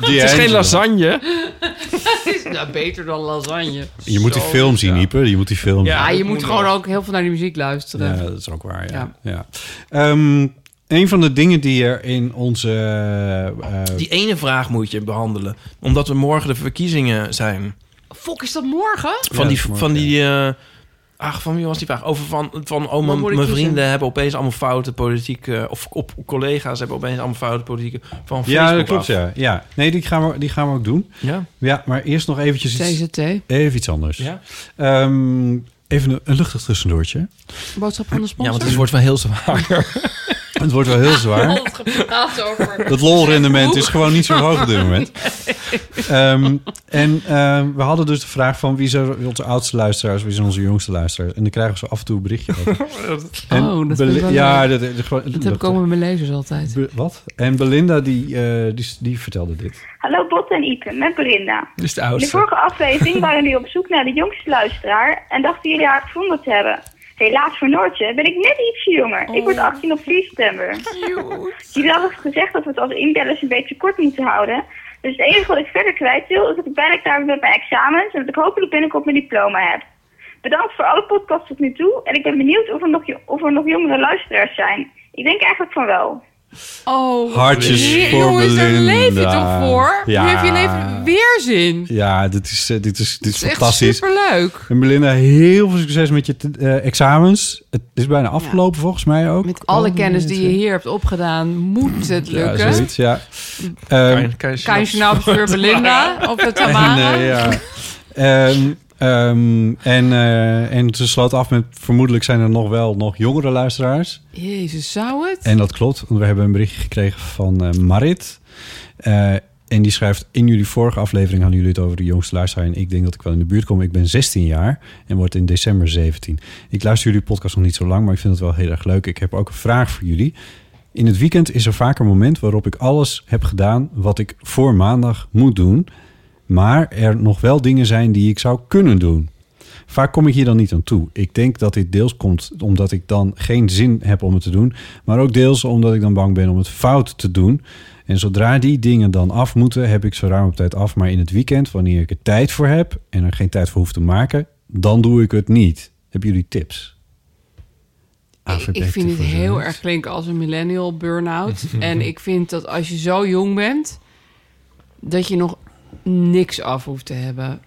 Het is geen lasagne. Het is nou, beter dan lasagne. je moet die Zo. film zien, Ieper. Je moet die film Ja, zien. je moet gewoon ook heel veel naar die muziek luisteren. Ja, dat is ook waar, ja. ja. Ehm, een van de dingen die er in onze... eh, eh, Die ene vraag moet je behandelen. Omdat er morgen de verkiezingen zijn. Fok, is dat morgen? Van die... morgen, Van die eh, ach, van wie was die vraag? Over van, van oh, Wat moet mijn, ik mijn kiezen? vrienden hebben opeens allemaal foute politieke... eh, Of op, collega's hebben opeens allemaal foute politieke... Van ja, dat Facebook klopt, af. ja. ja. Nee, die gaan, we, die gaan we ook doen. Ja. Ja, maar eerst nog eventjes iets... CZT. Even iets anders. Ja. Ehm, even een, een luchtig tussendoortje. Boodschap van de sponsor. Ja, want het wordt wel heel zwaar. Het wordt wel heel [LAUGHS] zwaar. Dat lolrendement is gewoon niet zo hoog op dit moment. Ehm, en ehm, we hadden dus de vraag van wie zijn onze oudste luisteraars, wie zijn onze jongste luisteraars. En dan krijgen we zo af en toe een berichtje over. En [LAUGHS] Oh, dat Beli- vind ik wel ja, leuk. dat, dat, gewoon- Dat heb ik ook met mijn lezers altijd. Be- wat? En Belinda die, eh, die, die vertelde dit. Hallo Bot en Ipe, met Belinda. Dit is de In de oudste. vorige aflevering waren jullie op zoek naar de jongste luisteraar en dachten jullie haar gevonden te hebben. Helaas voor Noortje ben ik net ietsje jonger. Ik word 18 op 4 september. Jullie hadden gezegd dat we het als inbellers een beetje kort moeten houden. Dus het enige wat ik verder kwijt wil is dat ik bijna klaar ben met mijn examens en dat ik hopelijk binnenkort mijn diploma heb. Bedankt voor alle podcasts tot nu toe en ik ben benieuwd of er nog, jo- of er nog jongere luisteraars zijn. Ik denk eigenlijk van wel. Oh, wat Hartjes heer- voor Jongens, daar Belinda. leef je toch voor? Ja. Nu heb je leven weer zin. Ja, dit is, eh, dit is, dit is echt fantastisch. superleuk. En Belinda, heel veel succes met je te- eh, examens. Het is bijna afgelopen volgens mij ook. Met Alle kennis die je hier hebt opgedaan, moet het Ja, lukken. zoiets, ja. Ehm, Kan je nou voor [LAUGHS] Belinda of de En, [LAUGHS] Tamara? eh, ja. Ehm, ehm, en, eh, en ze sloot af met... vermoedelijk zijn er nog wel nog jongere luisteraars. Jezus, zou het? En dat klopt, want we hebben een berichtje gekregen van eh, Marit. Eh, en die schrijft... in jullie vorige aflevering hadden jullie het over de jongste luisteraar... en ik denk dat ik wel in de buurt kom. Ik ben 16 jaar en word in december 17. Ik luister jullie podcast nog niet zo lang... maar ik vind het wel heel erg leuk. Ik heb ook een vraag voor jullie... In het weekend is er vaak een moment waarop ik alles heb gedaan wat ik voor maandag moet doen. Maar er nog wel dingen zijn die ik zou kunnen doen. Vaak kom ik hier dan niet aan toe. Ik denk dat dit deels komt omdat ik dan geen zin heb om het te doen. Maar ook deels omdat ik dan bang ben om het fout te doen. En zodra die dingen dan af moeten, heb ik zo ruim op tijd af. Maar in het weekend, wanneer ik er tijd voor heb en er geen tijd voor hoef te maken, dan doe ik het niet. Hebben jullie tips? Ik vind het heel erg klinken als een millennial [LAUGHS] burn-out. en ik vind dat als je zo jong bent, dat je nog niks af hoeft te [LAUGHS] hebben.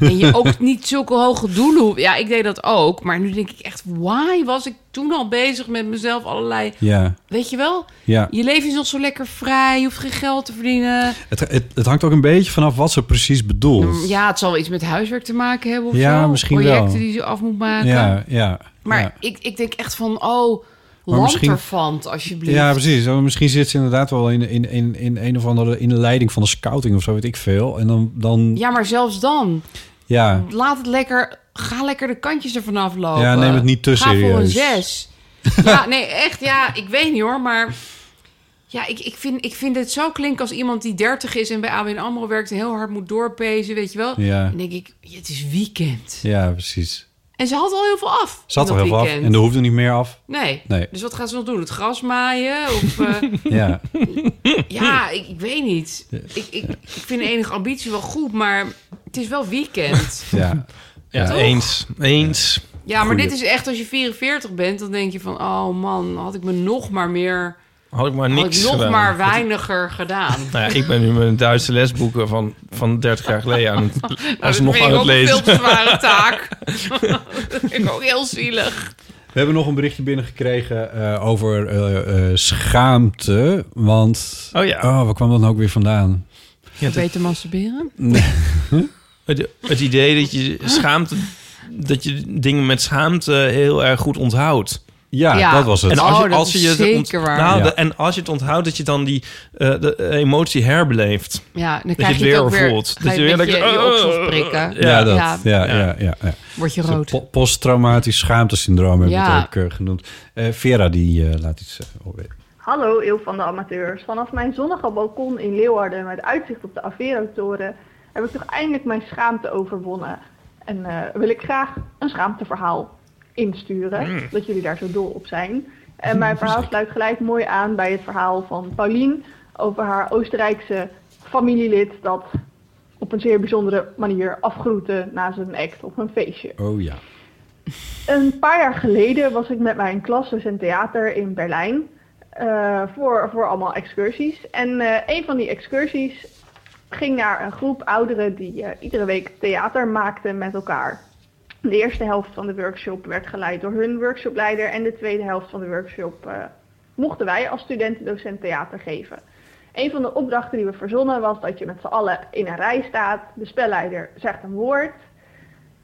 En je ook niet zulke hoge doelen hoeft. Ja, ik deed dat ook. Maar nu denk ik echt, why was ik toen al bezig met mezelf allerlei... Ja. Weet je wel? Ja. Je leven is nog zo lekker vrij. Je hoeft geen geld te verdienen. Het, het, het hangt ook een beetje vanaf wat ze precies bedoelt. Mm, Ja, het zal wel iets met huiswerk te maken hebben of Ja, zo. misschien wel. Projecten die je af moet maken. Ja, ja. Maar ja. ik, ik denk echt van, oh, Maar land misschien- ervan, alsjeblieft. Ja, precies. Oh, Misschien zit ze inderdaad wel in, in, in, in een of andere in de leiding van de scouting of zo, weet ik veel. En dan, dan Ja, maar zelfs dan. ja. Laat het lekker... Ga lekker de kantjes ervan aflopen. Ja, neem het niet te Ga voor een serieus. [LAUGHS] zes. Ja, nee, echt. Ja, ik weet niet hoor, maar... Ja, ik, ik, vind, ik vind het zo klinken als iemand die 30 is... en bij ABN AMRO werkt en heel hard moet doorpezen, weet je wel. Ja. Dan denk ik, ja, het is weekend. ja, precies. En ze had al heel veel af. Zat in dat er heel veel af weekend. en er hoefde niet meer [LAUGHS] af. Nee. Nee. Dus wat gaan ze nog doen? Het gras maaien? Of, [LAUGHS] eh, Ja. ja, ik, ik weet niet. Ik, ik, ik vind enige ambitie wel goed, maar het is wel weekend. [LAUGHS] Ja. Ja, Toch? eens. Eens. Ja, maar dit is echt als je 44 bent, dan denk je van, oh man, had ik me nog maar meer, Had ik maar had niks ik nog gedaan. maar weiniger [LAUGHS] gedaan. Nou ja, ik ben nu mijn Duitse lesboeken van, van 30 jaar geleden aan het, alsnog vind ik aan het ook een veel te lezen. zware [LAUGHS] taak. dat vind ik ook heel zielig. We hebben nog een berichtje binnengekregen eh over eh, eh, schaamte. Want. Oh ja. waar kwam dat nou ook weer vandaan? Ja, dat- Beter masturberen? Het, het idee dat je schaamte, dat je dingen met schaamte heel erg goed onthoudt. Ja, Ja. dat was het. En als je, Oh, dat als is je het zeker ont- waar. Nou, Ja. de- en als je het onthoudt, dat je dan die eh, de emotie herbeleeft. Ja, dan dat krijg je je het het ook weer weer- voelt. ga je een denkt, beetje in je "Oh." oksels prikken. Ja, dat. Ja. Ja, ja, ja. ja, Word je Zo'n rood. po- posttraumatisch schaamtesyndroom hebben we Ja. het ook eh, genoemd. Eh, Vera, die eh, laat iets eh, horen. Hallo, Eeuw van de Amateurs. Vanaf mijn zonnige balkon in Leeuwarden met uitzicht op de Avero-toren heb ik toch eindelijk mijn schaamte overwonnen. En eh, wil ik graag een schaamteverhaal insturen, Mm. dat jullie daar zo dol op zijn. En mijn verhaal sluit gelijk mooi aan bij het verhaal van Paulien over haar Oostenrijkse familielid dat op een zeer bijzondere manier afgroette na zijn act op een feestje. Oh ja. Een paar jaar geleden was ik met mijn klas dus in theater in Berlijn eh, voor, voor allemaal excursies. En eh, een van die excursies ging naar een groep ouderen die eh, iedere week theater maakten met elkaar. De eerste helft van de workshop werd geleid door hun workshopleider en de tweede helft van de workshop eh, mochten wij als studenten-docent theater geven. Een van de opdrachten die we verzonnen was dat je met z'n allen in een rij staat, de spelleider zegt een woord,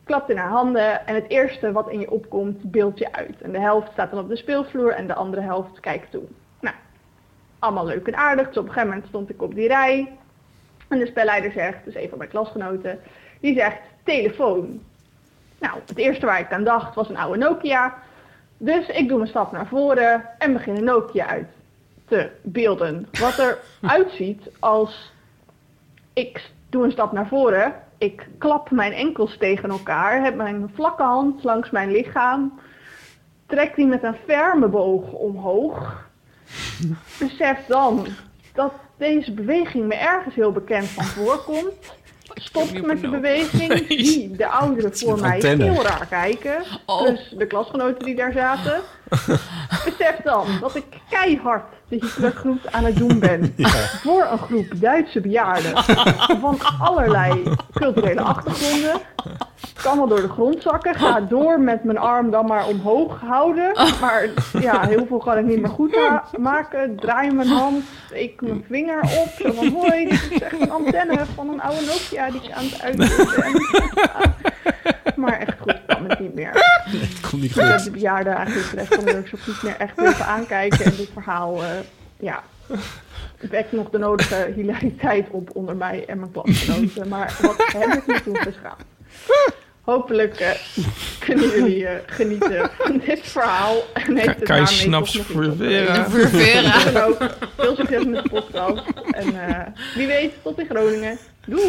klapt in haar handen en het eerste wat in je opkomt beeld je uit. En de helft staat dan op de speelvloer en de andere helft kijkt toe. Nou, allemaal leuk en aardig. Dus op een gegeven moment stond ik op die rij en de spelleider zegt, dus een van mijn klasgenoten, die zegt telefoon. Nou, het eerste waar ik aan dacht was een oude Nokia. Dus ik doe mijn stap naar voren en begin een Nokia uit te beelden. Wat er uitziet als ik doe een stap naar voren. Ik klap mijn enkels tegen elkaar. Heb mijn vlakke hand langs mijn lichaam. Trek die met een ferme boog omhoog. Besef dan dat deze beweging me ergens heel bekend van voorkomt. Stop met de beweging. Zie de ouderen voor mij antenne. heel raar kijken. Dus de klasgenoten die daar zaten. Besef dan dat ik keihard de Hitlergroet aan het doen ben. Voor een groep Duitse bejaarden [LAUGHS] van allerlei culturele achtergronden. Kan wel door de grond zakken. Ga door met mijn arm dan maar omhoog houden. Maar ja, heel veel kan ik niet meer goed ma- maken. Draai mijn hand, ik mijn vinger op. Zo van, hoi, dit is echt een antenne van een oude Nokia die ik aan het uitzetten ben. Maar echt goed kan het niet meer. Komt niet Ik heb goed. de bejaarden eigenlijk de rest van de workshop niet meer echt durven aankijken. En dit verhaal, eh ja, wekt nog de nodige hilariteit op onder mij en mijn klasgenoten. Maar wat heb ik me toen geschaamd? Hopelijk eh, kunnen jullie eh, genieten van dit verhaal. En heeft het Kan je daarmee snaps toch nog iets verweren? opgeleverd. Verweren. Hoe dan ook, Veel succes met de podcast. En eh, wie weet, tot in Groningen. Doei!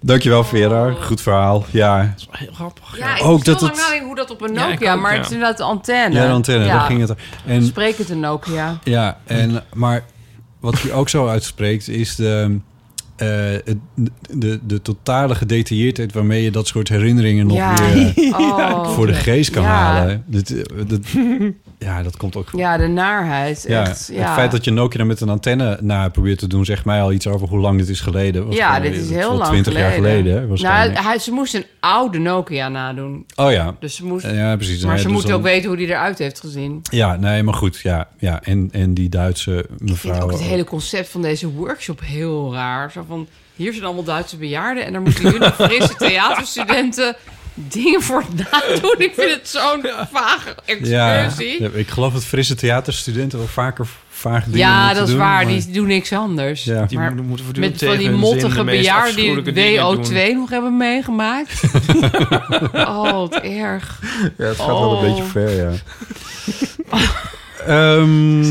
Dankjewel, Vera. Oh. Goed verhaal. Ja. Dat is heel grappig. Ja, ik Ook moest heel dat lang het- nadenken hoe dat op een Ja, ik Nokia, ook, maar ja. het is inderdaad de antenne. Ja, de antenne, Ja. daar ging het. En- Spreek het een Nokia. Ja, en, maar wat je ook zo uitspreekt is de, eh, het- de, de totale gedetailleerdheid waarmee je dat soort herinneringen [LAUGHS] nog Ja. weer eh, Oh. voor de geest kan Ja. halen. Dat, eh, [LAUGHS] dat, ja, dat komt ook goed. Ja, de naarheid. Ja, echt, ja. Het feit dat je Nokia met een antenne na probeert te doen, zegt mij al iets over hoe lang dit is geleden. Want, ja, eh, dit dat is heel wel lang 20 geleden. jaar geleden. hè, waarschijnlijk. nou, hij, ze moest een oude Nokia nadoen. Oh ja. Dus ze moest, Ja, precies. Maar Nee, ze dus moet dan- ook weten hoe die eruit heeft gezien. Ja, nee, maar goed. Ja, ja. En, en die Duitse Ik vind mevrouw. ook het hele concept van deze workshop heel raar. Zo van, hier zijn allemaal Duitse bejaarden... en daar moeten [LAUGHS] jullie frisse theaterstudenten dingen voor nadoen. Ik vind het zo'n vage Ja, excursie. ja, ik geloof dat frisse theaterstudenten wel vaker vaag dingen Ja, moeten dat is doen, waar. maar- Die doen niks anders. Ja. Die maar moeten- moeten voortdurend met van die tegen hun zin mottige de meest bejaarden die afschuwelijke dingen WO2 nog hebben meegemaakt. oh, wat erg. Ja, het gaat wel Oh. een beetje ver, ja. [LAUGHS] Ehm,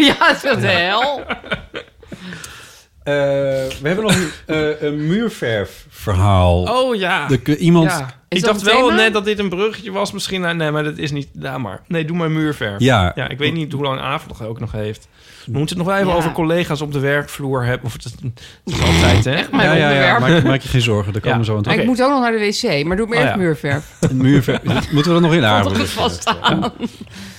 Ja, dat is wat de hel. eh, we hebben nog een, eh, een muurverfverhaal. Oh ja. De- iemand... Ja. Ja. Ik dat dacht een wel thema? net dat dit een bruggetje was. Misschien, nou, nee, maar dat is niet... Ja, maar. Nee, doe maar muurverf. Ja. ja. Ik weet niet hoe lang Avond ook nog heeft. We moeten het nog wel even Ja. over collega's op de werkvloer hebben. Of het, het is altijd, hè? mijn ja, ja, onderwerp. Maak, maak je geen zorgen, daar komen we zo aan Maar toe. ik moet ook nog naar de wc, maar doe me Oh, eerst ja. muurverf. Een [LAUGHS] muurverf. Moeten we dat nog in Valt er aanbrengen? goed vast aan.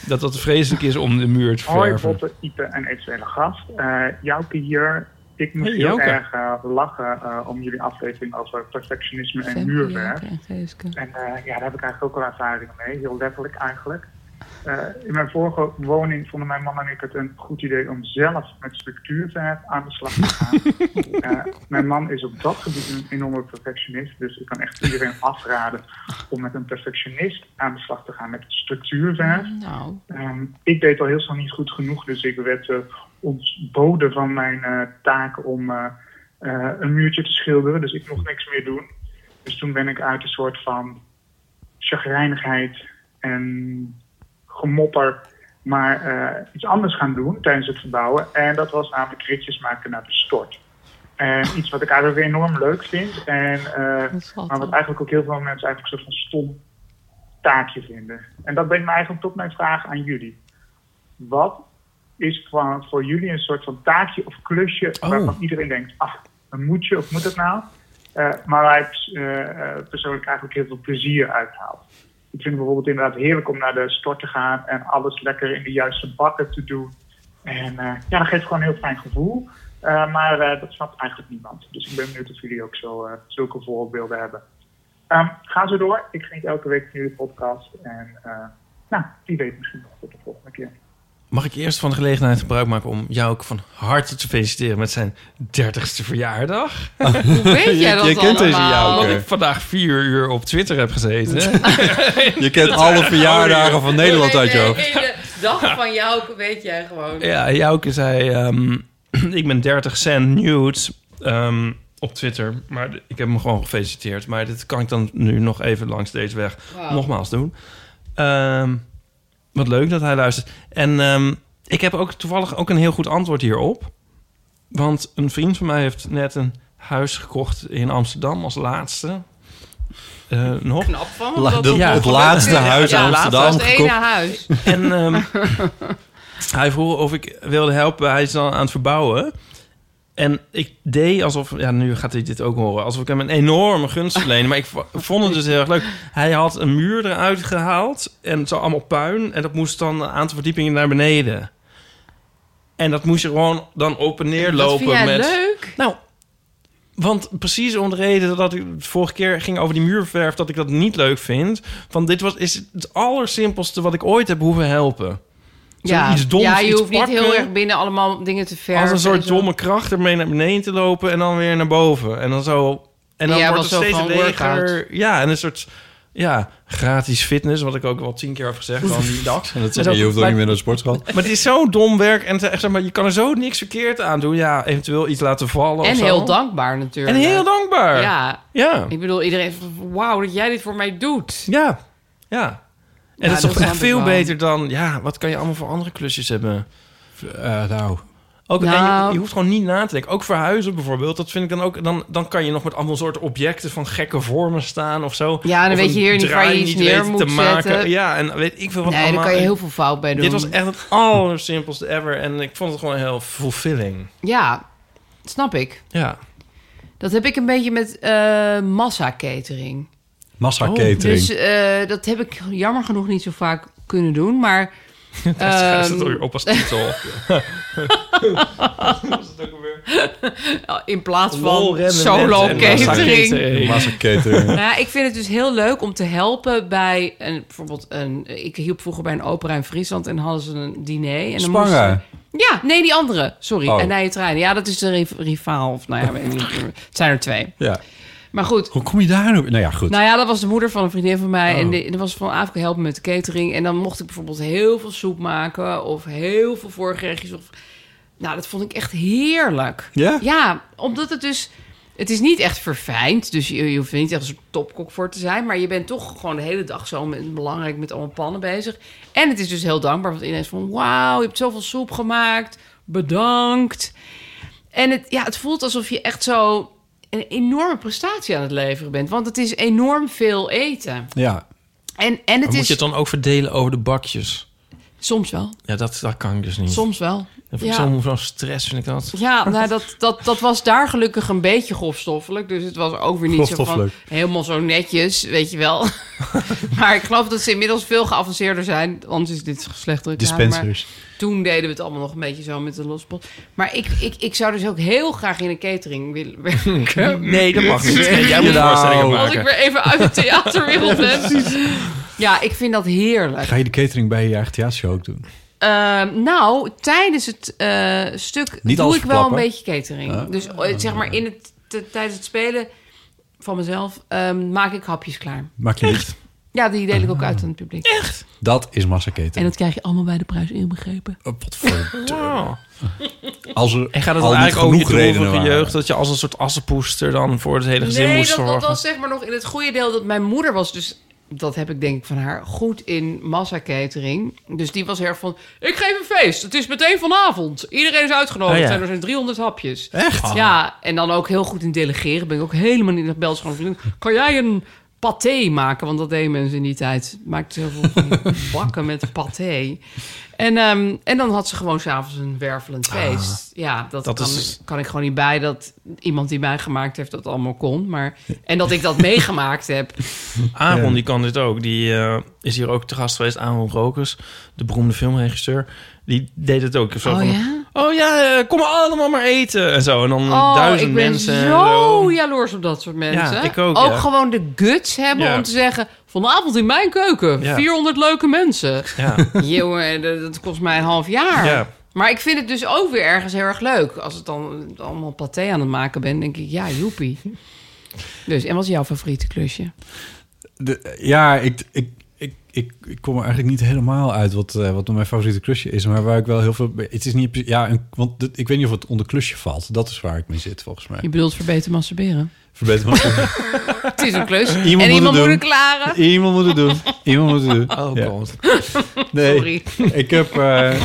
Dat dat vreselijk is om de muur te Hoi, verven. Botte, Ipe en eventuele gast. Eh Jouke hier. Ik moest Hey, heel Jouke. erg eh, lachen eh, om jullie aflevering over perfectionisme en muurwerk. En eh, ja, daar heb ik eigenlijk ook wel ervaring mee. Heel letterlijk eigenlijk. Eh, in mijn vorige woning vonden mijn man en ik het een goed idee om zelf met structuur te hebben aan de slag te gaan. Eh, mijn man is op dat gebied een enorme perfectionist, dus ik kan echt iedereen afraden om met een perfectionist aan de slag te gaan met structuurverf. Nou. Ehm, ik deed al heel snel niet goed genoeg, dus ik werd eh, ontboden van mijn eh, taak om eh, eh, een muurtje te schilderen. Dus ik mocht niks meer doen. Dus toen ben ik uit een soort van chagrijnigheid en gemopper maar eh, iets anders gaan doen tijdens het verbouwen. En dat was namelijk ritjes maken naar de stort. En iets wat ik eigenlijk enorm leuk vind. En, eh, maar wat eigenlijk ook heel veel mensen eigenlijk een soort van stom taakje vinden. En dat brengt me eigenlijk tot mijn vraag aan jullie. Wat is voor, voor jullie een soort van taakje of klusje waarvan iedereen denkt, ach, een moetje of moet dat nou? Eh, maar waar ik eh, eh, persoonlijk eigenlijk heel veel plezier uit haal. Ik vind het bijvoorbeeld inderdaad heerlijk om naar de stort te gaan en alles lekker in de juiste bakken te doen. En eh, ja, dat geeft gewoon een heel fijn gevoel. Eh, maar eh, dat snapt eigenlijk niemand. Dus ik ben benieuwd of jullie ook zo, eh, zulke voorbeelden hebben. Ehm, ga zo door. Ik geniet elke week van jullie podcast. En eh, nou, wie weet misschien nog tot de volgende keer. Mag ik eerst van de gelegenheid gebruik maken om jou ook van harte te feliciteren met zijn 30ste verjaardag? Hoe weet jij dat je kent deze allemaal? jou. Omdat ik vandaag vier uur op Twitter heb [LAUGHS] gezeten. [LAUGHS] Je kent alle verjaardagen van Nederland uit je Nee, hoofd. nee, de dag van jou weet jij gewoon. Ja, Jouke zei... ehm, [CLEARS THROAT] ik ben 30 cent nude ehm, op Twitter. Maar d- ik heb hem gewoon gefeliciteerd. Maar dit kan ik dan nu nog even langs deze weg Wauw. nogmaals doen. Ehm, wat leuk dat hij luistert. En ehm, ik heb ook toevallig ook een heel goed antwoord hierop. Want een vriend van mij heeft net een huis gekocht in Amsterdam als laatste. Eh, een hok. Knap van hem, La- dat de- dat Ja, het laatste huis in Amsterdam laatste. Het ene gekocht. huis. En ehm, [LAUGHS] hij vroeg of ik wilde helpen. Hij is dan aan het verbouwen. En ik deed alsof... Ja, nu gaat hij dit ook horen. Alsof ik hem een enorme gunst verleende. Maar ik v- vond het dus heel erg leuk. Hij had een muur eruit gehaald. En zo allemaal puin. En dat moest dan een aantal verdiepingen naar beneden. En dat moest je gewoon dan op en neer Dat lopen. vind jij met, leuk? Nou, want precies om de reden dat ik het vorige keer ging over die muurverf... dat ik dat niet leuk vind. Want dit was, is het allersimpelste wat ik ooit heb hoeven helpen. Ja. Zoiets doms, ja, je iets hoeft niet heel pakken. erg binnen allemaal dingen te verven. Als een en soort zo. domme kracht ermee naar beneden te lopen en dan weer naar boven. En dan zo. En dan Ja, wordt wel het zo steeds van leger. workout. Ja, en een soort. Ja, gratis fitness, wat ik ook wel tien keer heb gezegd van die [LAUGHS] dag. En dat En zeg zo- je, je hoeft ook maar- niet meer naar de sportschool. Maar het is zo dom werk en het- echt, zeg maar, je kan er zo niks verkeerd aan doen. Ja, eventueel iets laten vallen of En zo. heel dankbaar natuurlijk. En heel dankbaar. Ja. Ja. Ik bedoel, iedereen van, wauw, dat jij dit voor mij doet. Ja. Ja. En dat is toch echt snap ik veel wel. beter dan... Ja, wat kan je allemaal voor andere klusjes hebben? Eh, nou... Ook, en Nou. je, je hoeft gewoon niet na te denken. Ook verhuizen bijvoorbeeld. Dat vind ik dan ook. Dan, dan kan je nog met allemaal soort objecten van gekke vormen staan of zo. Ja, dan Of weet een je hier niet waar je draai iets neer weten moet zetten. Ja, en weet ik veel wat nee, allemaal. daar kan je heel veel fout bij doen. Dit was echt het allersimpelste ever. En ik vond het gewoon heel fulfilling. Ja, snap ik. Ja. Dat heb ik een beetje met eh massa-catering. Massa-catering. Dus eh, dat heb ik jammer genoeg niet zo vaak kunnen doen, [LAUGHS] maar... Daar is het ehm, door je opa's titel. [LAUGHS] In plaats Lol, van rennen, solo rennen en catering. massacatering. Massacatering. [LAUGHS] Nou ja, ik vind het dus heel leuk om te helpen bij een, bijvoorbeeld een. Ik hielp vroeger bij een opera in Friesland en hadden ze een diner. En dan moesten- Spangen. Ja, nee, die andere. Sorry. Oh. En Nije Trein. Ja, dat is de ri- rivaal. Of nou ja, weet ik niet. het zijn er twee. Ja. Maar goed. Hoe kom je daar nou? Nou ja, goed. Nou ja, dat was de moeder van een vriendin van mij. Oh. En die- die was van Afrika helpen met de catering. En dan mocht ik bijvoorbeeld heel veel soep maken. Of heel veel voorgerechtjes. Of... Nou, dat vond ik echt heerlijk. Ja? [LAUGHS] Ja, omdat het dus... Het is niet echt verfijnd. Dus je, je hoeft er niet echt een soort topkok voor te zijn. Maar je bent toch gewoon de hele dag zo met, belangrijk met allemaal pannen bezig. En het is dus heel dankbaar. Want iedereen is van... Wauw, je hebt zoveel soep gemaakt. Bedankt. En het, ja, het voelt alsof je echt zo een enorme prestatie aan het leveren bent. Want het is enorm veel eten. Ja. En, en het moet is je het dan ook verdelen over de bakjes? soms wel. Ja, dat, dat kan ik dus niet. Soms wel. Dat Ja. vind ik zo'n zo'n stress, vind ik dat. Ja, nou, dat, dat, dat was daar gelukkig een beetje grofstoffelijk. Dus het was ook weer niet zo van Grofstoffelijk. helemaal zo netjes, weet je [LAUGHS] wel. maar ik geloof dat ze inmiddels veel geavanceerder zijn. Anders is dit slecht reclame. Dispensers. Maar toen deden we het allemaal nog een beetje zo met de losbot. Maar ik, ik, ik zou dus ook heel graag in een catering willen [LAUGHS] werken. Nee, dat mag niet. [LAUGHS] Nee, jij moet Nou, voorstellingen Als maken. ik weer even uit de theaterwereld [LAUGHS] ben. Ja, ik vind dat heerlijk. Ga je de catering bij je eigen theatershow ook doen? Eh, nou, tijdens het eh, stuk Niet doe alles ik wel een verklappen. beetje catering. Ah. dus eh, zeg maar in het, t- tijdens het spelen van mezelf ehm, maak ik hapjes klaar. Maak je niet. Ja, die deel ik Ah. ook uit aan het publiek. Echt? Dat is massacatering. En dat krijg je allemaal bij de prijs inbegrepen. wat voor... [LAUGHS] Wow. Als er en gaat het al niet eigenlijk ook genoeg je redenen droevige waren. jeugd... dat je als een soort assenpoester dan voor het hele gezin Nee, moest dat, zorgen? dat was zeg maar nog in het goede deel dat mijn moeder was dus... Dat heb ik denk ik van haar goed in massacatering. Dus die was heel erg van... Ik geef een feest. Het is meteen vanavond. Iedereen is uitgenodigd. Oh ja. zijn er zijn 300 hapjes. Echt? Oh. Ja, en dan ook heel goed in delegeren. Ben ik ook helemaal niet naar Belgisch gaan vrienden. Kan jij een paté maken? Want dat deden mensen in die tijd. Maakte heel veel van [LAUGHS] die bakken met paté. En, ehm, en dan had ze gewoon s'avonds een wervelend feest. ja, dat, Ah, Dat kan, is- kan ik gewoon niet bij dat iemand die mij gemaakt heeft dat allemaal kon. Maar, en dat ik dat [LAUGHS] meegemaakt heb. Aaron, Ja. die kan dit ook. Die eh, is hier ook te gast geweest. Aaron Rokers, de beroemde filmregisseur. Die deed het ook. Zo Oh van, ja? Oh ja, eh, kom allemaal maar eten. En zo. En dan Oh, duizend ik ben mensen. en zo jaloers op dat soort mensen. ik ook, ja. gewoon de guts hebben Ja. om te zeggen... vanavond in mijn keuken, Ja. 400 leuke mensen. Ja. [LAUGHS] Jongen, dat, dat kost mij een half jaar. Ja. Maar ik vind het dus ook weer ergens heel erg leuk. Als ik dan allemaal paté aan het maken ben, denk ik... ja, joepie. Dus, en wat is jouw favoriete klusje? De- ja, ik, ik, ik, ik, ik kom er eigenlijk niet helemaal uit wat, eh, wat mijn favoriete klusje is. Maar waar ik wel heel veel... Het is niet... pre- Ja, een, want dit- ik weet niet of het onder klusje valt. Dat is waar ik mee zit, volgens mij. Je bedoelt verbeter [LAUGHS] masturberen? Verbeter [LAUGHS] maar. Het is een klus. en iemand moet doen. het klaren. Iemand moet het doen. Iemand moet het doen. Oh Ja. god. Nee, Sorry. ik heb, eh,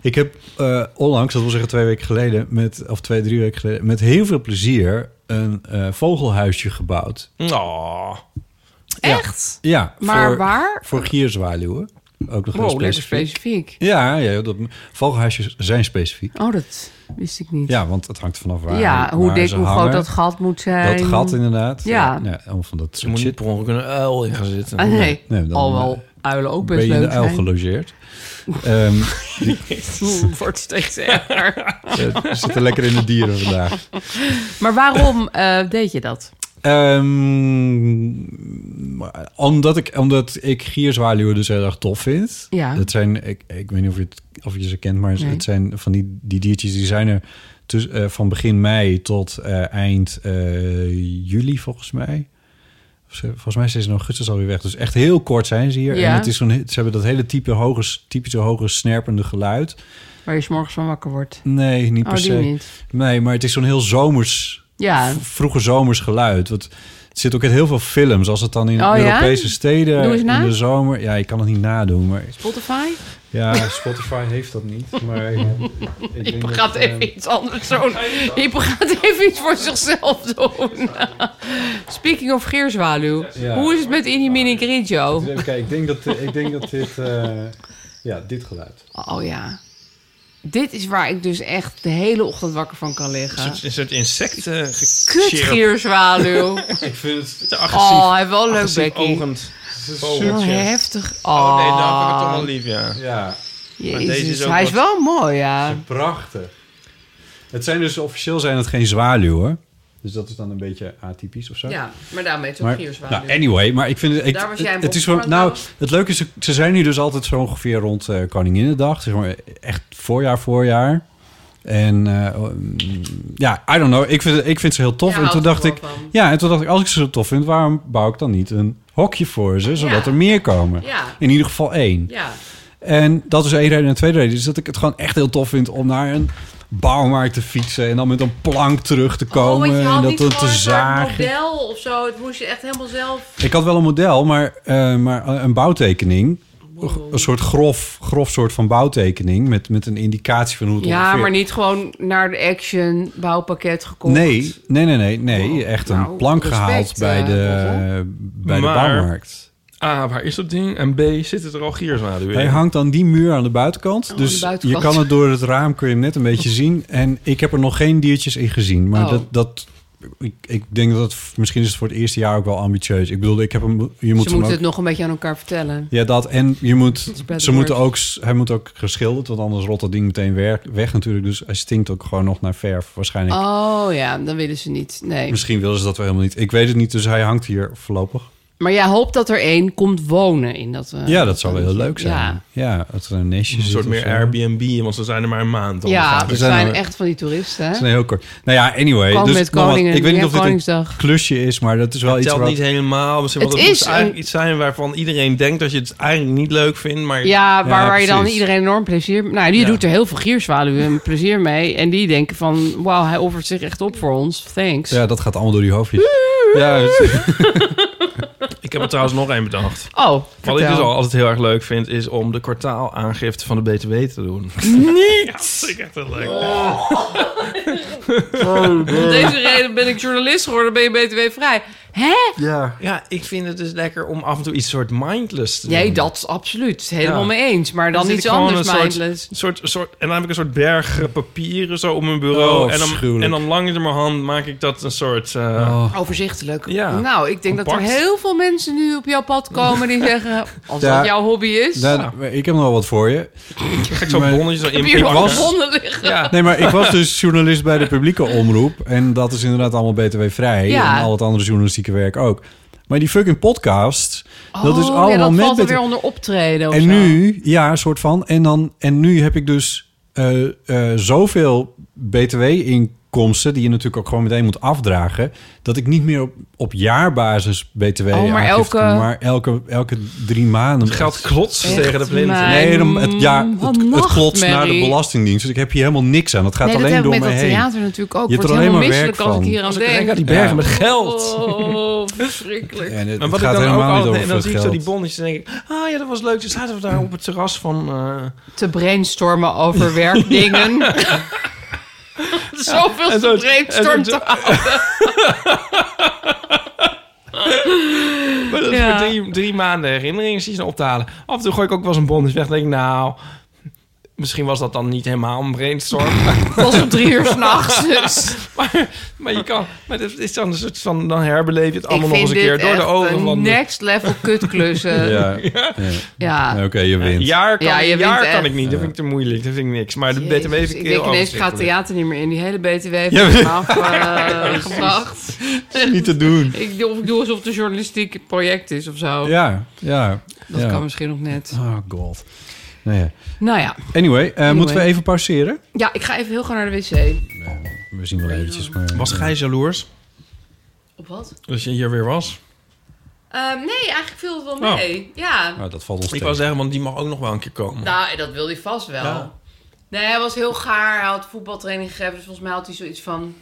ik heb eh, onlangs, dat wil zeggen twee weken geleden, met, of twee, drie weken geleden, met heel veel plezier een eh, vogelhuisje gebouwd. Oh. Echt? Ja. Maar voor, waar? Voor gierzwaluwen. Ook nog Wow, heel lekker specifiek. specifiek. Ja, ja dat, vogelhuisjes zijn specifiek. Oh, dat wist ik niet. Ja, want het hangt vanaf waar ja, hoe waar dik, ze hoe groot hangen. dat gat moet zijn. Dat gat inderdaad. Ja. ja om van dat Ze moet niet per ongeluk een uil in gaan zitten. Ah, nee. dan, Al wel eh, uilen ook best ben je in leuk de uil zijn. gelogeerd. Ehm, [LAUGHS] die- Het [LAUGHS] wordt steeds erger. we eh, zitten lekker in de dieren vandaag. Maar waarom eh, deed je dat? Ehm, omdat, ik, omdat ik gierzwaluwen dus heel erg tof vind. Ja. Dat zijn, ik, ik weet niet of je, het, of je ze kent, maar Nee. het zijn van die, die diertjes die zijn er tuss- eh, van begin mei tot eh, eind eh, juli volgens mij. Of ze- Volgens mij zijn ze in augustus alweer weg. Dus echt heel kort zijn ze hier. Ja. En het is zo'n, ze hebben dat hele type hoge, typische hoge snerpende geluid. Waar je 's morgens van wakker wordt. Nee, niet Oh, per die se. niet. Nee, maar het is zo'n heel zomers, Ja. v- vroege zomers geluid. Want het zit ook in heel veel films. Als het dan in Oh, ja? Europese steden Doe eens na. in de zomer... Ja, ik kan het niet nadoen, maar... Spotify? Ja, Spotify heeft dat niet, maar... ja, [LAUGHS] ik denk Hypo dat, gaat eh, even iets anders doen. Hypo gaat even iets voor zichzelf doen. [LAUGHS] Speaking of geerzwaluw. Ja. Hoe is het met Inimini Grigio? Even kijken, ik denk dat, eh, ik denk dat dit... eh, ja, dit geluid. Oh ja. Dit is waar ik dus echt de hele ochtend wakker van kan Een liggen. soort, een soort insecten... Kut [LAUGHS] gierzwaluw. ik vind het te agressief. Oh, hij heeft wel een leuk agressief bekkie. ogend. Oh, Zo heftig. Oh, Oh nee, nou heb ik het toch wel lief, ja. Ja. Maar deze is Jezus, ook hij is wat- wel mooi, ja. Prachtig. Het zijn dus officieel zijn het geen zwaluwen. Dus dat is dan een beetje atypisch of zo. Ja, maar daarmee is het Maar- ook gierzwaluw. nou, anyway, maar ik vind het. Ik, Daar was jij het, hem het is op gewoon, nou, het leuke is, ze- ze zijn nu dus altijd zo ongeveer rond eh Koninginnedag. Zeg maar echt voorjaar, voorjaar. En eh, mm, ja, I don't know. Ik vind, ik vind ze heel tof. Jij en toen houdt dacht er ik, ja, en toen dacht ik, als ik ze zo tof vind, waarom bouw ik dan niet een hokje voor ze, zodat er meer komen? Ja. In ieder geval één. Ja. En dat is één reden. En de tweede reden is dat ik het gewoon echt heel tof vind om naar een bouwmarkt te fietsen en dan met een plank terug te Oh, komen want je en had dat niet dan gewoon te een soort zagen. model of zo. Het moest je echt helemaal zelf... Ik had wel een model, maar, eh, maar een bouwtekening. Een soort grof, grof soort van bouwtekening met, met een indicatie van hoe het Ja, ongeveer... maar niet gewoon naar de Action bouwpakket gekocht. Nee, nee, nee, nee, nee. echt een Nou, plank respect, gehaald bij eh, de, bij de Maar- bouwmarkt. A, waar is dat ding? En B, zit het er al gierzwaluw in? Hij hangt aan die muur aan de Oh, buitenkant. de dus buitenkant. je kan het door het raam kun je hem net een beetje zien. En ik heb er nog geen diertjes in gezien. Maar Oh. dat, dat ik, ik denk dat het, misschien is het voor het eerste jaar ook wel ambitieus. Ik bedoel, ik heb hem. Je moet Ze hem moeten ook, het nog een beetje aan elkaar vertellen. Ja, dat. En je moet. better Ze moeten word. ook. Hij moet ook geschilderd, want anders rot dat ding meteen weg, weg natuurlijk. Dus hij stinkt ook gewoon nog naar verf waarschijnlijk. Oh ja, dan willen ze niet. Nee. Misschien willen ze dat wel helemaal niet. Ik weet het niet. Dus hij hangt hier voorlopig. Maar jij hoopt dat er één komt wonen in dat... eh, ja, dat zou wel heel leuk zijn. Ja, Ja, dat er een nestje Een zit soort of meer zo. Airbnb, want ze zijn er maar een maand. dan ja waarschijnlijk. we zijn echt van die toeristen, hè? Het is een heel kort. Nou ja, anyway. Komen dus, met nogmaals, koningen, ik weet niet ja, of dit een Koningsdag. klusje is, maar dat is wel Het iets telt wat... niet helemaal. Misschien, Het want het is moet eigenlijk iets zijn waarvan iedereen denkt dat je het eigenlijk niet leuk vindt. Maar... Ja, waar, waar je dan iedereen enorm plezier... Nou, die Ja. doet er heel veel gierzwaluwen plezier mee. En die denken van, wauw, hij offert zich echt op voor ons. Thanks. Ja, dat gaat allemaal door die hoofdjes. ja, dus, [LAUGHS] Ik heb er trouwens nog één bedacht. Oh, Wat vertel. ik dus al altijd heel erg leuk vind, is om de kwartaalaangifte van de BTW te doen. Mm. Niet! dat is echt heel leuk. Om deze reden ben ik journalist geworden, ben je btw vrij. Hè? Ja. ja, ik vind het dus lekker om af en toe iets soort mindless te doen. Nee, dat is absoluut. Helemaal Ja. mee eens. Maar dan, zit iets ik gewoon anders, een soort- mindless. [LAUGHS] Soort, soort, en dan heb ik een soort berg eh, papieren zo op mijn bureau. Oh, en, dan, afschuwelijk. Oh, en dan langzamerhand maak ik dat een soort... eh, Overzichtelijk. Ja. Nou, ik denk dat er Compact. heel veel mensen nu op jouw pad komen [LAUGHS] die zeggen... als Ja. dat jouw hobby is... Dan- nou, Ik heb nog wel wat voor je. Ga ik zo'n Maar- bonnetje zo heb in je hier ik nog was- gewonnen liggen? [LAUGHS] Ja. Nee, maar ik was dus journalist bij de publieke omroep. En dat is inderdaad allemaal btw-vrij. Ja. En al het andere journalistieke werk ook. Maar die fucking podcast, dat is Oh, allemaal ja, dat met valt er BTW. weer onder optreden of En zo. nu, ja, een soort van. En, dan, en nu heb ik dus eh, eh, zoveel btw-inkomsten... die je natuurlijk ook gewoon meteen moet afdragen... dat ik niet meer op, op jaarbasis btw Oh, maar aangifte doe, elke- maar elke, elke drie maanden. Het geld klotst Echt tegen de plint. mijn Nee, dan- het, ja, het, het klotst naar de nachtmerrie. belastingdienst. Dus ik heb hier helemaal niks aan. Dat gaat nee, dat alleen heb ik door met me dat heen. theater natuurlijk ook. Je Wordt hebt er alleen helemaal maar werk misselijk als ik van. hier aan Als ik denk. denk aan die bergen Ja. met geld. [LAUGHS] Oh, verschrikkelijk. En het, Maar het wat ik gaat dan ook helemaal niet altijd... over En dan het zie ik zo geld. die bonnetjes en denk ik... Ah ja, dat was leuk. Toen zaten we daar op het terras van... eh, [LAUGHS] Te brainstormen over werkdingen. [LAUGHS] Zoveel En zo- brainstorm en zo- te houden. Maar dat is Ja. voor drie, drie maanden herinneringen zie je ze ophalen. Af en toe gooi ik ook wel eens een bonnetje weg. Dan denk ik, nou, misschien was dat dan niet helemaal een brainstorm. [LAUGHS] was om drie uur s'nachts. Dus. maar, maar je kan, maar dat is dan een soort van, dan herbeleef je het Ik allemaal nog vind eens een keer dit door de echt ogen een van. de- next level [LAUGHS] kutklussen. [LAUGHS] Ja. Ja. Nee, Oké, je wint. Jaar kan, Ja, je ik- wint jaar kan echt. ik niet, dat vind ik te moeilijk, dat vind ik niks. Maar de BTW Jezus, vind ik heel denk ineens gaat overzichtelijk. theater niet meer in. Die hele BTW heeft Ja, me precies. [LAUGHS] afgebracht. Niet te doen. Ik doe, of ik doe alsof het een journalistiek project is of zo. Ja, ja. Dat ja. kan misschien nog net. Oh god. Nou ja. Nou ja. Anyway, eh, Anyway. moeten we even pauzeren? Ja, ik ga even heel gauw naar de wc. We zien wel eventjes. Maar, Was gij jaloers Op wat? als je hier weer was? Ehm, nee, eigenlijk viel het wel Oh. mee. Ja. dat valt Ik wou zeggen, want die mag ook nog wel een keer komen. Nou, dat wilde hij vast wel. Mhm. Ja. Nee, hij was heel gaar. Hij had voetbaltraining gegeven. Dus volgens mij had hij zoiets van...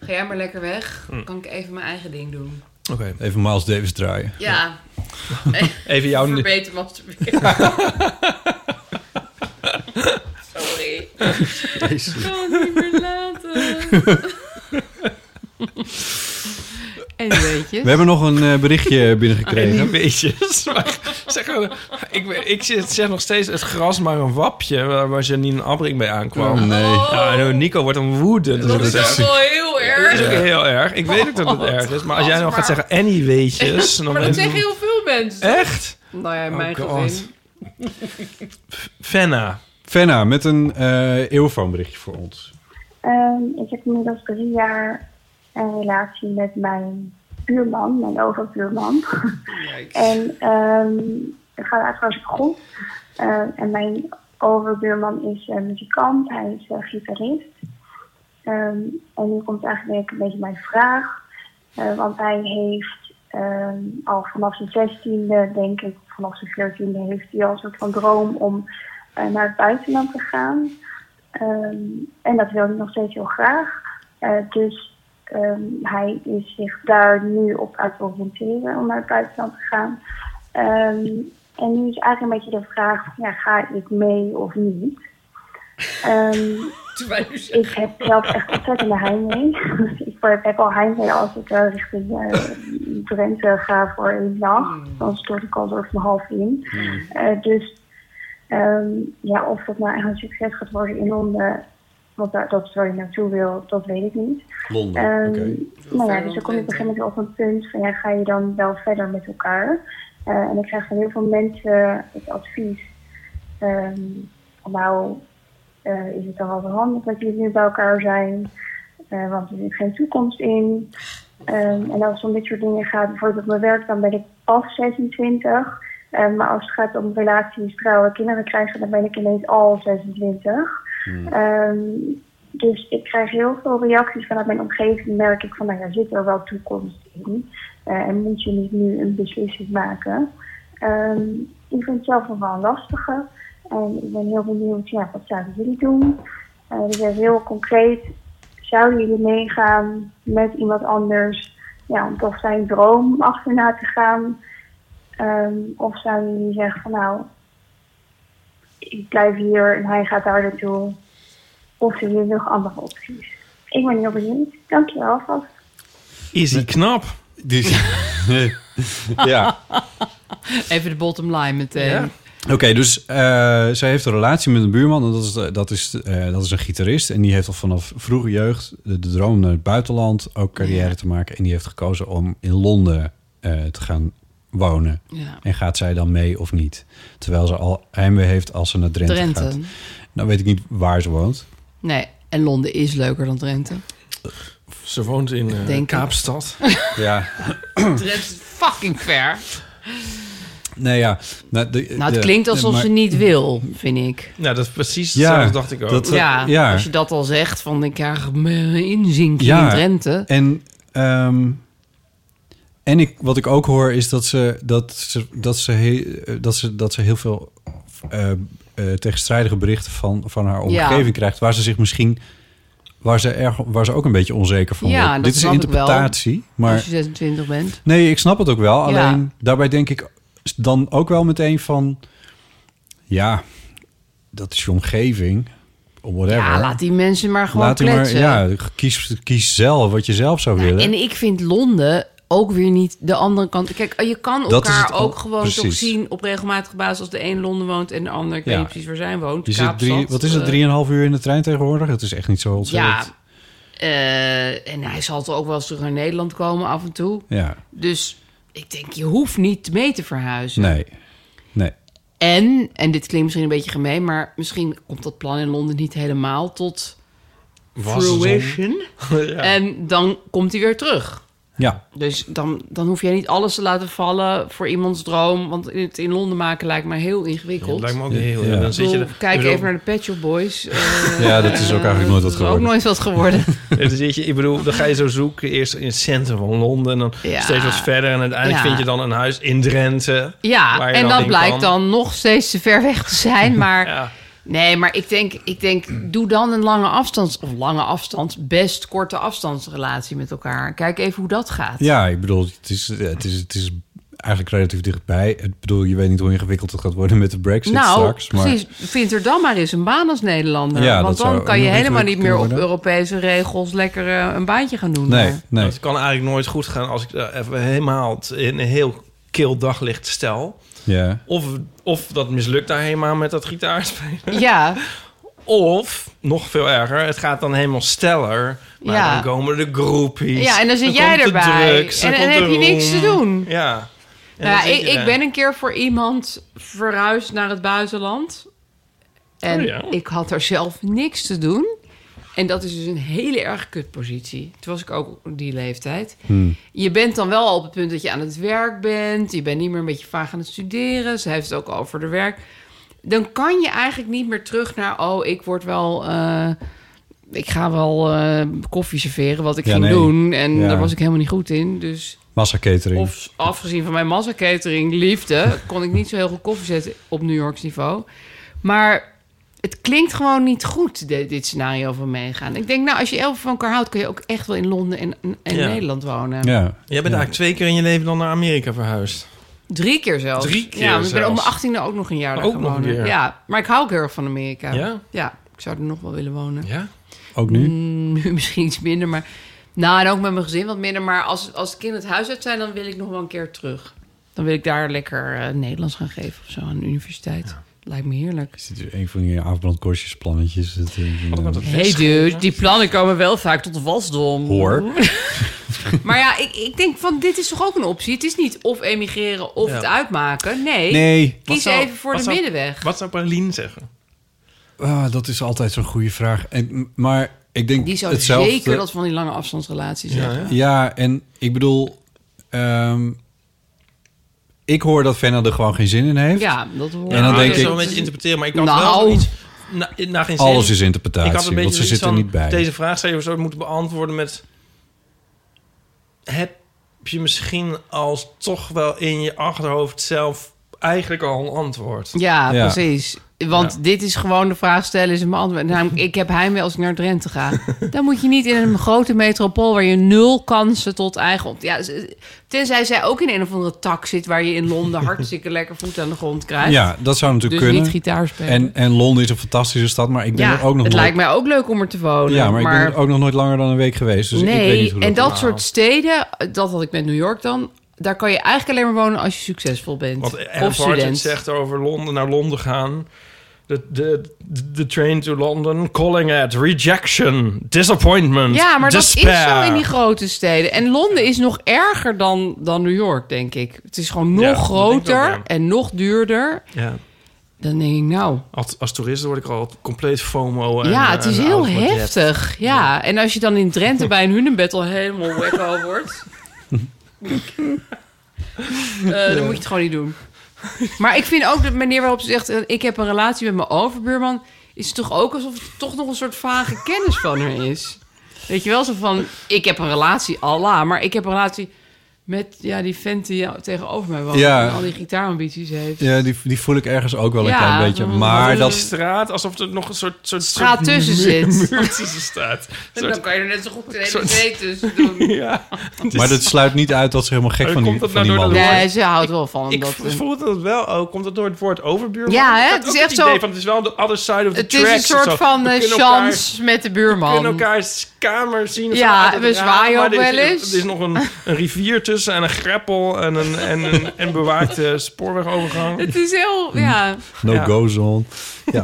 Ga jij maar lekker weg. Hm. Kan ik even mijn eigen ding doen. Oké. Even Miles Davis draaien. Ja. Even Oh, jouw- Verbeter masturberen. [LAUGHS] Sorry. Jezus. Ik kan het niet meer laten. [LAUGHS] en weetjes. We hebben nog een eh, [LAUGHS] berichtje binnengekregen. [LAUGHS] Een beetje. zeg, maar, ik, ik zit- zeg nog steeds het gras maar een wapje, waar waar Janine Abring mee aankwam. Oh, nee. Ja, en Nico wordt dan woedend. Dat is echt- wel heel Dat is erg. ook heel erg. Ik weet ook dat het Wat erg is. Maar als jij nou gaat gadver. zeggen Annie [LAUGHS] weetjes... Dan maar dat ben- zeggen heel veel mensen. Echt? Nou ja, in Oh mijn God. gezin. Fenna. Fenna, met een eh eeuwfoonberichtje voor ons. Ehm, ik heb inmiddels drie jaar een relatie met mijn buurman, mijn overbuurman. [LAUGHS] en ehm, het gaat eigenlijk hartstikke goed. Ehm, en mijn overbuurman is eh, muzikant, hij is eh, gitarist. Ehm, en nu komt eigenlijk een beetje mijn vraag. Eh, want hij heeft ehm, al vanaf zijn zestiende, denk ik, vanaf zijn veertiende, heeft hij al een soort van droom om eh, naar het buitenland te gaan. Ehm, en dat wil hij nog steeds heel graag. Eh, dus ehm, hij is zich daar nu op uit te oriënteren om naar het buitenland te gaan. Ehm, en nu is eigenlijk een beetje de vraag, ja, ga ik mee of niet? Ehm, ik heb zelf echt ontzettende heimwee. ik word- heb al heimwee als ik eh, richting eh, Drenthe ga voor één nacht. Dan stort ik al door van half in. Eh, dus ehm, ja, of dat nou echt een succes gaat worden in Londen, want daar, dat is waar ik naartoe wil, dat weet ik niet. Londen, Ehm, oké. Nou ja, dus dan kom je op een gegeven moment op een punt van ja, ga je dan wel verder met elkaar? Eh, en ik krijg van heel veel mensen het advies, ehm, nou eh, is het dan wel zo handig dat jullie nu bij elkaar zijn, Eh, want er zit geen toekomst in. Ehm, en als het om dit soort dingen gaat, bijvoorbeeld op mijn werk, dan ben ik pas 26. Ehm, maar als het gaat om relaties, trouwen, kinderen krijgen, dan ben ik ineens al 26. Ehm, dus ik krijg heel veel reacties vanuit mijn omgeving. Merk ik van, nou ja, zit er wel toekomst in? Eh, en moet je niet nu een beslissing maken? Ehm, ik vind het zelf nog wel een lastige. En ik ben heel benieuwd, ja, wat zouden jullie doen? Eh dus even heel concreet, zouden jullie meegaan met iemand anders? Ja, om toch zijn droom achterna te gaan? Ehm, of zouden jullie zeggen van, nou, ik blijf hier en hij gaat daar naartoe? Of zijn jullie nog andere opties? Ik ben heel benieuwd. Dankjewel alvast. Is hij knap? [LAUGHS] [LAUGHS] ja. Even de bottom line meteen. Ja. Oké, dus eh, zij heeft een relatie met een buurman. En dat is, dat, is, eh, dat is een gitarist. En die heeft al vanaf vroege jeugd de, de droom naar het buitenland ook carrière te maken. En die heeft gekozen om in Londen eh, te gaan wonen. Ja. En gaat zij dan mee of niet? Terwijl ze al heimwee heeft als ze naar Drenthe, Drenthe. gaat. Nou weet ik niet waar ze woont. Nee, en Londen is leuker dan Drenthe. Ze woont in eh, Denk ik. Kaapstad. Ja. [LAUGHS] Drenthe is fucking ver. Nee, ja. Nou, de- Nou, het de- klinkt alsof maar- ze niet wil, vind ik. Ja, dat is precies Ja, hetzelfde dacht ik ook. dat- eh, ja, ja. als je dat al zegt, van ik krijg me een inzinkje eh, in Drenthe. En, ehm, en ik, wat ik ook hoor is dat ze, dat ze, dat ze, he- eh, dat ze, dat ze heel veel eh, eh, tegenstrijdige berichten van, van haar Ja. omgeving krijgt. Waar ze zich misschien. Waar ze, erg, waar ze ook een beetje onzeker van Ja, wordt. dat Dit is snap ik wel. interpretatie. Maar Als je 26 bent. Nee, ik snap het ook wel. Ja. Alleen daarbij denk ik dan ook wel meteen van... Ja, dat is je omgeving. Of whatever. Ja, laat die mensen maar gewoon Laat die kletsen. ja, kies, kies zelf wat je zelf zou willen. En ik vind Londen ook weer niet de andere kant. Kijk, eh, je kan Dat is elkaar het al- ook gewoon toch precies. zien op regelmatige basis als de een in Londen woont en de ander, ik weet Ja. niet precies waar zij woont. je zit drie, Kaapstad, wat is het, eh, drieënhalf uur in de trein tegenwoordig? Het is echt niet zo Ja. ontzettend. eh, en hij zal toch ook wel eens terug naar Nederland komen af en toe. Ja. Dus ik denk, je hoeft niet mee te verhuizen. Nee. Nee. En, en dit klinkt misschien een beetje gemeen, maar misschien komt dat plan in Londen niet helemaal tot Wasdom. fruition. [LAUGHS] Ja. En dan komt hij weer terug. Ja. Dus dan, dan hoef jij niet alles te laten vallen voor iemands droom. Want het in Londen maken lijkt me heel ingewikkeld. Ja, lijkt me ook heel- ja, dan Ik zit je bedoel, er- Kijk ik bedoel- even naar de Pet Shop Boys. [LAUGHS] Eh, Ja, dat is ook eigenlijk eh, nooit wat dat is geworden. ook nooit wat geworden. Ja, dan zit je, ik bedoel, dan ga je zo zoeken. Eerst in het centrum van Londen. En dan Ja. steeds wat verder. En uiteindelijk Ja. vind je dan een huis in Drenthe. Ja, waar je en dan dat in blijkt kan. dan nog steeds te ver weg te [LAUGHS] zijn. Maar nee, maar ik denk, ik denk, doe dan een lange afstands... of lange afstand, best korte afstandsrelatie met elkaar. Kijk even hoe dat gaat. Ja, ik bedoel, het is, eh, het is, het is eigenlijk relatief dichtbij. Ik bedoel, je weet niet hoe ingewikkeld het gaat worden met de brexit nou, straks. Maar precies. Vind er dan maar eens een baan als Nederlander. Ja, Want dat dan zou kan je nog helemaal niet meer op worden. Europese regels lekker eh, een baantje gaan doen. eh. daar. Het kan eigenlijk nooit goed gaan als ik eh, even helemaal t- in een heel kil daglicht stel. Ja. Of, of dat mislukt daar helemaal met dat gitaarspelen. Ja. Of, nog veel erger, het gaat dan helemaal steller. Maar Ja. dan komen de groepies. Ja, en dan zit jij komt de erbij. drugs, dan En- en komt heb de je niks te roem. doen. Ja. En Nou ja, dan zit ik, je ik daar. ben een keer voor iemand verhuisd naar het buitenland. En Oh ja. ik had er zelf niks te doen. En dat is dus een hele erg kutpositie. Toen was ik ook op die leeftijd. Hmm. Je bent dan wel op het punt dat je aan het werk bent. Je bent niet meer een beetje vaag aan het studeren. Ze heeft het ook over de werk. Dan kan je eigenlijk niet meer terug naar... oh, ik word wel... eh, ik ga wel eh, koffie serveren, wat ik Ja, ging nee. doen. En Ja. daar was ik helemaal niet goed in, dus... massacatering. Of afgezien van mijn massacatering liefde, kon ik niet zo heel goed koffie zetten op New Yorks niveau. Maar het klinkt gewoon niet goed, de- dit scenario van meegaan. Ik denk, nou, als je elf van elkaar houdt, kun je ook echt wel in Londen en, en- en Ja. Nederland wonen. Jij bent eigenlijk twee keer in je leven dan naar Amerika verhuisd. Drie keer zelfs. Drie keer Ja, maar ik ben op zelfs. mijn achttiende ook nog een jaar daar Ook gaan nog een wonen. keer. Ja, maar ik hou ook heel erg van Amerika. Ja? Ja. Ik zou er nog wel willen wonen. Ja? Ook mm. nu? [LAUGHS] nu misschien iets minder, maar... Nou, en ook met mijn gezin wat minder. Maar als, als de kinderen het huis uit zijn, dan wil ik nog wel een keer terug. Dan wil ik daar lekker eh, Nederlands gaan geven of zo aan de universiteit. Lijkt me heerlijk. Dit is een van die afbrandkorstjesplannetjes. Dat, eh, Hey dude, die plannen komen wel vaak tot wasdom. Hoor. [LAUGHS] maar ja, ik, ik denk van dit is toch ook een optie. Het is niet of emigreren of Ja. het uitmaken. Nee, Nee. kies Wat zou- even voor wat de zou- middenweg. Wat zou Pauline zeggen? Ah, dat is altijd zo'n goede vraag. En, maar ik denk Die zou hetzelfde. zeker dat van die lange afstandsrelaties Ja, zeggen. en ik bedoel... ehm, ik hoor dat Fenna er gewoon geen zin in heeft. Ja, dat hoor En dan Ah, denk dat is ik... wel een beetje interpreteren, maar ik had Nou. wel iets... Na, na geen zin. Alles is interpretatie, want ze zoiets zitten van, niet bij. Deze vraag zou je zo moeten beantwoorden met... Heb je misschien als toch wel in je achterhoofd zelf eigenlijk al een antwoord? Ja, precies. Want dit is gewoon de vraag stellen is een antwoord. Namelijk, ik heb heimwee als ik naar Drenthe ga. [LAUGHS] Dan moet je niet in een grote metropool waar je nul kansen tot eigen op. Ja, ze- tenzij zij ook in een of andere tak zit waar je in Londen [LAUGHS] hartstikke lekker voet aan de grond krijgt. Ja, dat zou natuurlijk dus kunnen. niet gitaar spelen. En, en Londen is een fantastische stad, maar ik ben ja, er ook nog het nooit... lijkt mij ook leuk om er te wonen. ja, maar, ik ben er ook nog nooit langer dan een week geweest. Dus nee, ik weet niet hoe dat en dat is. soort steden, dat had ik met New York dan. Daar kan je eigenlijk alleen maar wonen als je succesvol bent. Wat of Erf Hartend student. zegt over Londen, naar Londen gaan. De, de, de, de train to London, calling at rejection, disappointment, Ja, maar dat is despair. zo in die grote steden. En Londen is nog erger dan, dan New York, denk ik. Het is gewoon nog Ja, dat denk ik ook, groter ja. en nog duurder. Ja. Dan denk ik, nou... Als, als toerist word ik al compleet FOMO. En, ja, eh, het is en heel alles wat je heftig. Ja. en als je dan in [LAUGHS] Drenthe bij een hunebed al helemaal wekko wordt... eh, dan moet je het gewoon niet doen. Maar ik vind ook de manier waarop ze zegt... eh, ik heb een relatie met mijn overbuurman... is het toch ook alsof het toch nog een soort vage kennis van haar is. Weet je wel, zo van... ik heb een relatie, Allah, maar ik heb een relatie... met ja, die vent die ja- tegenover mij woont... Ja. en al die gitaarambities heeft. Ja, die, die voel ik ergens ook wel een Ja, klein beetje. dan- Maar hebt. dat... Die straat, alsof er nog een soort, soort Straat soort tussen muur- [LAUGHS] zit. muur tussen [LAUGHS] staat. Een En dan soort- kan je er net zo goed een hele soort- twee tussen doen. ja. Dus Maar dat sluit niet uit dat ze helemaal gek Maar van die, komt dat van nou die door man dat is. Nee, ze houdt wel van Ik dat. voelde dat wel ook. Komt dat door het woord overbuurman? Ja, hè? Ik had Het ook is echt idee zo- Van, het is wel de other side of the Het is een tracks of soort zo. van We eh, kunnen elkaar- chance met de We buurman. kunnen elkaars kamer zien. Ehm, Ja, vanuit het we raam, zwaaien maar ook er is- wel eens. Er is nog een, een rivier tussen en een greppel en een, en een en bewaakte spoorwegovergang. Het is Mm. heel, ja. No Ja. go zone. [LAUGHS] Ja.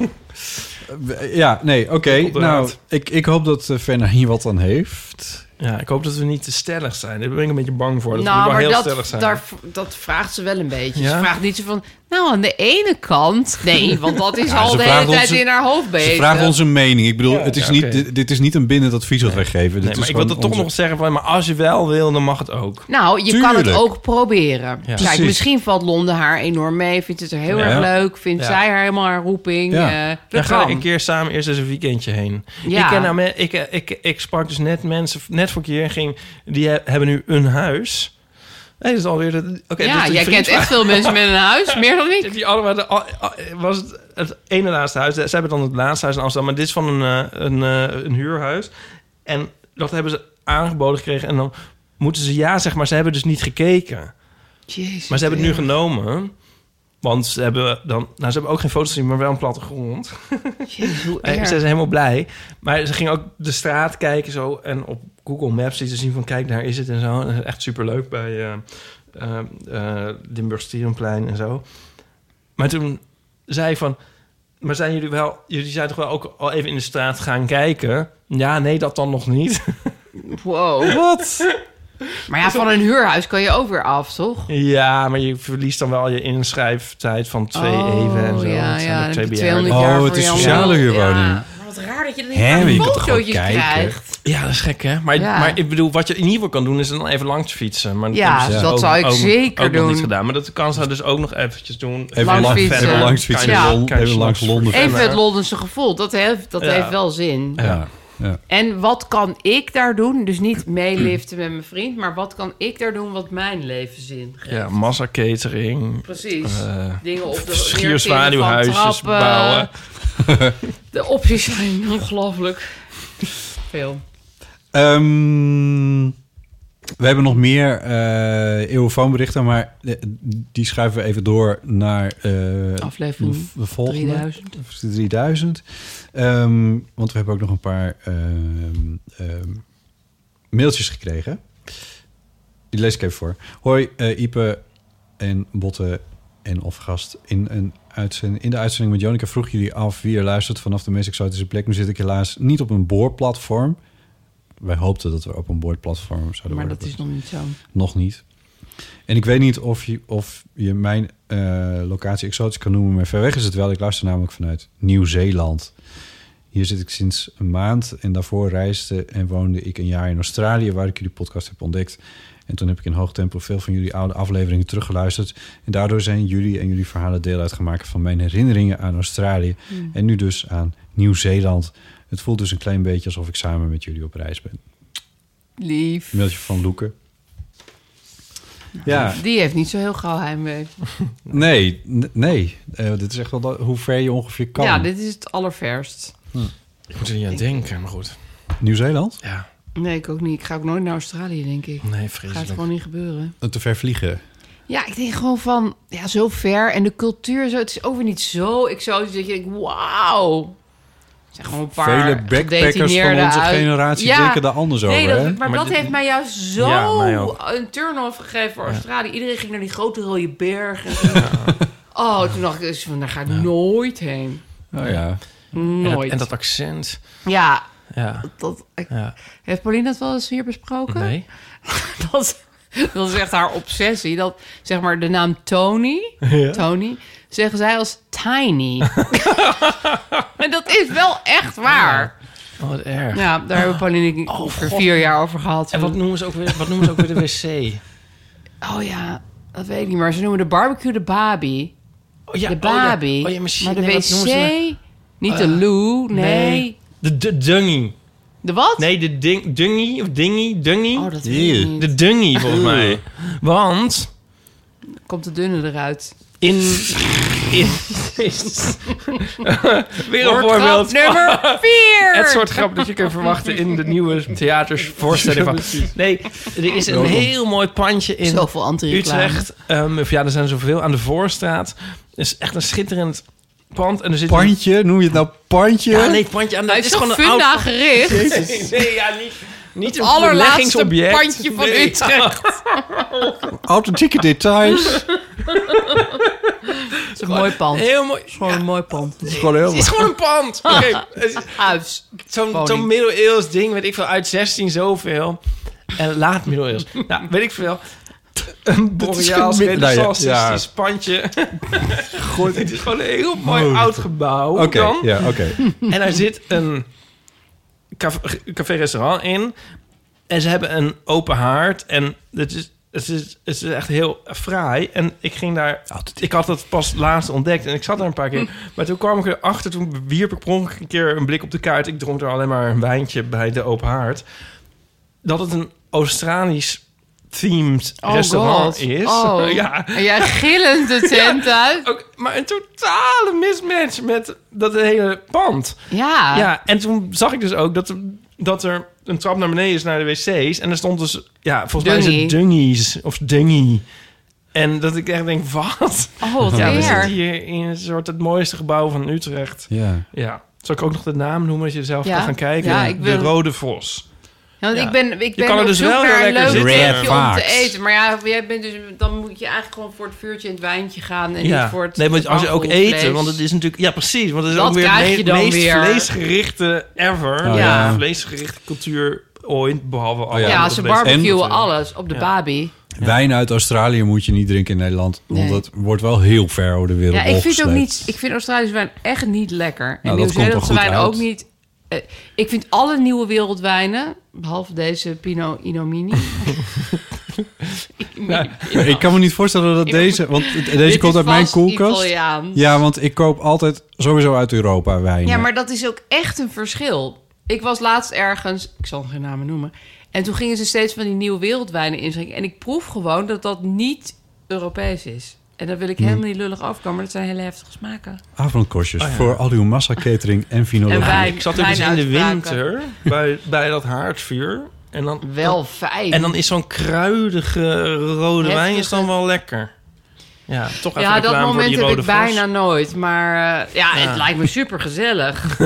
ja, nee, oké. Nou, ik, ik hoop dat eh, Fenna hier wat aan heeft. Ja, ik hoop dat we niet te stellig zijn. Daar ben ik een beetje bang voor. Dat we nou, wel maar heel dat, stellig zijn. daar, dat vraagt ze wel een beetje. Ja? Ze vraagt niet zo van, nou aan de ene kant. Nee, want dat is Ja, al ze de hele vraagt tijd onze- in haar hoofd bezig. Ze vragen onze mening. Ik bedoel, Ja, het is ja, niet, oké. dit, dit is niet een bindend advies wat wij geven. Dit nee, maar is ik wil gewoon dat toch onze- nog zeggen van... maar als je wel wil, dan mag het ook. Nou, je kan het Tuurlijk. ook proberen. Ja. Kijk, Precies. misschien valt Londen haar enorm mee. Vindt het er heel Ja. erg leuk. Vindt Ja. zij haar helemaal haar roeping. Ja. Ja. dat Dan ga ik kan. een keer samen eerst eens een weekendje heen. Ja. Ik, ken nou men- ik, eh, ik, ik sprak dus net mensen, net voor een keer ging... die he- hebben nu een huis. Nee, dat is alweer... de- Oké, ja, dus de jij vriend kent echt van- [LAUGHS] veel mensen met een huis. Meer dan ik. Die allemaal de, al- al- was het, het ene laatste huis. Ze hebben dan het laatste huis in Amsterdam. Maar dit is van een, eh, een, eh, een huurhuis. En dat hebben ze aangeboden gekregen. En dan moeten ze ja zeggen, maar ze hebben dus niet gekeken. Jezus, maar ze hebben het nu ja. genomen. Want ze hebben dan... Nou, ze hebben ook geen foto's gezien, maar wel een plattegrond. Jezus, hoe En erg. Ze zijn helemaal blij. Maar ze gingen ook de straat kijken zo. En op Google Maps lieten ze zien van... Kijk, daar is het en zo. En dat is echt superleuk bij eh eh, eh, Limburg-Stierenplein en zo. Maar toen zei hij van... Maar zijn jullie wel... Jullie zijn toch wel ook al even in de straat gaan kijken? Ja, nee, dat dan nog niet. [LAUGHS] Wow. Wat? Maar ja, van een huurhuis kan je ook weer af, toch? ja, maar je verliest dan wel je inschrijftijd van twee Oh, even en zo. ja, Dat zijn ja, ook dan twee heb je bejaarden. 200 jaar Oh, het voor is jou. sociale huurwoning. Wat raar dat je dan Hè, niet je aan kan toch fotootjes gewoon kijken? krijgt. Ja, dat is gek, hè? Maar, Ja. maar ik bedoel, wat je in ieder geval kan doen... is dan even langs fietsen. Maar Ja, hebben ze dus dat ook- zou ik ook- zeker ook nog doen. niet gedaan. Maar dat kan ze dus ook nog eventjes doen. Even Langs lang- fietsen. even langs fietsen, Kan je- even kan je langs s'nachts Londen. verder. Even het Londense gevoel, dat heeft, dat Ja. heeft wel zin. Ja. ja. En wat kan ik daar doen? Dus niet meeliften met mijn vriend, maar wat kan ik daar doen wat mijn leven zin geeft? Ja, massacatering. Precies. Eh, Dingen op de Schierzwaluwhuisjes neertillen van bouwen. trappen. [LAUGHS] De opties [LAUGHS] zijn ongelooflijk veel. Ehm, We hebben nog meer eh eeuwenfoonberichten, maar eh, die schuiven we even door naar eh, Oh. Aflevering de v- de volgende. 3000. Of de 3000. Ehm, want we hebben ook nog een paar ehm, ehm, mailtjes gekregen. Die lees ik even voor. Hoi eh, Ipe en Botte en of gast. In, een uitzending, in de uitzending met Jonica vroeg jullie af wie er luistert vanaf de meest exotische plek. Nu zit ik helaas niet op een boorplatform. Wij hoopten dat we op een boorplatform zouden Maar worden. dat is nog niet zo. Nog niet. En ik weet niet of je, of je mijn eh, locatie exotisch kan noemen, maar ver weg is het wel. Ik luister namelijk vanuit Nieuw-Zeeland. Hier zit ik sinds een maand en daarvoor reisde en woonde ik een jaar in Australië, waar ik jullie podcast heb ontdekt. En toen heb ik in hoog tempo veel van jullie oude afleveringen teruggeluisterd. En daardoor zijn jullie en jullie verhalen deel uitgemaakt van mijn herinneringen aan Australië. Mm. En nu dus aan Nieuw-Zeeland. Het voelt dus een klein beetje alsof ik samen met jullie op reis ben. Lief. Mailtje van Loeken. Ja. Die heeft niet zo heel gauw heimwee. Nee, n- nee. Eh, dit is echt wel dat- hoe ver je ongeveer kan. Ja, dit is het allerverst. Ik moet er niet aan denken, maar goed. Nieuw-Zeeland? Ja. Nee, ik ook niet. Ik ga ook nooit naar Australië, denk ik. Nee, Gaat vreselijk. gewoon niet gebeuren. Te ver vliegen. Ja, ik denk gewoon van, ja, zo ver. En de cultuur, zo, het is ook weer niet zo exotisch dat je denkt, wauw. Het zijn gewoon een paar Vele backpackers van onze gedetineerden uit- generatie denken daar anders nee, over, dat- hè? maar, Maar dat dit- heeft mij juist zo Ja, mij ook. een turn-off gegeven voor Ja. Australië. Iedereen ging naar die grote rode bergen. en zo. Oh, toen dacht ik, dus van, daar ga ik nooit heen. Oh ja. Nooit. En dat, en dat accent. Ja. Ja. Dat, ik- Ja. Heeft Pauline dat wel eens hier besproken? Nee. [LAUGHS] dat, dat is echt haar obsessie. Dat, zeg maar, de naam Tony, Ja. Tony zeggen zij als [LAUGHS] Tiny. en dat is wel echt waar. Oh, wat erg. Ah. Oh, Ja, daar hebben Pauline en ik ongeveer vier jaar over gehad. En wat noemen ze ook weer, wat noemen ze ook weer de wc? Oh ja, dat weet ik niet. Maar ze noemen de barbecue de babi. [LAUGHS] Oh ja, de oh ja. babi. Oh ja, maar shit, de nee, wat wc, noemen ze niet de Eh, loo, nee. De, de dungy. De wat? Nee, de ding, dungy of dingy, dungy. Oh, dat weet ik niet. De dungy, volgens mij. Want Komt de dunne eruit. [LAUGHS] in... in weer een Woordgrap voorbeeld. van- nummer vier. Het soort grap dat je kunt verwachten in de nieuwe theatersvoorstelling. Ja, Van. precies. Nee, er is een heel mooi pandje in Zoveel anti-reclame. Utrecht. Ehm, of ja, er zijn zoveel aan de Voorstraat. Het is echt een schitterend pand. En er zit een- Pandje? Noem je het nou pandje? Ja, nee, pandje aan de... Hij het is toch een funda oud- gericht? Nee, nee, ja, niet, niet Het een allerlaatste beleggingsobject. pandje van Nee. [LAUGHS] Ah, Utrecht. Authentieke [LAUGHS] details. Het is een mooi pand. Heel mooi. Gewoon een mooi pand. Het is gewoon heel Het is gewoon een pand. Oké, het is- Huis. Zo'n Woning. zo'n middeleeuws ding, weet ik veel, uit 16 zoveel. En laat middeleeuws. nou, weet ik veel. Een geen boreaals, mid- nou ja, renaissancistisch pandje. Goed. [LAUGHS] Het is gewoon een heel mooi Oh. oud gebouw Oké, dan. ja, oké. [LAUGHS] En daar zit een caf- café-restaurant in. En ze hebben een open haard. En het is, het is, het is echt heel fraai. En ik ging daar... Ik had dat pas laatst ontdekt. En ik zat daar een paar keer. [LAUGHS] Maar toen kwam ik erachter. Toen wierp ik per ongeluk een keer een blik op de kaart. Ik dronk er alleen maar een wijntje bij de open haard. Dat het een Australisch... Themed Oh restaurant God. is. Oh. [LAUGHS] Ja. En jij gillend [LAUGHS] de tent uit. Ook, maar een totale mismatch met dat hele pand. Ja. Ja, en toen zag ik dus ook dat, dat er een trap naar beneden is naar de wc's. En er stond dus, ja, volgens mij is het Dungy. dungies of dungy. En dat ik echt denk, wat? Oh, wat Ja, we eer. zitten hier in een soort het mooiste gebouw van Utrecht. Ja. Ja. Zal ik ook nog de naam noemen als je zelf Ja. kan gaan kijken? Ja, ik De wil- Rode Vos. Ja, want Ja. ik ben, ik Je ben kan er op dus zoek wel heel naar een leuk lekker zitten. plekje om te Vaaks. eten. Maar ja, jij bent dus, dan moet je eigenlijk gewoon voor het vuurtje en het wijntje gaan. En niet voor het nee, want als je ook mangoldvlees. eten, want het is natuurlijk... Ja, precies, want het is Dat ook weer krijg het je me- dan meest weer. vleesgerichte ever. Oh, ja. ja. Vleesgerichte cultuur ooit, behalve... alle ja, andere ze vlees- barbecuen En- alles op de Ja. babi. Wijn uit Australië moet je niet drinken in Nederland. Want Nee. dat wordt wel heel ver over de wereld Ja, ik vind, het ook opgesleept. niet, ik vind Australische wijn echt niet lekker. Nou, dat en komt wel Nieuw-Zeelandse goed wijn uit. ook niet. Eh, ik vind alle nieuwe wereldwijnen, behalve deze Pinot [LAUGHS] Inomini. Maar ik kan me niet voorstellen dat deze... Want Dit deze is komt uit mijn vast koelkast. Italiaans. Ja, want ik koop altijd sowieso uit Europa wijn. Ja, maar dat is ook echt een verschil. Ik was laatst ergens, ik zal geen namen noemen. En toen gingen ze steeds van die nieuwe wereldwijnen inschenken. En ik proef gewoon dat dat niet Europees is. En daar wil ik Hmm. helemaal niet lullig afkomen. Maar dat zijn hele heftige smaken. Avondkorstjes Oh, ja. voor al uw massa catering en [LAUGHS] En vinologie. wij- ik zat er dus in de wijnuitspraken. winter bij, bij dat haardvuur. En dan, Wel dan- fijn. En dan is zo'n kruidige rode wijn is dan wel lekker. Ja, toch even Ja, dat reclame voor moment die heb rode ik fles. bijna nooit. Maar eh, ja, Ja. het lijkt me super gezellig.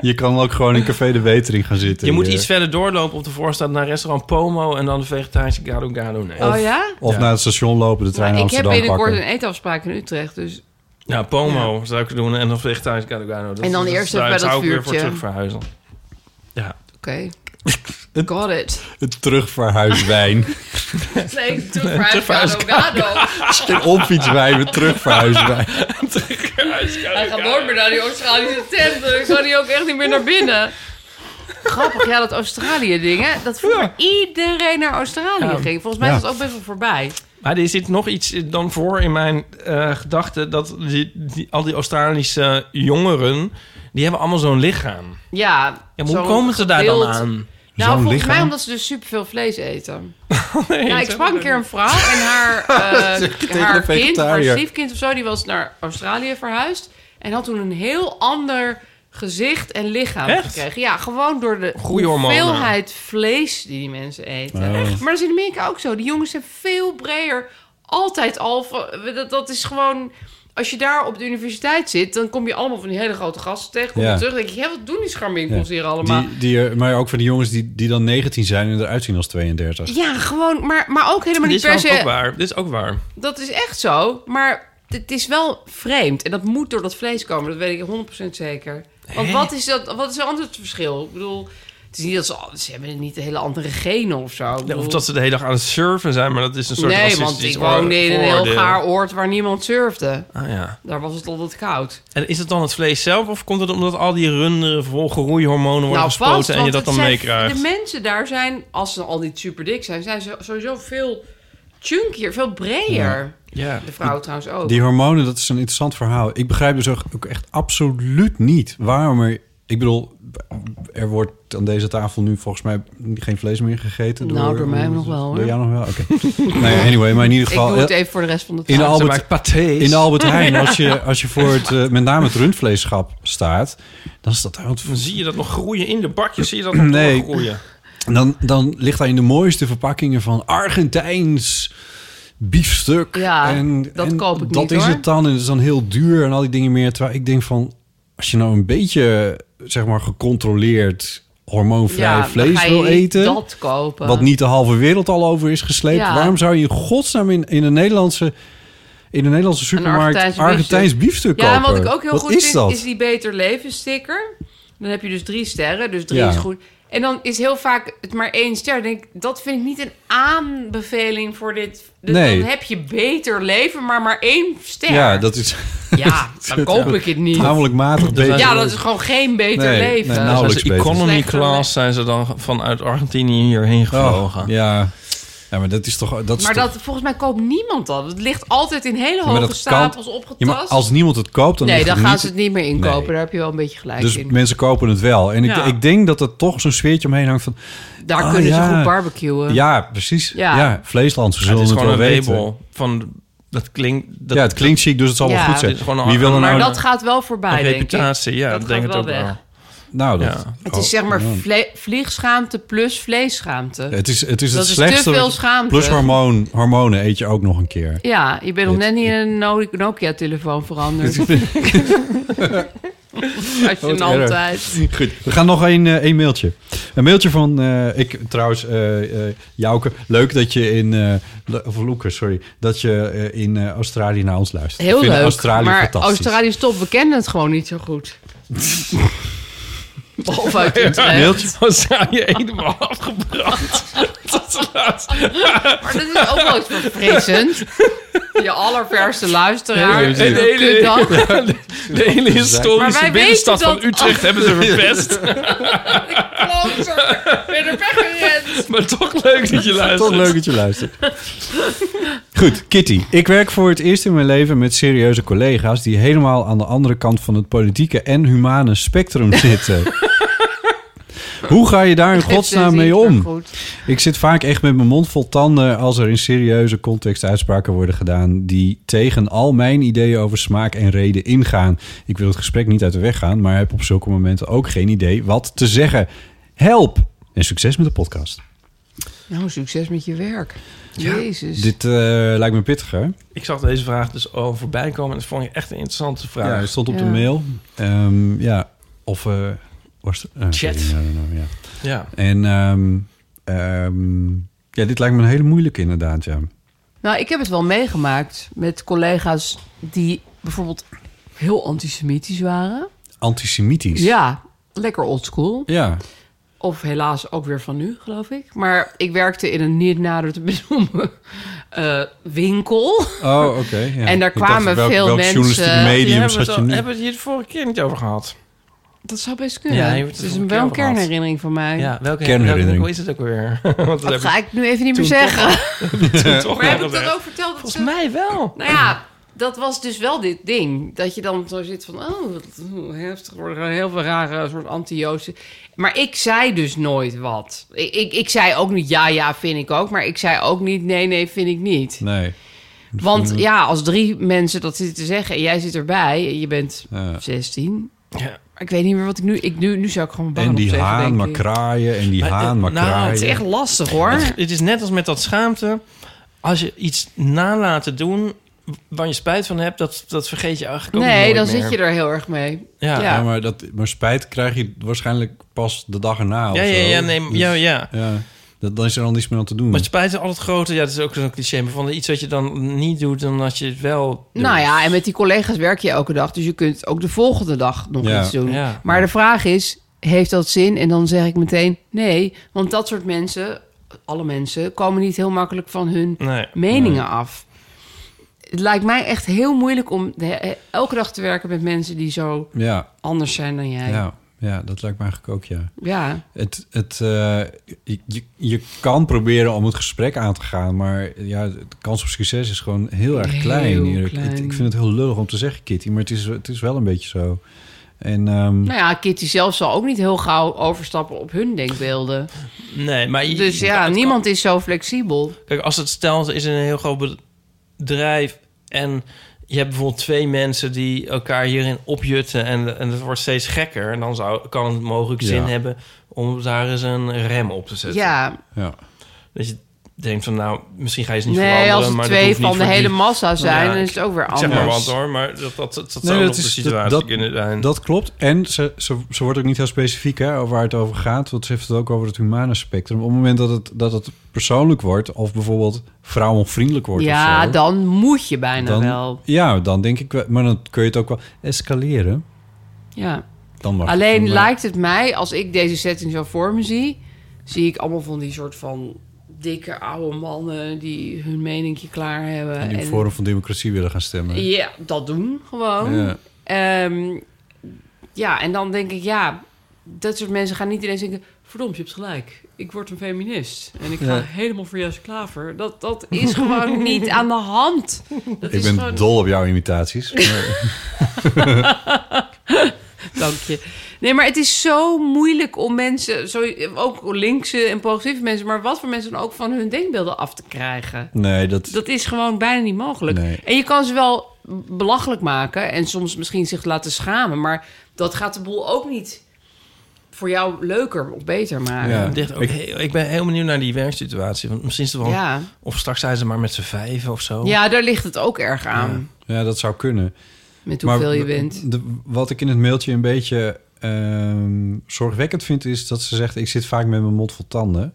Je kan ook gewoon in Café de Wetering gaan zitten. Je moet Ja. iets verder doorlopen op de voorstaat naar restaurant Pomo... en dan de vegetarische Gado Gado nemen. Oh ja? Of naar het station lopen, de trein naar ik heb Amsterdam binnenkort pakken. een eetafspraak in Utrecht. Dus Ja, Pomo zou ik doen en dan vegetarische Gado Gado. Dat- En dan dat eerst zou- even bij zou dat ik weer voor vuurtje. terug verhuizen. Ja. [LAUGHS] oké. Got it. Het [LAUGHS] terugverhuiswijn. Zeker, Terugverhuis- [LAUGHS] Geen opfietswijn, maar terugverhuiswijn. Hij gaat nooit meer naar die Australische tent. dus Ik zou die ook echt niet meer naar [LAUGHS] binnen. Grappig, ja, dat Australië-ding, hè? Dat vroeger iedereen naar Australië Ja. ging. Volgens mij Ja. is dat ook best wel voorbij. Maar er zit nog iets dan voor in mijn eh gedachten... dat die, die- al die Australische jongeren... die hebben allemaal zo'n lichaam. Ja, Ja, maar hoe zo'n komen ze daar dan gedeeld- aan? Nou, Zo'n volgens mij lichaam? Oh, omdat ze dus superveel vlees [LAUGHS] eten. nou, ik sprak een keer een vrouw en haar, Zeg je eh tegen haar een kind, haar vegetariër. stiefkind of zo, die was naar Australië verhuisd. En had toen een heel ander gezicht en lichaam Echt? gekregen. Ja, gewoon door de Goeie hormonen. hoeveelheid vlees die die mensen eten. Oh. Maar dat is in Amerika ook zo. Die jongens zijn veel breder. Altijd al. van- Dat, dat is gewoon... Als je daar op de universiteit zit, dan kom je allemaal van die hele grote gasten tegen. Kom je Ja. terug en denk je, hé, wat doen die Ja. scharminkols hier allemaal? Die, die, er- maar ook van die jongens die, die dan 19 zijn en eruit zien als 32. Ja, gewoon, maar, maar ook helemaal niet Dit per is wel ook se. waar. Dit is ook waar. Dat is echt zo, maar het is wel vreemd. En dat moet door dat vlees komen, dat weet ik 100% zeker. Want Hè? wat is, dat, wat is anders het verschil? Ik bedoel, het is niet dat ze, ze hebben niet een hele andere genen of zo. Ik Ja, bedoel, Of dat ze de hele dag aan het surfen zijn, maar dat is een soort nee, racistisch want ik oor- woonde in een heel vooroordeel. gaar oord waar niemand surfde. Ah ja. Daar was het altijd koud. En is het dan het vroeis zelf of komt het omdat al die runderen vol groeihormonen worden gespoten vast, en je Nou, want dat het dan zijn- meekrijgt? De mensen daar zijn, als ze al niet super dik zijn, zijn ze sowieso veel chunkier, veel breder. Ja. Ja. De vrouw trouwens ook. Die hormonen, dat is een interessant verhaal. Ik begrijp dus ook ook echt absoluut niet waarom er... Ik bedoel, er wordt aan deze tafel nu volgens mij geen vlees meer gegeten. Nou, door mij nog wel, hoor. Door jou nog wel, oké. [LAUGHS] nou ja, anyway, maar in ieder geval... eh, Ik doe het even voor de rest van de in de tafel. Ze Albert, maakt pâtés. In de Albert Heijn, [LAUGHS] als je, als je voor het, eh, met name het rundvleeschap staat... dan is dat daar wat Dan zie je dat nog groeien in de [LAUGHS] bakjes, zie je dat nog Nee. groeien. Dan, dan ligt hij in de mooiste verpakkingen van Argentijns biefstuk. Ja, dat en koop ik dat niet, is hoor. het dan. En het is dan heel duur en al die dingen meer. Terwijl ik denk van, als je nou een beetje, zeg maar, gecontroleerd hormoonvrij Ja, dan ga vlees je wil niet eten. dat kopen. Wat niet de halve wereld al over is gesleept. Ja. Waarom zou je in godsnaam in, in een Nederlandse... In de Nederlandse supermarkt Argentijns, biefstuk Ja, en kopen. wat ik ook heel Wat goed is vind, dat? is die Beter Leven sticker. Dan heb je dus drie sterren, dus drie Ja. is goed. En dan is heel vaak het maar één ster. Dan Denk, ik, dat vind ik niet een aanbeveling voor dit. Dus Nee. dan heb je Beter Leven, maar maar één ster. Ja, dat is... [LAUGHS] Ja, dan koop ik het niet. Namelijk matig beter. Ja, dat is gewoon geen Beter nou, Nee, Leven. nee, nou, nauwelijks Dus de economy beter. class zijn ze dan vanuit Argentinië hierheen gevlogen. Oh, ja. ja, maar dat is toch... Dat is maar toch- dat, volgens mij koopt niemand dat. Het ligt altijd in hele Ja, maar hoge dat kan- stapels opgetast. Ja, maar als niemand het koopt, dan nee, ligt dan het gaan niet- ze het niet meer inkopen. Nee. Daar heb je wel een beetje gelijk Dus in. mensen kopen het wel. En ik, Ja. ik denk dat er toch zo'n sfeertje omheen hangt van... Daar ah, kunnen ja. ze goed barbecuen. Ja, precies. Ja. Ja, Vleesland, ze Ja, het zullen is het, gewoon wel een weten. label van dat klinkt. Dat, ja, het klinkt chic, dus het zal Ja. wel goed Dit zijn. is gewoon een- Wie wil er maar nou... dat gaat wel voorbij, Een denk reputatie, ik. ja, dat ik gaat denk het wel ook weg. wel. Nou, dat... Ja. Het is zeg maar Ja. vle- vliegschaamte plus vleesschaamte. Het is het, is dat het is slechtste. te veel wat- schaamte. Plus hormoon, hormonen eet je ook nog een [LAUGHS] keer. Ja, je bent nog net niet in een no- Nokia-telefoon [LAUGHS] veranderd. Als je Wat een erg. altijd. Goed, we gaan nog één eh, één mailtje. Een mailtje van, eh, ik trouwens, eh, eh, Jouke. Leuk dat je in, eh, Le- of Loeke, sorry, dat je eh, in eh, Australië naar ons luistert. Heel ik vind leuk. Australië maar fantastisch. Australië is top. We kennen het gewoon niet zo [LAUGHS] goed. Behalve uit Utrecht. Mailtje. Dan zou je helemaal afgebrand. [LAUGHS] Tot de laatste. Maar dat is ook wel iets verfrissend. Je allerverste luisteraar. Nee, precies. Een Nee, nee, kutdag. nee. Ja, de- de hele historische Maar wij binnenstad weten van dat- Utrecht hebben [LAUGHS] ze [LAUGHS] verpest. Klootzak, ben er weggerend. [LAUGHS] maar toch leuk dat je luistert. Toch leuk dat je luistert. Goed, Kitty. Ik werk voor het eerst in mijn leven met serieuze collega's... die helemaal aan de andere kant van het politieke en humane spectrum [LAUGHS] zitten. Hoe ga je daar in Het geeft dus godsnaam zin, mee maar om? goed. Ik zit vaak echt met mijn mond vol tanden... als er in serieuze context uitspraken worden gedaan... die tegen al mijn ideeën over smaak en reden ingaan. Ik wil het gesprek niet uit de weg gaan... maar heb op zulke momenten ook geen idee wat te zeggen. Help! En succes met de podcast. Nou, succes met je werk. Jezus. Dit eh, lijkt me pittiger. Ik zag deze vraag dus al voorbij komen en dat vond ik echt een interessante vraag. Ja, het stond op de Ja. mail. Ehm, ja, of eh, was het? eh, Chat. sorry, I don't know, ja. Ja. En ehm, ehm, ja, dit lijkt me een hele moeilijke inderdaad, ja. Nou, ik heb het wel meegemaakt met collega's die bijvoorbeeld heel antisemitisch waren. Antisemitisch. Ja, lekker oldschool. Ja. Of helaas ook weer van nu, geloof ik. Maar ik werkte in een niet nader te benoemen eh, winkel. Oh, oké. ja. En daar Ik dacht, kwamen welk- veel welk mensen- journalistieke mediums Hebben we had het je al- nu? Hebben we het hier de vorige keer niet over gehad? Dat zou best kunnen. Ja, je hebt het het is er wel een over gehad. kernherinnering van mij. Ja, welke Kernherinnering. welke- Hoe is het ook weer? [LAUGHS] Want Dat ga ik nu even niet meer toen toch zeggen. [LAUGHS] [LAUGHS] Toen toch maar heb wel ik dat gezegd. ook verteld? Volgens mij wel. Nou ja, dat was dus wel dit ding. Dat je dan zo zit van, oh, wat heftig. er worden Heel veel rare soort anti-Joodse... Maar ik zei dus nooit wat. Ik, ik, ik zei ook niet ja, ja, vind ik ook. Maar ik zei ook niet nee, nee, vind ik niet. Nee. Want ja, als drie mensen dat zitten te zeggen en jij zit erbij... en je bent 16... Ik weet niet meer wat ik nu... Ik, nu, nu zou ik gewoon mijn En baan die opzeggen, haan denk maar ik. kraaien en die Maar, eh, haan maar nou, kraaien. het is echt lastig [LAUGHS] hoor. Het, het is net als met dat schaamte. Als je iets nalaten doen waar je spijt van hebt, dat, dat vergeet je eigenlijk ook Nee, nooit dan meer. zit je er heel erg mee. Ja, maar, dat, maar spijt krijg je waarschijnlijk pas de dag erna. of Ja, ja, zo. Dus ja, nee, ja, ja. dat, dan is er al niets meer aan te doen. Maar spijt is altijd groter. Ja, dat is ook zo'n cliché. Maar van iets wat je dan niet doet, dan als je het wel... Nou ja, en met die collega's werk je elke dag. Dus je kunt ook de volgende dag nog Ja. iets doen. Ja. Maar de vraag is, heeft dat zin? En dan zeg ik meteen nee. Want dat soort mensen, alle mensen... komen niet heel makkelijk van hun Nee. meningen Nee. af. Het lijkt mij echt heel moeilijk om de- eh, elke dag te werken met mensen... die zo Ja. anders zijn dan jij. Ja, ja, dat lijkt me eigenlijk ook, ja. Ja. Het, het, eh, je, je kan proberen om het gesprek aan te gaan, maar ja, de kans op succes is gewoon heel erg Heel klein. hier. Ik- klein. Ik, ik vind het heel lullig om te zeggen, Kitty, maar het is, het is wel een beetje zo. En, ehm, Nou ja, Kitty zelf zal ook niet heel gauw overstappen op hun denkbeelden. Nee, maar... je- Dus ja, het- niemand is zo flexibel. Kijk, als het stelt is in een heel groot bedrijf en je hebt bijvoorbeeld twee mensen die elkaar hierin opjutten en, en het wordt steeds gekker, en dan zou, kan het mogelijk zin Ja. hebben om daar eens een rem op te zetten. Ja. ja. Dat je denkt van, nou, misschien ga je ze niet Nee, veranderen, als het maar dat twee hoeft niet van de voor hele die- Nou massa zijn, Ja, dan is het ook weer ik anders. Zeg maar wat hoor, maar dat, dat, dat, dat zou Nee, nog de situatie dat- kunnen zijn. Dat klopt. En ze, ze, ze wordt ook niet heel specifiek hè, over waar het over gaat. Want ze heeft het ook over het humane spectrum. Op het moment dat het, dat het persoonlijk wordt... of bijvoorbeeld vrouwonvriendelijk wordt of Ja, zo, dan moet je bijna dan- wel. Ja, dan denk ik wel. Maar dan kun je het ook wel escaleren. Ja. Dan mag Alleen het, maar- lijkt het mij, als ik deze setting zo voor me zie, zie ik allemaal van die soort van dikke oude mannen die hun meninkje klaar hebben. Die en- een vorm van democratie willen gaan stemmen. Ja, dat doen gewoon. Ja. Ehm, ja, en dan denk ik, ja, dat soort mensen gaan niet ineens denken... verdomd, je hebt gelijk. Ik word een feminist. En ik ga Ja. helemaal voor Jesse Klaver. Dat, dat is [LAUGHS] gewoon niet aan de hand. Dat ik is ben gewoon... dol op jouw [LAUGHS] imitaties. maar- Dank je. Nee, maar het is zo moeilijk om mensen... Zo, ook linkse en progressieve mensen... maar wat voor mensen dan ook van hun denkbeelden af te krijgen. nee, dat... Dat is gewoon bijna niet mogelijk. Nee. En je kan ze wel belachelijk maken en soms misschien zich laten schamen, maar dat gaat de boel ook niet voor jou leuker of beter maken. Het ligt ook heel- ik ben heel benieuwd naar die werksituatie. Want misschien is het wel... Ja. Of straks zijn ze maar met z'n vijven of zo. Ja, daar ligt het ook erg aan. Ja, dat zou kunnen. Met hoeveel je w- bent. de- wat ik in het mailtje een beetje ehm, zorgwekkend vind... is dat ze zegt, ik zit vaak met mijn mond vol tanden.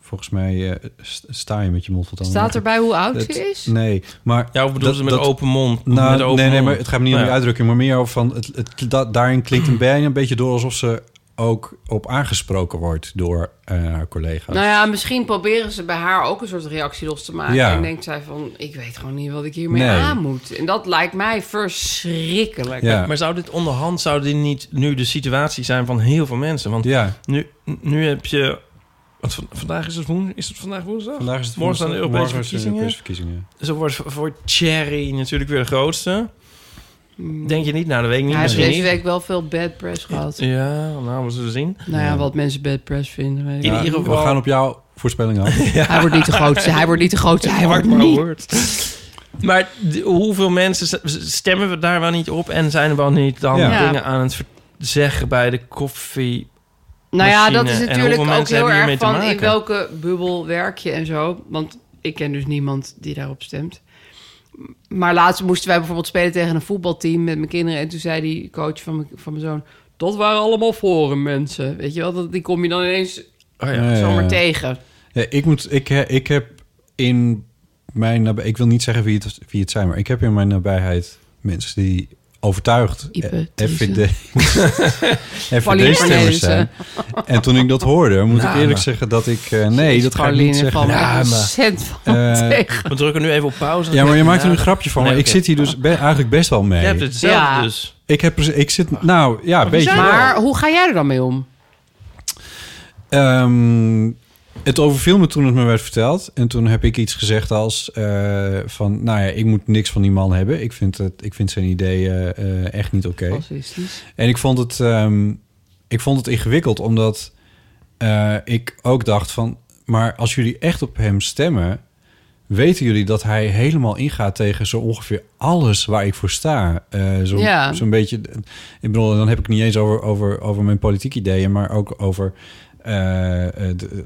Volgens mij eh, st- sta je met je mond vol tanden. Staat erbij hoe oud ze Het- is? Nee, maar... Ja, of bedoelt ze met open mond? Nou, Met open nee, nee, mond. maar het gaat me niet om Nou die ja. uitdrukking... maar meer over van, het, het, da- daarin klinkt een bijna een beetje door... alsof ze ook op aangesproken wordt door eh, haar collega's. Nou ja, misschien proberen ze bij haar ook een soort reactie los te maken. Ja. En denkt zij van, ik weet gewoon niet wat ik hiermee Nee. aan moet. En dat lijkt mij verschrikkelijk. Maar, maar zou dit onderhand, zou dit niet nu de situatie zijn van heel veel mensen? Want nu, nu heb je... Want van- vandaag is het, woen, is het vandaag woensdag? Vandaag is het Morgen zijn de woensdag. Europese Morgen zijn verkiezingen. de Europese Zo wordt voor- voor Thierry natuurlijk weer de grootste. Denk je niet? Nou, dat weet ik niet. Hmm. Hij heeft Misschien deze niet. week wel veel bad press gehad. Ja, nou, we zullen zien. Nou ja, wat mensen bad press vinden. weet ik In niet. ieder We geval- gaan op jouw voorspelling af. Hij wordt niet de grootste, hij wordt niet de grootste, hij wordt Mark niet. my words. Maar d- hoeveel mensen s- stemmen we daar wel niet op en zijn we wel niet dan Ja. dingen aan het ver- zeggen bij de koffie? Nou ja, dat is machine. En natuurlijk hoeveel ook mensen heel hebben erg hiermee te van in maken? welke bubbel werk je en zo. Want ik ken dus niemand die daarop stemt. Maar laatst moesten wij bijvoorbeeld spelen tegen een voetbalteam met mijn kinderen. En toen zei die coach van mijn, van mijn zoon... Dat waren allemaal forum mensen. Weet je wel, dat, die kom je dan ineens Oh Ja, zomaar ja. tegen. Ja, ik, moet, ik, he- ik heb in mijn nabij- ik wil niet zeggen wie het, wie het zijn, maar ik heb in mijn nabijheid mensen die overtuigd Ipe, eh, [LAUGHS] FVD, Pauline FVD-stemmers zijn. Cornelissen. En toen ik dat hoorde, moet ik Nou, eerlijk maar- zeggen dat ik... eh, nee, dat ga ik Pauline niet zeggen. valt me Ja, [LAUGHS] ontzettend van Eh, We drukken nu even op pauze. Ja, maar je maakt er Ja. een grapje van. Nee, Maar ik oké. zit hier dus be- eigenlijk best wel mee. Jij hebt hetzelfde Ja. dus. Ik, heb, precies- ik zit... Nou, ja, een beetje wel. Maar hoe ga jij er dan mee om? Ehm, het overviel me toen het me werd verteld. En toen heb ik iets gezegd als eh, van... Nou ja, ik moet niks van die man hebben. Ik vind, het, ik vind zijn ideeën eh, echt niet Oh. oké. Fascistisch. En ik vond het, ehm, ik vond het ingewikkeld, omdat eh, ik ook dacht van... Maar als jullie echt op hem stemmen... weten jullie dat hij helemaal ingaat tegen zo ongeveer alles waar ik voor sta. Eh, zo, Ja. Zo'n beetje... Ik bedoel, dan heb ik het niet eens over, over, over mijn politieke ideeën... maar ook over... eh, eh, de- de-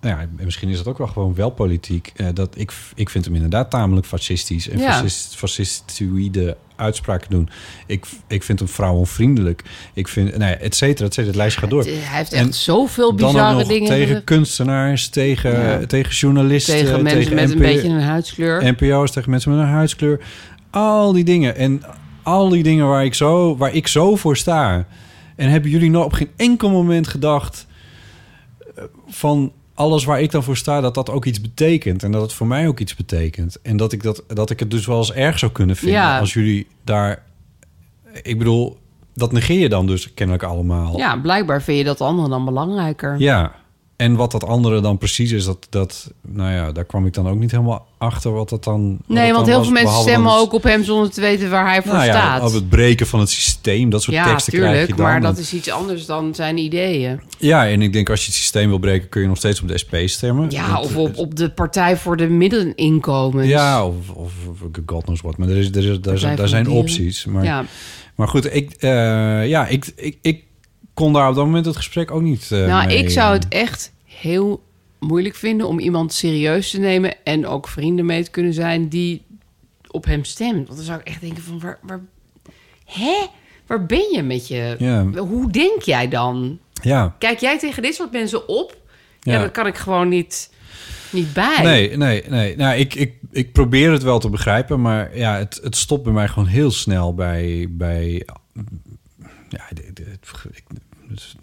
nou ja, misschien is dat ook wel gewoon wel politiek. eh, dat ik, ik vind hem inderdaad tamelijk fascistisch en Ja. fascist, fascistoïde uitspraken doen. Ik, ik vind hem vrouwenvriendelijk. Ik vind, nou ja, et cetera, et cetera. Het lijstje gaat door. Hij heeft En echt zoveel dan ook bizarre nog dingen. Tegen gezegd. kunstenaars, tegen, Ja. tegen journalisten. Tegen mensen met een NPO beetje een huidskleur. NPO's, tegen mensen met een huidskleur. Al die dingen. En al die dingen waar ik zo, waar ik zo voor sta. En hebben jullie nou op geen enkel moment gedacht... eh, van alles waar ik dan voor sta, dat dat ook iets betekent. En dat het voor mij ook iets betekent. En dat ik, dat, dat ik het dus wel eens erg zou kunnen vinden... Ja. als jullie daar... Ik bedoel, dat negeer je dan dus kennelijk allemaal. Ja, blijkbaar vind je dat andere dan belangrijker. Ja, en wat dat andere dan precies is, dat, dat, nou ja, daar kwam ik dan ook niet helemaal achter wat dat dan. wat het Nee, dan want heel was, veel mensen behalve dan stemmen het- ook op hem zonder te weten waar hij voor nou ja, staat. Op het breken van het systeem, dat soort ja, teksten krijg je tuurlijk, dan. maar dat En- is iets anders dan zijn ideeën. Ja, en ik denk als je het systeem wil breken, kun je nog steeds op de SP stemmen. Ja, Want- of op, op de Partij voor de Middeninkomens. Ja, of, of god knows what. Maar er, is, er, is, daar, Partij zijn, van daar zijn de Dieren. opties. Maar, eh, Ja. maar goed, ik, eh, ja, ik, ik, ik kon daar op dat moment het gesprek ook niet eh, nou, mee, ik zou eh, het echt heel moeilijk vinden om iemand serieus te nemen... en ook vrienden mee te kunnen zijn die op hem stemt. Want dan zou ik echt denken van, waar, waar, hè? waar ben je met je? eh, Ja. Hoe denk jij dan? Ja. Kijk jij tegen dit soort mensen op? Ja, Ja. daar kan ik gewoon niet, niet bij. Nee, nee, nee. Nou, ik, ik, ik probeer het wel te begrijpen, maar ja, het, het stopt bij mij gewoon heel snel bij. bij ja, de, de, ik, dus,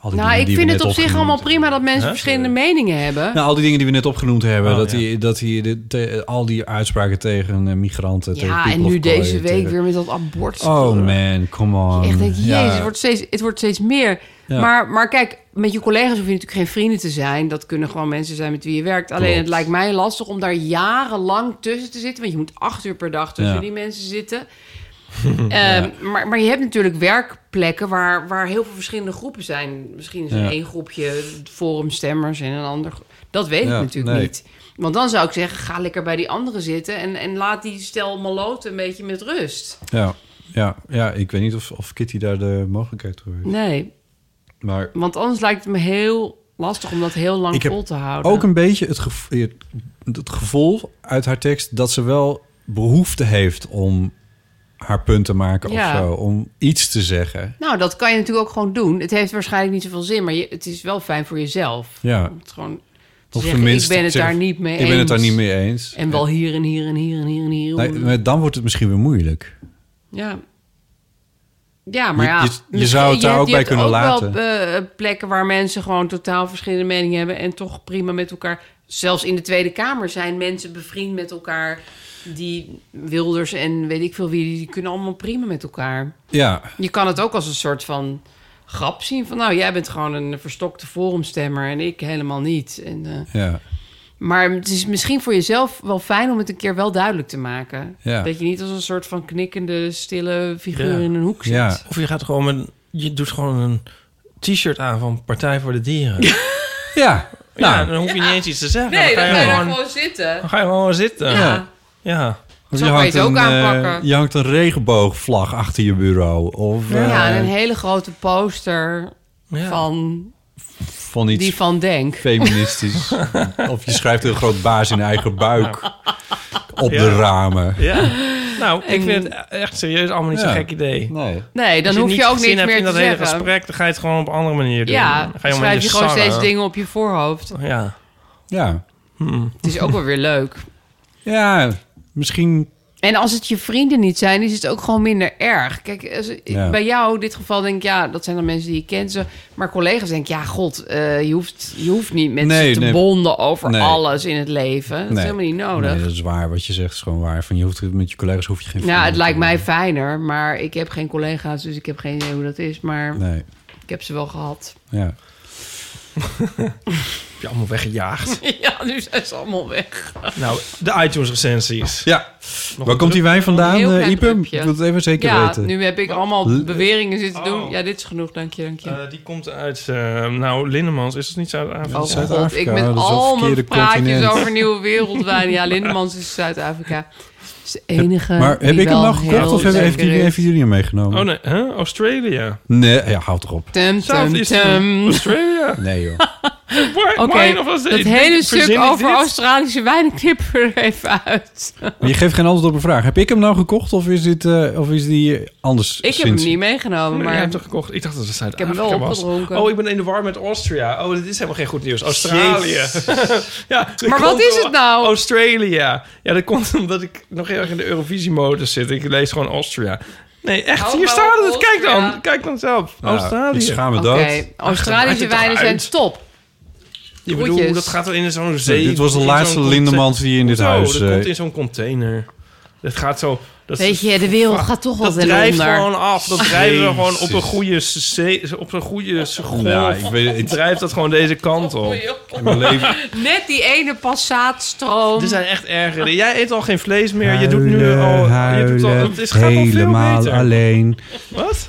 al die dingen nou, ik die we vind net het op zich opgenoemd- allemaal prima dat mensen Huh? verschillende meningen hebben. Nou, al die dingen die we net opgenoemd hebben, Oh, dat, ja. die, dat die, de, te- al die uitspraken tegen eh, migranten. tegen ja, en people nu of color, deze week tegen- weer met dat abortus. eh. Oh man, come on. Echt denk je, Ja. jezus, het, wordt steeds, het wordt steeds meer. Ja. Maar, maar kijk, met je collega's hoef je natuurlijk geen vrienden te zijn. Dat kunnen gewoon mensen zijn met wie je werkt. Alleen Klopt. het lijkt mij lastig om daar jarenlang tussen te zitten. Want je moet acht uur per dag tussen Ja. die mensen zitten. [LAUGHS] Ehm, maar, maar je hebt natuurlijk werkplekken waar, waar heel veel verschillende groepen zijn. Misschien is er Ja. één groepje forumstemmers en een ander. gro- Dat weet Ja, ik natuurlijk nee. niet. Want dan zou ik zeggen, ga lekker bij die anderen zitten... en, en laat die stel maloten een beetje met rust. Ja, ja, ja, ik weet niet of, of Kitty daar de mogelijkheid voor heeft. Nee, Maar Want anders lijkt het me heel lastig om dat heel lang ik heb vol te houden. ook een beetje het, gevo- het- het gevoel uit haar tekst dat ze wel behoefte heeft om haar punt te maken Ja. of zo, om iets te zeggen. Nou, dat kan je natuurlijk ook gewoon doen. Het heeft waarschijnlijk niet zoveel zin, maar je, het is wel fijn voor jezelf. Ja. Om het gewoon te Of zeggen, ik tenminste ben het te daar zeggen, niet mee ik eens. ben het daar niet mee eens. En wel hier en hier en hier en hier en hier. Nou, maar dan wordt het misschien weer moeilijk. Ja. Ja, maar Je- ja. je- je misschien- zou het daar hebt- ook je bij hebt kunnen ook laten. wel eh, plekken waar mensen gewoon totaal verschillende meningen hebben... en toch prima met elkaar... Zelfs in de Tweede Kamer zijn mensen bevriend met elkaar... die Wilders en weet ik veel wie, die kunnen allemaal prima met elkaar. Ja. Je kan het ook als een soort van grap zien. Van nou, jij bent gewoon een verstokte forumstemmer en ik helemaal niet. En, eh, Ja. Maar het is misschien voor jezelf wel fijn om het een keer wel duidelijk te maken. Ja. Dat je niet als een soort van knikkende, stille figuur in een hoek zit. Of je gaat gewoon een, je doet gewoon een t-shirt aan van Partij voor de Dieren. ja. Ja. nou, dan hoef je niet eens iets te zeggen. Nee, dan dan ga je je daar gewoon, gewoon zitten. dan ga je gewoon zitten. Ja. ja. Of Zo kan je het ook een, eh, aanpakken. je hangt een regenboogvlag achter je bureau. Of, Ja, eh, en een hele grote poster. van Van iets die van Denk. [LAUGHS] feministisch. of je schrijft een groot baas in eigen buik op de ramen. Ja. Nou, ik En- vind het echt serieus allemaal niet Ja. zo'n gek idee. Nee. Nee, dan Als hoef je niet ook zin niks hebt meer in dat te hele zeggen. gesprek, dan ga je het gewoon op een andere manier doen. Ja, dan ga dan allemaal in schrijf je gewoon sarren. steeds dingen op je voorhoofd. Ja. Ja. Het is ook wel weer leuk. Ja, misschien... En als het je vrienden niet zijn, is het ook gewoon minder erg. Kijk, als- Ja. bij jou in dit geval denk ik, ja, dat zijn dan mensen die je kent. Zo. Maar collega's denk ik, ja, god, eh, je, hoeft, je hoeft niet mensen Nee, te nee. bonden over Nee. alles in het leven. Oh, Dat is helemaal niet nodig. Nee, dat is waar. Wat je zegt is gewoon waar. Van je hoeft, met je collega's hoef je geen... nou, het vrienden lijkt te mij fijner, maar ik heb geen collega's, dus ik heb geen idee hoe dat is. Maar worden. Nee, ik heb ze wel gehad. [LAUGHS] ja. Heb je allemaal weggejaagd. ja, nu zijn ze allemaal weg. nou, de iTunes recensies. Ja. Waar een komt die drup? wijn Heel vandaan, eh, klein Ipe? Ik drupje. wil het even zeker ja, weten. nu heb ik allemaal L- beweringen zitten doen. Ja, dit is genoeg, dank je, dank je. Eh, die komt uit, eh, nou, Lindemans. Is dat niet Zuid-Afrika? Oh god, ik met al mijn praatjes over nieuwe wereldwijnen. Ja, Lindemans is Zuid-Afrika. Is de enige. maar heb eh, die ik hem wel nou gekocht heel of hebben- heeft lekker jullie, is. heeft jullie hem meegenomen? Oh nee, huh? Australia. Nee, ja, houd toch op. Tum, tum, Southeast tum. [LAUGHS] Australia. Nee joh. Oké, Wine of Australia. dat Ik hele denk, stuk verzin ik over dit? Australische wijnen knippen we er even uit. Maar je geeft geen antwoord op een vraag. Heb ik hem nou gekocht of is, dit, eh, of is die anders Ik heb hem sinds- niet meegenomen, Maar maar... Oh, jij hebt toch gekocht? Ik dacht dat het Ik heb hem Zuid-Afrika wel was. opgedronken. Oh, ik ben in de war met Austria. Oh, dit is helemaal geen goed nieuws. Australië. [LAUGHS] ja, dat Maar wat komt is door- het nou? Australia. Ja, dat komt omdat ik nog heel erg in de Eurovisie-modus zit. Ik lees gewoon Austria. Nee, echt. Hou hier nou staat op het. Kijk Austria. dan. Kijk dan zelf. Ja, Australië. Ah, ik schaam me Oké, dood. Australische Maakt het wijnen toch zijn uit? top. Je bedoelt, Groetjes. dat gaat wel in zo'n Nee, zee. dit was de in laatste zo'n conte- Lindemans die in dit Zo, huis, dat eh, komt in zo'n container. Dat gaat zo... Dat Weet je, de wereld gaat toch wel dat ten drijft onder. gewoon af. Dat drijven we gewoon op een Jezus. goede zee, op een goede golf. Ja, ik weet het. Drijft dat gewoon deze kant op. In [LAUGHS] mijn leven. Net die ene passaatstroom. Er zijn echt ergere. Jij eet al geen vlees meer. je doet nu al... je doet al het is, gaat al veel helemaal beter. alleen. Wat? [LAUGHS]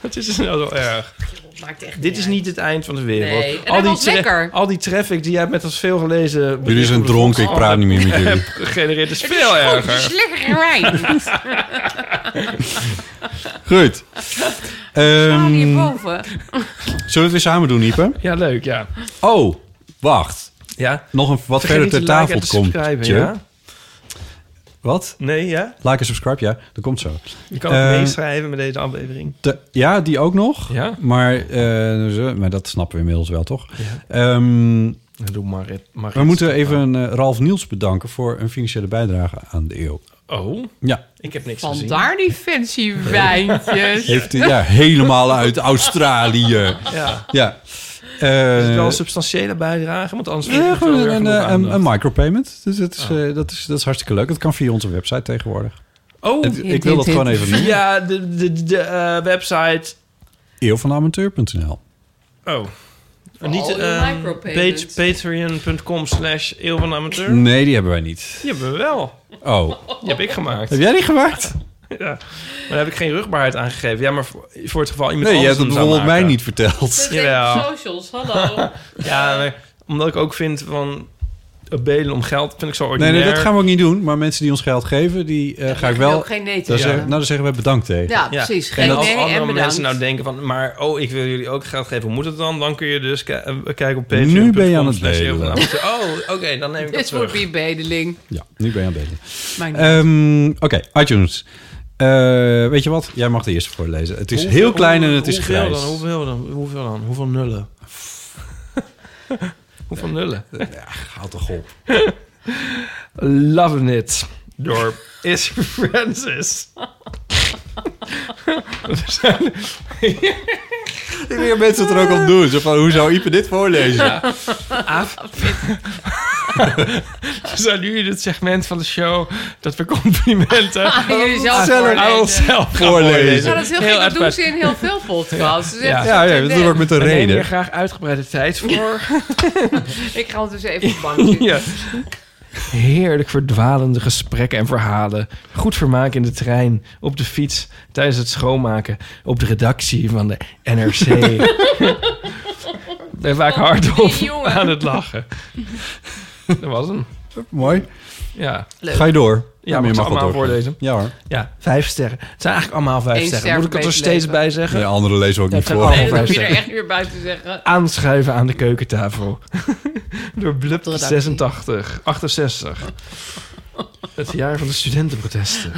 Het is nou zo erg. Maakt echt Dit is niet het eind van de wereld. Nee, en hij was tra- lekker. al die traffic die jij met dat veelgelezen... Jullie zijn dronken, ik praat niet meer met jullie. hebt gegenereerd is veel Het Oh, is erger. lekker wijn. Ehm, Goed. [LAUGHS] Staan Ehm hierboven. zullen we het weer samen doen, Ipe? Ja, leuk, ja. Oh, wacht. Ja. Nog een wat Vergeet verder niet ter te liken en tafel te komt. subscriben, tje. ja? Wat? Nee, ja? Like en subscribe, ja. Dat komt zo. Je kan ook Eh, meeschrijven met deze aflevering. te- ja, die ook nog. Ja? Maar, eh, ze- maar dat snappen we inmiddels wel, toch? Ja. Ehm, Doe maar. het- maar we het- moeten even eh, Ralf Niels bedanken voor een financiële bijdrage aan de eeuw. Oh, Ja, ik heb niks gezien. Vandaar die [LAUGHS] fancy wijntjes. heeft hij ja, helemaal uit Australië. Ja. Ja. Is het wel Eh, een substantiële bijdrage? Want anders... vind ik ja, het wel gewoon weer een, genoeg eh, een, aandacht. een micropayment. Dus dat is, eh, dat, is, dat is hartstikke leuk. Dat kan via onze website tegenwoordig. Oh, Het- ik wil dat gewoon even noemen. via de, de, de eh, website. Eeuwvanamateur.nl Oh. Niet al je ehm, micropayments. page- patreon.com slash eeuw van amateur. Nee, die hebben wij niet. Die hebben we wel. Oh, Die heb ik gemaakt. heb jij die gemaakt? Ja. Maar daar heb ik geen rugbaarheid aan gegeven. Ja, maar voor, voor het geval iemand Nee, je anders hebt het hem zou bijvoorbeeld mij maken. niet verteld. Jawel. Socials, [LAUGHS] hallo. Ja, maar omdat ik ook vind van... eh, Bedelen om geld vind ik zo Nee, ordinair. nee, dat gaan we ook niet doen. Maar mensen die ons geld geven, die eh, ga ik wel... ook geen nee te daar zeggen. zeggen- nou, dan zeggen we bedankt tegen. Ja, precies. Geen en als nee andere en bedankt. mensen nou denken van... maar oh, ik wil jullie ook geld geven. Hoe moet het dan? Dan kun je dus ki- eh, kijken op patreon.com. Nu ben je aan het slash eeuw van bedelen. amateur. Oh, oké, dan neem ik dat Dit terug. wordt weer bedeling. Ja, nu ben je aan het delen. Maakt niet Ehm, Oké, iTunes. Eh, weet je wat? Jij mag de eerste voorlezen. Het is Hoeveel- heel klein en het is hoeveel grijs. Dan, hoeveel, dan, hoeveel dan? Hoeveel [LAUGHS] nullen? hoeveel nullen? Houd toch op. Loving It door Is Francis. Ik denk dat mensen het er ook op doen. Zo van, hoe zou Ipe dit voorlezen? We zijn nu in het segment van de show dat we [LAUGHS] complimenten Ah, [LAUGHS] jullie zelf aan Oh, voorlezen. onszelf gaan Voorlezen. voorlezen. Nou, dat is heel, gek. Dat doen uitgebreid. ze in heel veel podcasts. Dus echt Ja, ja, dat doen we ook met een We nemen hier reden. graag uitgebreide tijd voor. Ik ga ondertussen even op de bank zitten. Ja. Heerlijk verdwalende gesprekken en verhalen. Goed vermaak in de trein, op de fiets, tijdens het schoonmaken, op de redactie van de [LAUGHS] NRC. Daar vaak hardop Die jongen. aan het lachen. Dat was hem. Mooi. Ja. Leuk. [LAUGHS] Ga je door. maar je mag ik ze wel allemaal doorgaan. voorlezen. Ja hoor. Ja, vijf sterren. Het zijn eigenlijk allemaal vijf Eén sterren. ster Moet ik voor het er beter steeds leven. bij zeggen? Ja, andere lezen we ook Ja, niet het zijn voor. allemaal Dan vijf heb je er sterren. echt weer bij te zeggen. Aanschuiven aan de [LAUGHS] keukentafel. Door Blub Redactie. 86, 68. Het jaar van de studentenprotesten.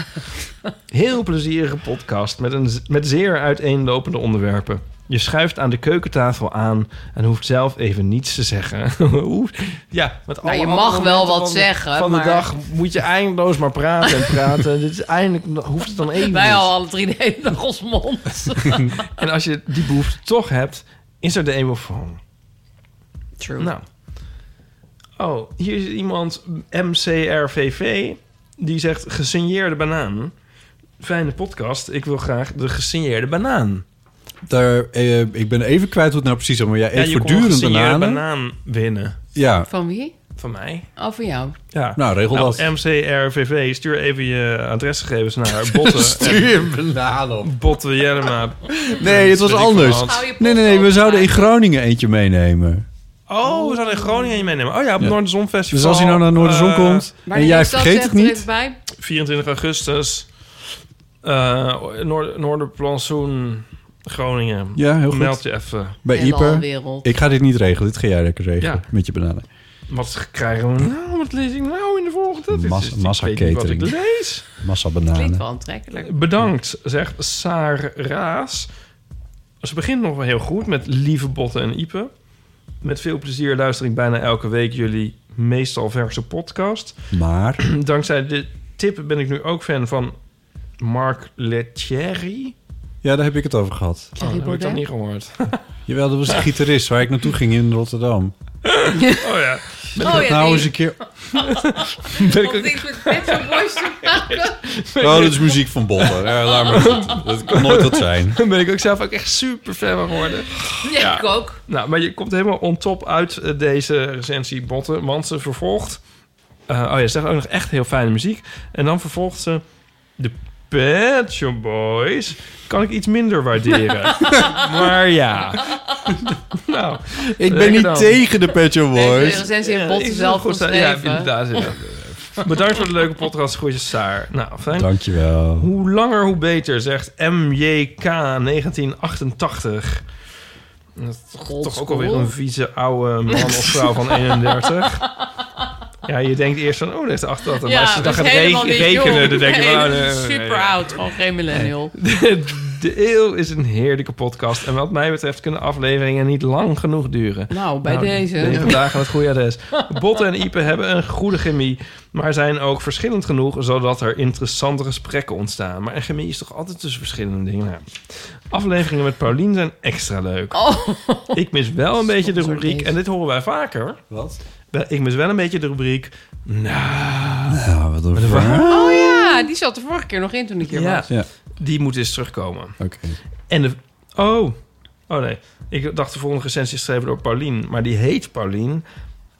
Heel plezierige podcast met, een, met zeer uiteenlopende onderwerpen. Je schuift aan de keukentafel aan en hoeft zelf even niets te zeggen. [LAUGHS] Oeh. ja, met Nou, alle je andere mag wel momenten wat van de- zeggen, Van maar- de dag moet je eindeloos maar praten en praten. Dit is eindelijk hoeft [LAUGHS] het dan even. Wij niet. al alle drie de hele dag ons mond. en als je die behoefte toch hebt, is er de emofoon. True. Nou. Oh, hier is iemand, MCRVV, die zegt gesigneerde banaan. Fijne podcast, ik wil graag de gesigneerde banaan. Daar, eh, ik ben even kwijt hoe het nou precies is, maar jij Ja, eet je kon een voortdurend gesigneerde bananen. banaan winnen. Ja. Van wie? Van mij. Oh, van jou. Ja. Nou, regel dat. [LAUGHS] MCRVV, stuur even je adresgegevens naar botten. Stuur een banaan op. Botten Jellema. Nee, het was Weet ik veel anders. wat. Nee, nee, nee, we zouden in Groningen eentje meenemen. Oh, we zouden in Groningen je meenemen. Oh ja, op Ja. het Noorderzon Festival. Dus als hij nou naar Noorderzon eh, komt en jij vergeet het niet. 24 augustus. eh Noord Noorderplantsoen, Groningen. Ja, heel goed. Meld je even. Bij Ieper. Ik ga dit niet regelen, dit ga jij lekker regelen Ja. met je bananen. Wat krijgen we nou? Wat lees ik nou in de volgende? Dit Mas- is- massa ik weet niet wat ik catering. lees. Massa bananen. Oh, aantrekkelijk. Bedankt, zegt Saar Raas. Ze begint nog wel heel goed met lieve botten en Ipe. Met veel plezier luister ik bijna elke week jullie meestal verse podcast. [CLEARS THROAT] Maar Dankzij de tip ben ik nu ook fan van Mark Lettieri. ja, daar heb ik het over gehad. Oh, dat heb ik dat niet gehoord. Jawel, dat was de gitarist waar ik naartoe ging in Rotterdam. Oh ja. Ben ik dat nou eens een keer... Ben ik ook- [LAUGHS] Oh, dat is muziek van Botten. Ja, laat maar. Dat kan nooit wat zijn. ben ik ook zelf ook echt super fan van geworden. [LAUGHS] Ja, ik ook. Nou, maar je komt helemaal on top uit eh, deze recensie botten, want ze vervolgt. eh, oh ja, ze zegt ook nog echt heel fijne muziek. En dan vervolgt ze de Pet Shop Boys. Kan ik iets [LAUGHS] minder waarderen. maar ja. nou, Ik ben lekker niet dan. tegen de Pet Shop Boys. Deze recensie heeft Botten is heel zelf goed, Ja, geschreven. inderdaad. ja. [LAUGHS] Bedankt voor de leuke podcast. Groetjes, Saar. Nou, fijn. Dankjewel. Hoe langer, hoe beter, zegt MJK1988. Dat is toch- toch ook alweer een vieze oude man of vrouw [LAUGHS] van 31. Ja, je denkt eerst van, oh, dat is 88. maar als je dan gaat dus helemaal re- niet rekenen, jong. dan denk je... Nee, wel, nee, nee, nee, super nee. oud, gewoon geen millennial. De, de eeuw is een heerlijke podcast. En wat mij betreft kunnen afleveringen niet lang genoeg duren. Nou, bij deze. Negen dagen het goede adres. Botten en Ipe hebben een goede chemie. Maar zijn ook verschillend genoeg, zodat er interessante gesprekken ontstaan. Maar een chemie is toch altijd tussen verschillende dingen. Nou, afleveringen met Paulien zijn extra leuk. Oh, Ik mis wel een beetje de rubriek, en dit horen wij vaker. Wat? Ik mis wel een beetje de rubriek. Nou, nou wat een Oh ja, die zat de vorige keer nog in toen ik hier was. Ja. Die moet eens terugkomen. Oké. En de... Oh. Oh nee. Ik dacht de volgende recensie is geschreven door Paulien. Maar die heet Paulien.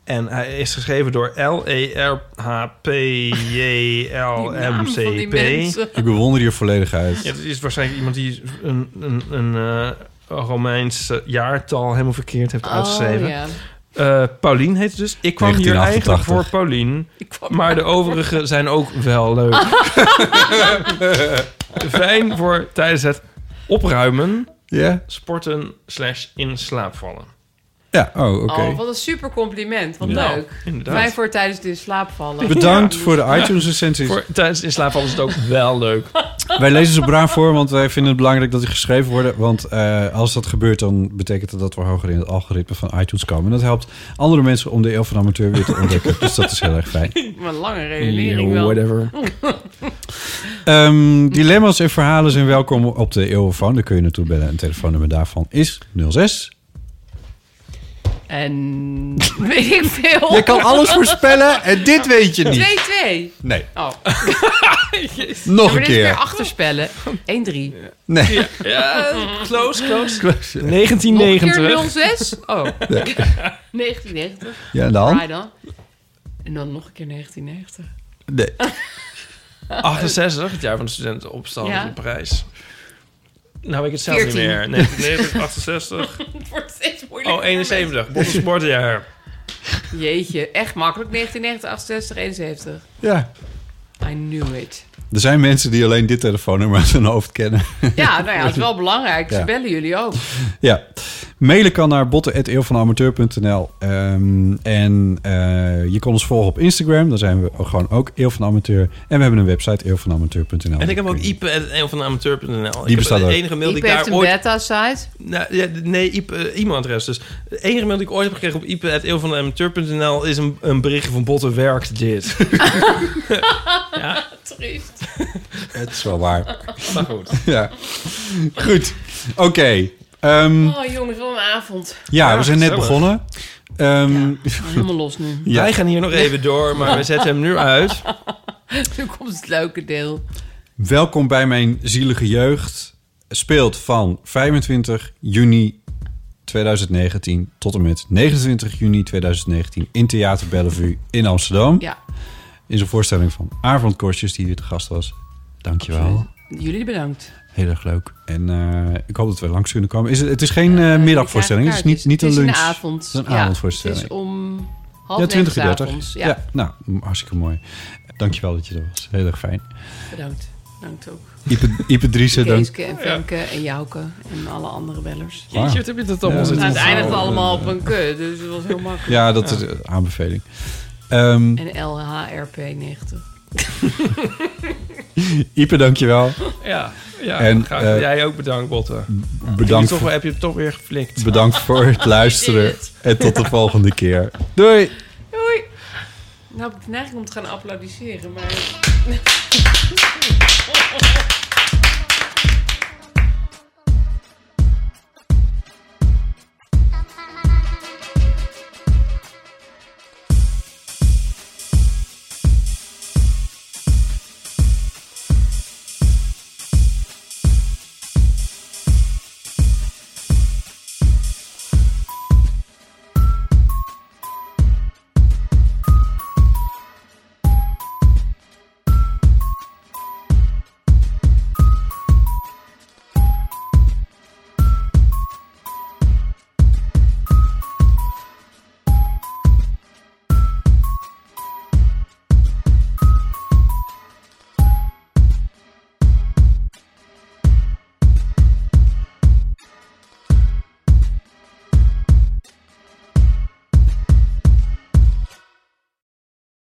En hij is geschreven door E Die L-E-R-H-P-J-L-M-C-P. mensen. Ik bewonder je volledig uit. Ja, het is waarschijnlijk iemand die een, een, een eh, Romeins eh, jaartal helemaal verkeerd heeft Oh, uitgeschreven. ja. Eh, Paulien heet het dus. Ik kwam hier eigenlijk 1988. voor Paulien. Maar de overigen zijn ook wel [LAUGHS] leuk. Fijn voor tijdens het opruimen, Ja? sporten slash in slaap vallen. Ja, oh, oké. Nou, Oh, wat een super compliment. Wat Ja, leuk. inderdaad. Wij voor tijdens het in slaap [LAUGHS] vallen. Bedankt Ja. voor de iTunes recensies. Voor tijdens in slaap vallen is het ook [LAUGHS] wel leuk. Wij lezen ze braaf voor, want wij vinden het belangrijk dat die geschreven worden. Want eh, als dat gebeurt, dan betekent dat dat we hoger in het algoritme van iTunes komen. En dat helpt andere mensen om de eeuw van de amateur weer te ontdekken. dus dat is heel erg fijn. Maar een lange redenering Yeah, wel. whatever. [LAUGHS] Ehm, dilemma's en verhalen zijn welkom op de eeuwofoon. Daar kun je naartoe bellen. En het telefoonnummer daarvan is 06. en [LAUGHS] weet ik veel. Je kan alles voorspellen en dit weet je niet. 2-2. Nee. Oh. Nog Ja, maar een Dit is keer. weer achterspellen. 1-3. Nee. Ja, close, close. Close, ja. 1990. Nog een keer [LAUGHS] 06? Oh. Nee. 1990. Ja, en dan? Right dan. En dan nog een keer 1990. Nee. 68, het jaar van de studentenopstand Ja. in Parijs. Nou, weet ik het zelf niet 14. meer. 1990, [LAUGHS] 68. [LAUGHS] Het wordt steeds moeilijker. Oh, 71. [LAUGHS] Botte sportjaar. Jeetje, echt makkelijk. 1990, 68, 71. Ja. I knew it. Er zijn mensen die alleen dit telefoonnummer uit hun hoofd kennen. [LAUGHS] Ja, nou ja, het is wel belangrijk. Ze Ja. bellen jullie ook. Ja. Mailen kan naar botten.eeuwvanamateur.nl. Ehm en eh, je kan ons volgen op Instagram. Daar zijn we gewoon ook Eeuw van de Amateur. En we hebben een website eeuwvanamateur.nl. En ik heb ook ipe.eeuwvanamateur.nl. Die bestaat de ook. enige mail die Iep ik heeft daar een ooit... beta-site. Nou, ja, nee, Iep, eh, e-mailadres. Dus de enige mail die ik ooit heb gekregen op ipe.eeuwvanamateur.nl is een, een berichtje van Botten werkt dit. Ja. Triest. Het is wel waar. [LAUGHS] Maar [LAUGHS] goed. [LAUGHS] ja. Goed. Oké. Ehm, Oh jongens, wat een avond. ja, we zijn net begonnen. Ehm, Helemaal los nu. [LAUGHS] Ja. Wij gaan hier nog even door, maar we zetten hem nu [LAUGHS] uit. Nu komt het leuke deel. Welkom bij mijn zielige jeugd. Speelt van 25 juni 2019 tot en met 29 juni 2019 in Theater Bellevue in Amsterdam. Ja. Is een voorstelling van Arvond Korsjes die hier te gast was. Dankjewel. Jullie bedankt. Heel erg leuk. En eh, ik hoop dat we langs kunnen komen. Is het, het is geen eh, middagvoorstelling. Het is niet, niet het is een lunch. Een avond. Het is een Ja, avondvoorstelling. Het is om half ja, 20 uur uur 30. Ja. ja, nou, hartstikke mooi. Dankjewel dat je er was. Heel erg [LAUGHS] fijn. bedankt. Bedankt ook. Ipe, Ipe Driessen, dank. Keeske en Femke en Jouke en alle andere bellers. Wauw. Jeetje, wat heb je dat allemaal Ja. zitten Nou, Het eindigt onthouden? allemaal op een kut, dus het was heel makkelijk. Ja, dat is een aanbeveling. Ehm En LHRP 90. Ipe, dankjewel. Ja, ja En, graag. eh, jij ook bedankt, Botten. Heb je, Bedankt toch, voor, wel- heb je het toch weer geflikt. bedankt voor het luisteren. En tot de volgende keer. Doei! Doei. Nou, ik heb de neiging om te gaan applaudisseren, maar...